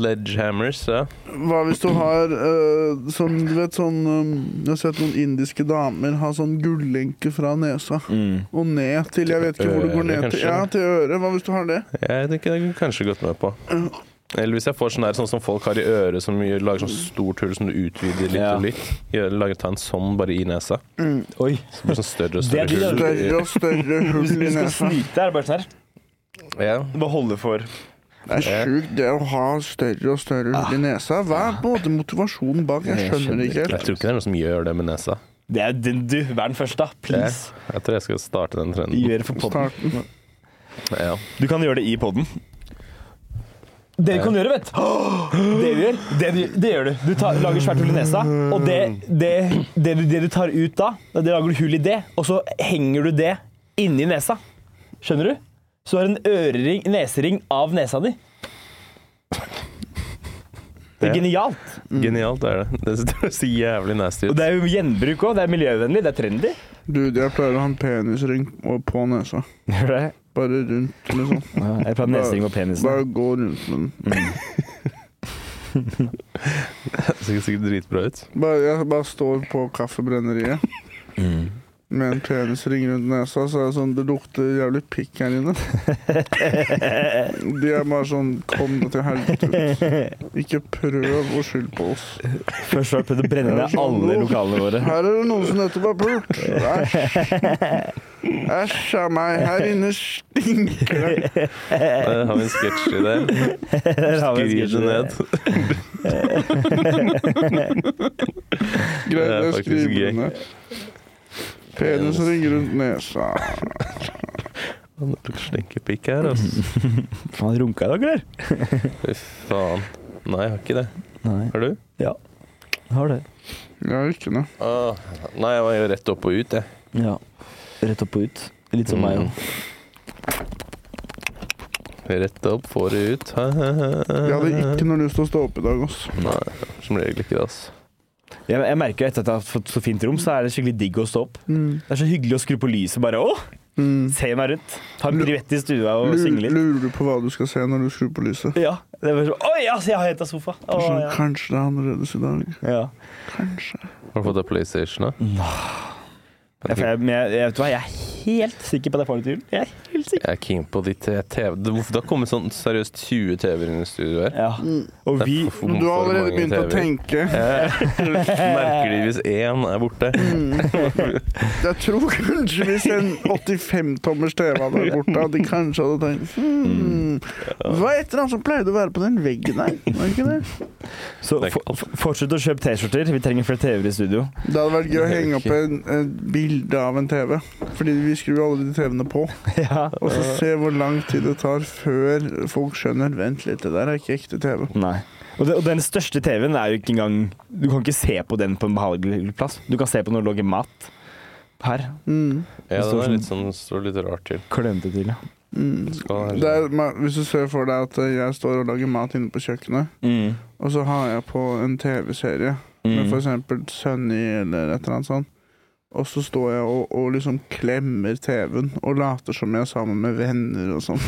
Speaker 3: ledgehammers. Ja.
Speaker 1: hva hvis du har eh, sånn, du vet sånn um, Jeg har sett noen indiske damer ha sånn gullenke fra nesa
Speaker 2: Mm.
Speaker 1: og ned til Jeg vet ikke hvor det
Speaker 2: Eh,
Speaker 1: går ned
Speaker 3: Øret,
Speaker 1: til.
Speaker 3: kanskje?
Speaker 1: Ja, til øret. Hva hvis du har det?
Speaker 3: Jeg tenker jeg kunne kanskje gått med på. Eller hvis jeg får sånn der, sånn som folk har i øret, som gjør- lager sånn stort hull som du utvider litt
Speaker 2: Ja.
Speaker 3: og litt. Gjør- Lager ta en sånn bare i nesa.
Speaker 2: Oi.
Speaker 3: Så blir det sånn større og
Speaker 2: Det er de
Speaker 3: større hull.
Speaker 1: Større og større
Speaker 2: Hvis
Speaker 1: hull
Speaker 2: du
Speaker 1: i
Speaker 2: skal
Speaker 1: nesa.
Speaker 2: snyte, er det bare sånn her.
Speaker 3: Ja.
Speaker 2: Bare holde for
Speaker 1: Det er sjukt det å ha større og større hull i nesa. Hva er på en måte motivasjonen bak? Jeg
Speaker 2: Ah. Jeg
Speaker 1: skjønner
Speaker 2: skjønner
Speaker 1: det ikke
Speaker 3: Jeg
Speaker 1: helt.
Speaker 3: tror ikke det er noen som gjør det med nesa.
Speaker 2: Det er den du. Vær den første, da.
Speaker 3: Jeg,
Speaker 2: Please.
Speaker 3: jeg tror jeg skal starte den trenden.
Speaker 2: Gjør det for podden.
Speaker 1: Starten.
Speaker 3: Ja.
Speaker 2: Du kan gjøre det i poden. Det du kan gjøre, vet Åh! Det du gjør, det, du, det gjør du. Du tar, lager svært hull i nesa, og det, det, det, du, det du tar ut da, da det lager du hull i det, og så henger du det inni nesa. Skjønner du? Så du har en ørering, nesering av nesa di. Det er
Speaker 3: Ja.
Speaker 2: genialt.
Speaker 3: Genialt er det. Det ser så jævlig nasty
Speaker 2: Og
Speaker 3: ut.
Speaker 2: det er jo gjenbruk òg. Det er miljøvennlig, det er trendy.
Speaker 1: Du, jeg pleier å ha en penisring og på nesa.
Speaker 2: Gjør det?
Speaker 1: Bare rundt med sånn.
Speaker 2: Jeg pleier nesering og penisen.
Speaker 1: Bare gå rundt med den.
Speaker 3: Det ser sikkert dritbra ut.
Speaker 1: Bare, jeg bare står på kaffebrenneriet
Speaker 3: Mm.
Speaker 1: med en penisring rundt nesa, så er det sånn Det lukter jævlig pikk her inne. De er bare sånn Kom deg til helvete ut. Ikke prøv å skylde på oss.
Speaker 2: Først var det å brenne ned alle lokalene våre.
Speaker 1: Her er det noen som nettopp har pult. Æsj. Æsj a meg, her inne stinker det.
Speaker 3: Der Eh, har vi en sketsj i det.
Speaker 2: Der Eh. har vi en
Speaker 3: Skriv
Speaker 2: sketsj.
Speaker 3: det ned.
Speaker 1: Greit,
Speaker 3: Det er
Speaker 1: jeg
Speaker 3: faktisk
Speaker 1: skriver
Speaker 3: gøy.
Speaker 1: det ned. Penis ringer rundt nesa.
Speaker 3: Slenkepikk her, altså.
Speaker 2: Faen, runka i dag, eller?
Speaker 3: Fy faen. Nei, jeg har ikke det.
Speaker 2: Nei.
Speaker 3: Har du?
Speaker 2: Ja. Har det.
Speaker 1: Jeg har ikke noe.
Speaker 3: Åh, Ah, nei, jeg var jo rett opp og ut, jeg.
Speaker 2: Ja. Rett opp og ut. Litt som meg
Speaker 3: Mm.
Speaker 2: òg.
Speaker 3: Rett opp, får det ut.
Speaker 1: Jeg hadde ikke noe lyst til å stå opp i dag, ass.
Speaker 3: Nei, som regel ikke det, altså.
Speaker 2: Jeg, jeg merker etter at jeg har fått så fint rom, så er det skikkelig digg å stå opp.
Speaker 1: Mm.
Speaker 2: Det er så hyggelig å skru på lyset bare Å,
Speaker 1: Mm.
Speaker 2: se meg rundt. Ha en brivett i stua og
Speaker 1: Lurer,
Speaker 2: synge litt.
Speaker 1: lurer du på hva du skal se når du skrur på lyset?
Speaker 2: Ja. Det var sånn Oi, ass, jeg har henta sofa. Å,
Speaker 1: Sånn,
Speaker 2: ja.
Speaker 1: Kanskje det er annerledes i dag.
Speaker 2: ja.
Speaker 1: Kanskje.
Speaker 3: Har du fått deg PlayStation,
Speaker 2: Mm.
Speaker 3: da?
Speaker 2: Ja, for Jeg, men jeg, jeg, vet du hva, jeg er helt sikker på at jeg får det til jul. Jeg er helt sikker.
Speaker 3: Jeg er keen på de te- TV. Det hvorfor- det har kommet sånn seriøst 20 TV-er inn i studio her.
Speaker 2: Ja. Og vi
Speaker 3: Det er for- for-
Speaker 1: Men Du har
Speaker 3: for
Speaker 1: allerede
Speaker 3: mange
Speaker 1: begynt å
Speaker 3: TV-er.
Speaker 1: tenke.
Speaker 3: Jeg merker de hvis én er borte.
Speaker 1: Mm. Jeg tror kanskje hvis en 85-tommers TV hadde vært borte, hadde de kanskje hadde tenkt hmm, Hva er et eller annet som pleide å være på den veggen der? Var det ikke det?
Speaker 2: Så
Speaker 3: Det er ikke
Speaker 2: for- for- fortsett å kjøpe T-skjorter. Vi trenger flere TV-er i studio.
Speaker 1: Det hadde vært gøy å
Speaker 3: Det er
Speaker 1: henge opp
Speaker 3: ikke-
Speaker 1: en, en bilde av en TV. Fordi vi skrur jo alle de TV-ene på.
Speaker 2: Ja.
Speaker 1: Og så se hvor lang tid det tar før folk skjønner Vent litt, det der er ikke ekte TV.
Speaker 2: Nei. Og, det, og den største TV-en er jo ikke engang Du kan ikke se på den på en behagelig plass. Du kan se på når det lager mat. Her.
Speaker 1: Mm.
Speaker 3: Ja,
Speaker 2: Det står
Speaker 3: den er
Speaker 2: sånn-
Speaker 3: litt sånn, står litt rart til.
Speaker 2: Klønete til, ja.
Speaker 1: Mm.
Speaker 3: Skal
Speaker 1: Det
Speaker 3: ha-
Speaker 1: er, men hvis du ser for deg at eh, jeg står og lager mat inne på kjøkkenet,
Speaker 2: Mm.
Speaker 1: og så har jeg på en TV-serie med for eksempel Sunny eller et eller annet sånt, og så står jeg og, og liksom klemmer TV-en og later som jeg er sammen med venner og sånn.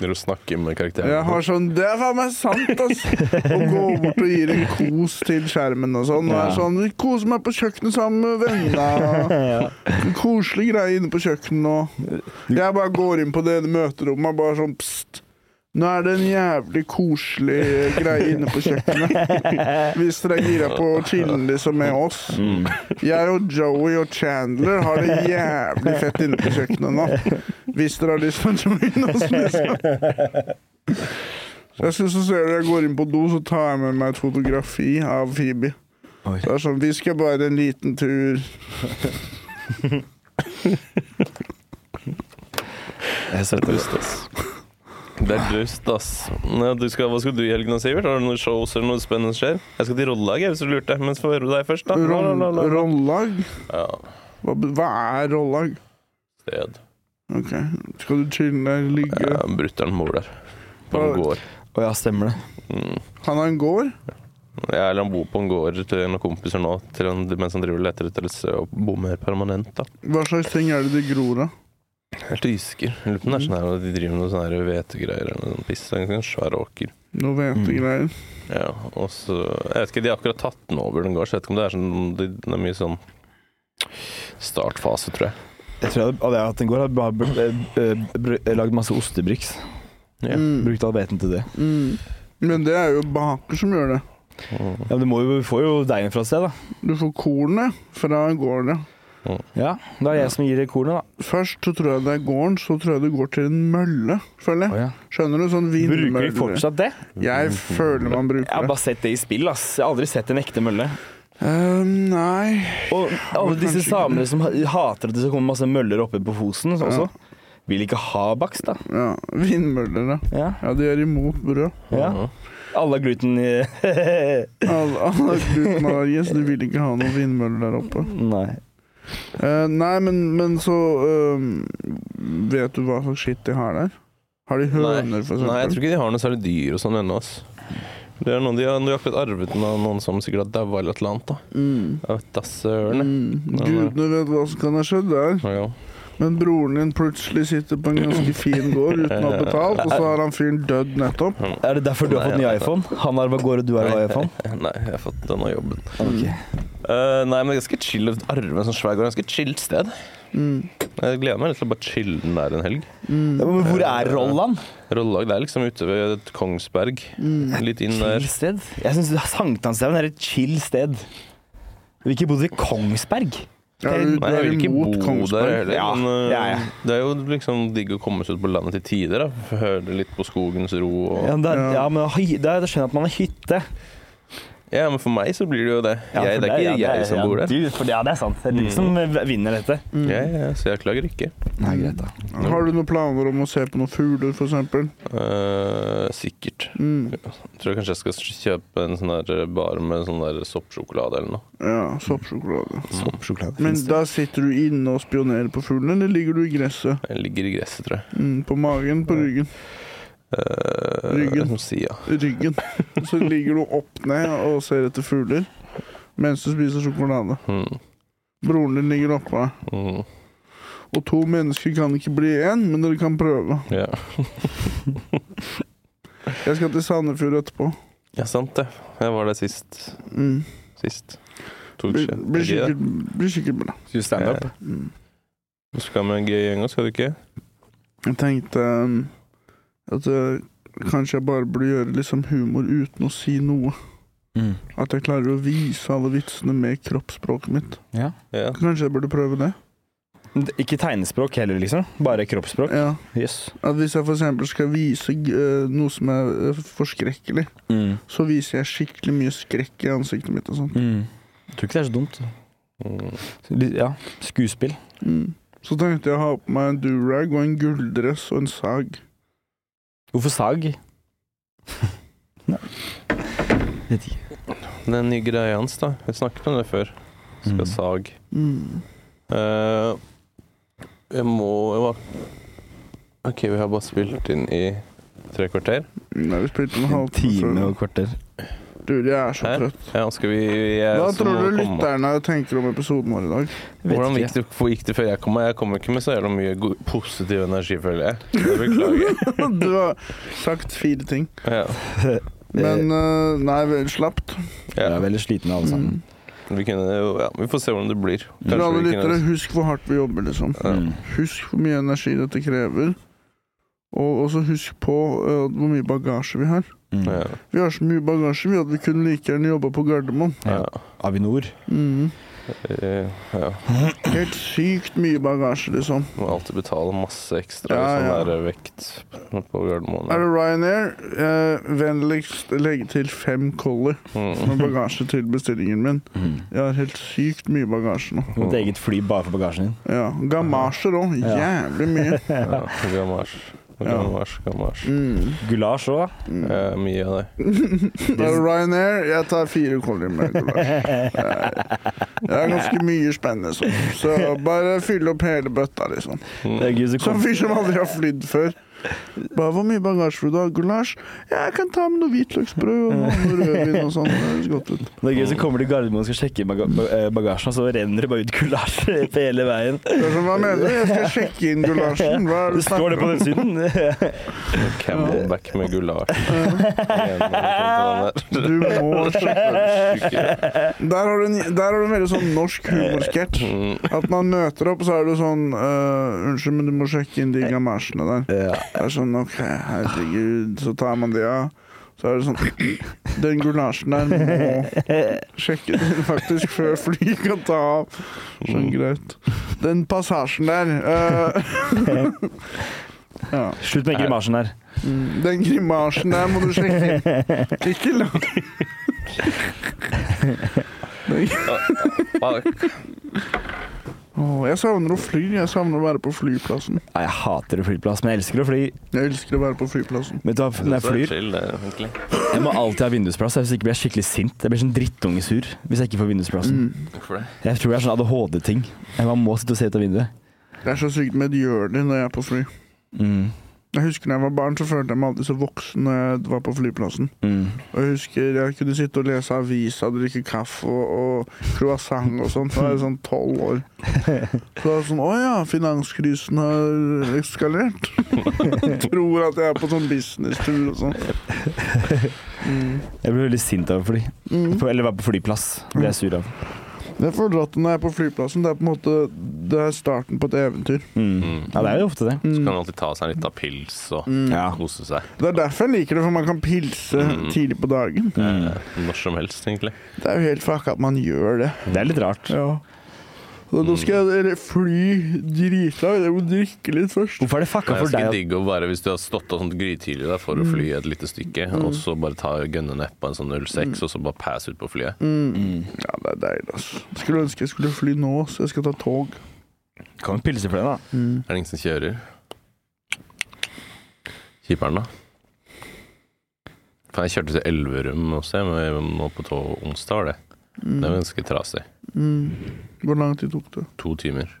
Speaker 3: Når du snakker med karakterene.
Speaker 1: Jeg har sånn Det er faen meg sant, ass! Å gå bort og gi en kos til skjermen og sånn. Og er
Speaker 2: Ja.
Speaker 1: sånn Kose meg på kjøkkenet sammen med venner.
Speaker 2: Ja.
Speaker 1: En koselig greie inne på kjøkkenet og Jeg bare går inn på det møterommet og bare sånn Pst. Nå er det en jævlig koselig greie inne på kjøkkenet. Hvis dere er gira på å chille liksom med oss.
Speaker 2: Mm.
Speaker 1: Jeg og Joey og Chandler har det jævlig fett inne på kjøkkenet nå. Hvis dere har lyst til å joine oss, liksom. Jeg synes så ser du jeg går inn på do, så tar jeg med meg et fotografi av Phoebe.
Speaker 2: Oi.
Speaker 1: Det er sånn Vi skal bare en liten tur.
Speaker 2: Jeg ser det.
Speaker 3: Dust, ass. Det er dust, ass. Nei, du skal, hva skal du i helgen, Sivert? Har du noen shows eller noe spennende skjer? Jeg skal til rollelaget, hvis du lurte. Men så får jeg høre deg først, da. La, la, la, la.
Speaker 1: Rollag?
Speaker 3: Ja,
Speaker 1: Hva, be- hva er rollag?
Speaker 3: sted.
Speaker 1: Ok, Skal du chille, ligge
Speaker 3: Ja, Brutter'n bor der. På en
Speaker 1: Hva-
Speaker 3: gård.
Speaker 2: Å ja, stemmer det.
Speaker 3: Mm.
Speaker 1: Han har en gård?
Speaker 3: Ja, eller han bor på en gård til noen kompiser nå til han, mens han driver og leter etter et sted å bo mer permanent. da.
Speaker 1: Hva slags ting er det de gror av?
Speaker 3: Helt usikker. Jeg Lurer på om det er sånn her, at de driver med noe sånn her hvetegreier eller noe sånn piss. Det er en ganske svær åker.
Speaker 1: Noe hvetegreier?
Speaker 3: Ja, og så, Jeg vet ikke, de har akkurat tatt den over den gården, så jeg vet ikke om det er sånn Det det er mye sånn startfase, tror jeg.
Speaker 2: Jeg tror jeg hadde, hadde jeg hatt en gård, hadde jeg bare br- eh, br- lagd masse ostebryks.
Speaker 3: Ja.
Speaker 1: Mm.
Speaker 2: Brukt all hveten til det.
Speaker 1: Mm. Men det er jo baker som gjør det.
Speaker 3: Mm.
Speaker 2: Ja, men Du må jo, får jo deigen fra et sted, da.
Speaker 1: Du får kornet fra gården. ja.
Speaker 2: Ja, Det er jeg som gir det kornet, da.
Speaker 1: Først så tror jeg det er gården, så tror jeg det går til en mølle, føler jeg.
Speaker 2: ja.
Speaker 1: Skjønner du? Sånn
Speaker 2: Bruker de
Speaker 1: vindmølle.
Speaker 2: fortsatt det?
Speaker 1: Jeg føler man
Speaker 2: Jeg har
Speaker 1: bruker det.
Speaker 2: bare sett det i spill, ass. Jeg har aldri sett en ekte mølle.
Speaker 1: Eh, nei
Speaker 2: Og alle disse
Speaker 1: Kanskje ikke
Speaker 2: samene som ha- hater at det skal komme masse møller oppe på Fosen også, vil ikke ha bakst, da.
Speaker 1: Ja, Vindmøller, ja.
Speaker 2: Ja.
Speaker 1: Ja, de er imot brød.
Speaker 2: ja. Alle har gluten i
Speaker 1: Alle, alle glutenallergier, så de vil ikke ha noen vindmøller der oppe.
Speaker 2: Nei.
Speaker 1: Eh, nei, men, men så eh, Vet du hva slags skitt de har der? Har de høner, for
Speaker 3: Nei, jeg
Speaker 1: eksempel?
Speaker 3: tror ikke de har noe særlig dyr og sånn ennå. ass. Det er noen de har, de har akkurat arvet den av noen som sikkert har daua eller et eller annet. da.
Speaker 1: Mm.
Speaker 3: Jeg vet da søren. jeg.
Speaker 1: Mm.
Speaker 3: Nei,
Speaker 1: Gudene vet hva som kan ha skjedd der.
Speaker 3: Ja, ja.
Speaker 1: Men broren din plutselig sitter på en ganske fin gård uten å ha betalt, og så har han fyren dødd nettopp.
Speaker 2: Er det derfor du har fått ny
Speaker 3: Nei, jeg-
Speaker 2: iPhone? Han arva gård, og du arva iPhone?
Speaker 3: Nei, jeg har fått denne jobben.
Speaker 2: Ok.
Speaker 3: Eh, nei, men det er ganske chill å arve en sånn svær gård. Ganske chillt sted.
Speaker 1: Mm.
Speaker 3: Jeg gleder meg litt til å bare chille den der en helg.
Speaker 2: Ja, men hvor
Speaker 3: Eh,
Speaker 2: er Rolland?
Speaker 3: Rollag, det er liksom ute ved et Kongsberg. Litt inn der.
Speaker 2: Chill sted? Jeg syns Sankthanshaugen er et chill sted. Vi har ikke bodd i Kongsberg.
Speaker 1: Ja, du, du
Speaker 3: Nei, jeg
Speaker 1: er
Speaker 3: vil ikke bo
Speaker 1: imot
Speaker 3: der
Speaker 1: Kongsberg.
Speaker 3: heller.
Speaker 2: Ja,
Speaker 3: men øh,
Speaker 2: ja, ja.
Speaker 3: det er jo liksom digg å komme seg ut på landet til tider. da Få Høre litt på skogens ro. Og...
Speaker 2: Ja,
Speaker 3: Ja.
Speaker 2: men det,
Speaker 1: Ja.
Speaker 2: ja, men hy- det, er- jeg skjønner at man har hytte.
Speaker 3: men for meg så blir det jo det.
Speaker 2: Ja,
Speaker 3: jeg,
Speaker 2: for
Speaker 3: det er
Speaker 2: ja,
Speaker 3: ikke jeg
Speaker 2: det-
Speaker 3: som
Speaker 2: ja,
Speaker 3: bor der. Mm.
Speaker 2: Du, for, ja, det er sant. Det er du som eh, vinner dette.
Speaker 3: Ja, ja, så jeg klager ikke.
Speaker 2: Nei, greit da.
Speaker 1: Har du noen planer om å se på noen fugler, f.eks.?
Speaker 3: Eh, sikkert.
Speaker 1: Mm.
Speaker 3: Jeg tror kanskje jeg skal kjøpe en sånn der bar med sånn der soppsjokolade eller noe.
Speaker 1: Ja, soppsjokolade.
Speaker 3: Soppsjokolade
Speaker 1: Men da sitter du inne og spionerer på fuglen, eller ligger du i gresset?
Speaker 3: Jeg ligger i gresset, tror jeg.
Speaker 1: Mm, på magen, på ryggen.
Speaker 3: Eh,
Speaker 1: Ryggen.
Speaker 3: som sier ja.
Speaker 1: Ryggen. Så ligger du opp ned og ser etter fugler mens du spiser sjokolade.
Speaker 3: Mm.
Speaker 1: Broren din ligger oppå.
Speaker 3: Mm.
Speaker 1: Og to mennesker kan ikke bli én, men dere kan prøve.
Speaker 3: Ja.
Speaker 1: Jeg skal til Sandefjord etterpå.
Speaker 3: ja, sant det. Jeg var der sist.
Speaker 1: Mm.
Speaker 3: Sist. Tok
Speaker 1: Blir,
Speaker 3: skje-
Speaker 1: blir,
Speaker 3: gøy, da.
Speaker 1: sikkert, blir sikkert bra.
Speaker 4: Skal du stand up?
Speaker 3: Eh,
Speaker 1: Mm.
Speaker 3: Du skal med en gøy gjeng òg, skal du ikke?
Speaker 1: Jeg tenkte um, at eh, kanskje jeg bare burde gjøre liksom humor uten å si noe.
Speaker 4: Mm.
Speaker 1: At jeg klarer å vise alle vitsene med kroppsspråket mitt.
Speaker 4: Ja.
Speaker 3: Ja.
Speaker 1: Kanskje jeg burde prøve det?
Speaker 2: Ikke tegnespråk heller, liksom. Bare kroppsspråk.
Speaker 1: Ja.
Speaker 2: Yes.
Speaker 1: At hvis jeg f.eks. skal vise eh, noe som er eh, forskrekkelig,
Speaker 4: Mm.
Speaker 1: så viser jeg skikkelig mye skrekk i ansiktet mitt og sånn.
Speaker 4: Mm. Jeg tror ikke det er så dumt.
Speaker 3: Mm.
Speaker 4: Litt- Ja, skuespill.
Speaker 1: Mm. Så tenkte jeg å ha på meg en durag og en gulldress og en sag.
Speaker 4: Hvorfor sag? Nei. Vet ikke.
Speaker 3: Den nye greia hans, da. Vi snakket om det før. Skal
Speaker 4: Mm.
Speaker 3: sag.
Speaker 1: Mm.
Speaker 3: Eh, jeg må jeg var... OK, vi har bare spilt inn i tre kvarter.
Speaker 1: Nei, vi spilte en
Speaker 4: En time
Speaker 1: halvtime
Speaker 4: og kvarter.
Speaker 1: før. Du, jeg er så
Speaker 3: Hæ?
Speaker 1: trøtt.
Speaker 3: Ja, skal vi jeg,
Speaker 1: Hva
Speaker 3: så
Speaker 1: tror
Speaker 3: Eh, må
Speaker 1: du
Speaker 3: komme.
Speaker 1: lytterne tenker om episoden vår i dag?
Speaker 4: Vet
Speaker 3: Hvordan
Speaker 4: ikke.
Speaker 3: gikk det, hvor gikk det før jeg kom? Jeg kom ikke med så jævla mye god, positiv energi, føler jeg. Jeg beklager.
Speaker 1: Du har sagt fire ting.
Speaker 3: Ja.
Speaker 1: Men eh, nei, vel slapt.
Speaker 4: Vi
Speaker 3: Ja.
Speaker 4: er veldig slitne alle sammen.
Speaker 3: Vi, kunne, jo- ja. vi får se hvordan det blir.
Speaker 1: Til alle
Speaker 3: vi
Speaker 1: lyttere, husk hvor hardt vi jobber, liksom.
Speaker 3: Ja.
Speaker 4: Mm.
Speaker 1: Husk hvor mye energi dette krever. Og også husk på eh, hvor mye bagasje vi har.
Speaker 4: Mm.
Speaker 3: ja.
Speaker 1: Vi har så mye bagasje vi at vi kunne like gjerne jobba på Gardermoen.
Speaker 3: Ja.
Speaker 4: Avinor.
Speaker 1: Mm.
Speaker 3: Eh, ja.
Speaker 1: Helt sykt mye bagasje, liksom.
Speaker 3: Må alltid betale masse ekstra
Speaker 1: Ja,
Speaker 3: hvis
Speaker 1: ja.
Speaker 3: han er vekt på Gardermoen.
Speaker 1: Er det Ryanair? Eh, vennligst legge til fem collie
Speaker 3: Mm.
Speaker 1: med bagasje til bestillingen min.
Speaker 4: Mm.
Speaker 1: Jeg har helt sykt mye bagasje nå.
Speaker 4: Et eget fly bare for bagasjen din.
Speaker 1: Ja, Gamasjer òg.
Speaker 4: Ja.
Speaker 1: Jævlig mye.
Speaker 3: Ja. Gamasj. Gamasj, gamasj.
Speaker 1: Mm.
Speaker 2: Gulasj òg.
Speaker 3: Eh, mye av det.
Speaker 1: Det er Ryanair. Jeg tar fire kollier med gulasj. Det er ganske mye spennende. Så, så bare fyll opp hele bøtta, liksom.
Speaker 2: Det er
Speaker 3: Mm.
Speaker 2: gøy så
Speaker 1: Som
Speaker 2: kom-
Speaker 1: fyr som aldri har flydd før. Bare hvor mye bagasje vil du ha? Gulasj? Ja, jeg kan ta med noe hvitløksbrød og noe rødvin og sånn. Det høres godt ut.
Speaker 2: Det er gøy så kommer du til Gardermoen og skal sjekke baga ba- eh, bagasjen, og så renner det bare ut gulasj på hele veien.
Speaker 1: Det er sånn, hva mener du? Jeg skal sjekke inn gulasjen. Hva er
Speaker 2: Det
Speaker 1: det du
Speaker 2: står det på den siden.
Speaker 3: Camelback med gulasj.
Speaker 1: Du må sjekke. Der har du en, der har du en veldig sånn norsk humorsketsj.
Speaker 3: Mm.
Speaker 1: At man møter opp, så er det sånn eh, Unnskyld, men du må sjekke inn de gamasjene der.
Speaker 2: Ja.
Speaker 1: Det er sånn, ok, herregud, så tar man det av. Så er det sånn Den gulasjen der må sjekke den faktisk før flyet kan ta av. Sånn greit. Den passasjen der eh, Ja.
Speaker 2: Slutt med grimasen her.
Speaker 1: mm, Den grimasen der må du sjekke. Ikke la Åh, Jeg savner å fly. Jeg savner å være på flyplassen.
Speaker 2: Nei, jeg hater å flyplass, men jeg elsker å fly.
Speaker 1: Jeg elsker å være på flyplassen.
Speaker 2: Vet du hva, når jeg flyr,
Speaker 3: Chill, det, egentlig.
Speaker 2: jeg må alltid ha vindusplass. Hvis ikke blir jeg skikkelig sint. Jeg blir sånn drittungesur hvis jeg ikke får vindusplassen.
Speaker 1: Mm.
Speaker 3: Hvorfor det?
Speaker 2: Jeg tror jeg er sånn ADHD-ting. Jeg bare må sitte og se ut av vinduet.
Speaker 1: Det er så sykt medgjørlig når jeg er på fly.
Speaker 2: Mm.
Speaker 1: Jeg husker når jeg var barn, så følte jeg meg alltid så voksen når jeg var på flyplassen.
Speaker 2: Mm.
Speaker 1: Og jeg husker jeg kunne sitte og lese avisa, drikke kaffe og, og croissant og sånn. Da var jeg sånn tolv år. Så det var sånn Å ja, finanskrisen har eskalert. Tror at jeg er på sånn businesstur og sånn. Mm.
Speaker 2: Jeg blir veldig sint av å fly.
Speaker 1: Mm.
Speaker 2: På- Eller være på flyplass. Blir jeg sur av.
Speaker 1: Jeg føler at når jeg er på flyplassen, det er på en måte Det er starten på et eventyr.
Speaker 2: Mm. Ja, det er jo ofte det.
Speaker 3: Så kan
Speaker 1: Mm.
Speaker 3: han alltid ta seg en liten pils og
Speaker 2: Ja.
Speaker 3: kose seg.
Speaker 1: Det er derfor jeg liker det, for man kan pilse
Speaker 3: Mm.
Speaker 1: tidlig på dagen.
Speaker 2: Mm.
Speaker 3: Eh, Når som helst, egentlig.
Speaker 1: Det er jo helt fuck at man gjør det.
Speaker 2: Det er litt rart.
Speaker 1: Ja. Og nå skal jeg fly dritlangt. Jeg må drikke litt først.
Speaker 4: Hvorfor er det fucka
Speaker 3: Det er
Speaker 4: for deg?
Speaker 3: ganske digg å bare hvis du har stått og sånt grytidlig da, for å
Speaker 2: Mm.
Speaker 3: fly et lite stykke, og så bare ta gønne ned på en sånn 06,
Speaker 2: Mm.
Speaker 3: og så bare passe ut på flyet.
Speaker 1: Mm. Ja, det er deilig, altså. Skulle ønske jeg skulle fly nå, så jeg skal ta
Speaker 4: å-
Speaker 1: tog.
Speaker 4: Kan jo pilse for den, da.
Speaker 3: Er det ingen som kjører? Kjiperen, da? Faen, jeg kjørte til Elverum også, jeg, men nå på tog onsdag var det. Det var ganske trasig.
Speaker 1: Mm. Hvor lang tid tok det?
Speaker 3: To timer.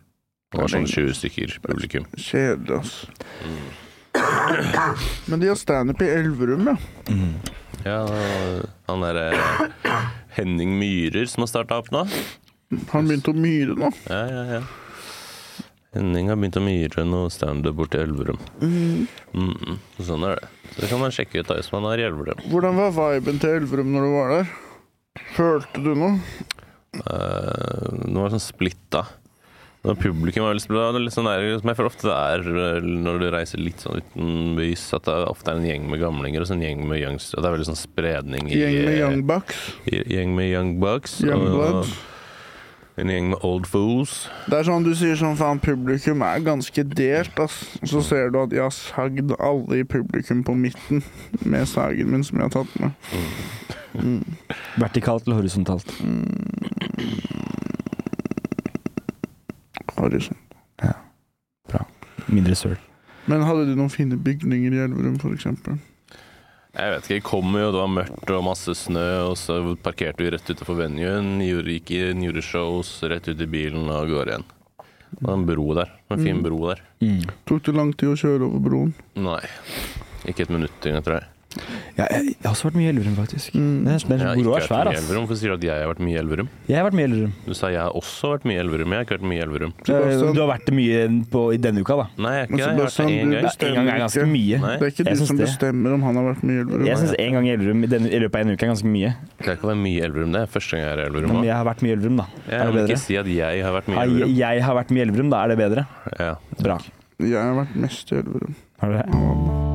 Speaker 3: Det var sånn 20 stykker publikum.
Speaker 1: Kjedelig, altså. Men de har standup i Elverum, ja.
Speaker 3: Mm. Ja, han derre Henning Myhrer som har starta opp nå.
Speaker 1: Han begynte å myre nå.
Speaker 3: Ja, ja, ja. Henning har begynt å myre noe standup borti Elverum. Mm. mm. Sånn er det. Så det kan man sjekke ut da, hvis man er i Elverum.
Speaker 1: Hvordan var viben til Elverum når du var der? Følte du noe?
Speaker 3: Eh, det var sånn splitta. Når publikum var veldig splitta, det er litt sånn der, som jeg føler ofte det er eh, når du reiser litt sånn utenbys, at det ofte er en gjeng med gamlinger og så en gjeng med youngs. At det er veldig sånn spredning i eh,
Speaker 1: Gjeng med young bucks?
Speaker 3: i- gjeng med young bucks.
Speaker 1: Young
Speaker 3: og
Speaker 1: bloods?
Speaker 3: en gjeng med old fools.
Speaker 1: Det er sånn du sier sånn, faen, publikum er ganske delt, ass. Og så ser du at jeg har sagd alle i publikum på midten med sagen min som jeg har tatt med.
Speaker 4: Vertikalt eller horisontalt?
Speaker 1: Mm. Horizon.
Speaker 4: Mindre søl.
Speaker 1: Men hadde de noen fine bygninger i Elverum, for eksempel?
Speaker 3: Jeg vet ikke, jeg kom jo, det var mørkt og masse snø, og så parkerte vi rett utenfor venuen, gjorde- gikk inn, gjorde shows, rett ut i bilen og går igjen. Det var en bro der, en
Speaker 1: Mm.
Speaker 3: fin bro der.
Speaker 1: Tok det lang tid å kjøre over broen?
Speaker 3: Nei, ikke et minutt inn, tror jeg.
Speaker 4: Ja, jeg, jeg har også vært mye i Elverum, faktisk.
Speaker 1: Mm.
Speaker 4: Den, den
Speaker 3: Jeg har
Speaker 4: broa er
Speaker 3: ikke
Speaker 4: svær,
Speaker 3: vært mye i
Speaker 4: ass.
Speaker 3: Elverum. Hvorfor sier du at jeg har vært mye i Elverum?
Speaker 4: Jeg har vært mye i Elverum.
Speaker 3: Du sa jeg har også vært mye i Elverum, jeg har ikke vært mye i Elverum.
Speaker 1: Sebastian.
Speaker 4: Eh, Du har vært det mye på, i denne uka, da.
Speaker 1: Men
Speaker 3: Nei, jeg har ikke det. Jeg har vært
Speaker 1: Sebastian,
Speaker 3: der én
Speaker 1: du
Speaker 3: gang.
Speaker 1: bestemmer
Speaker 4: En gang sånn, er ganske mye.
Speaker 3: Nei,
Speaker 1: Det er ikke
Speaker 4: Jeg
Speaker 1: de
Speaker 4: syns
Speaker 1: som
Speaker 4: det.
Speaker 1: bestemmer om han har vært mye i Elverum.
Speaker 4: Jeg syns en gang i Elverum i, den, i løpet av en uke er ganske mye.
Speaker 3: jeg klarer ikke å være mye i Elverum, det er første gang jeg er i Elverum.
Speaker 4: Men
Speaker 3: også.
Speaker 4: jeg har vært mye i Elverum, da. er
Speaker 3: Jeg
Speaker 4: det
Speaker 3: vil
Speaker 4: bedre?
Speaker 3: ikke si at jeg har vært mye i
Speaker 4: Har jeg,
Speaker 3: Elverum.
Speaker 4: jeg har vært mye i Elverum, da er det bedre.
Speaker 3: Ja.
Speaker 4: Bra.
Speaker 1: Jeg har vært mest i Elverum.
Speaker 4: Har du det?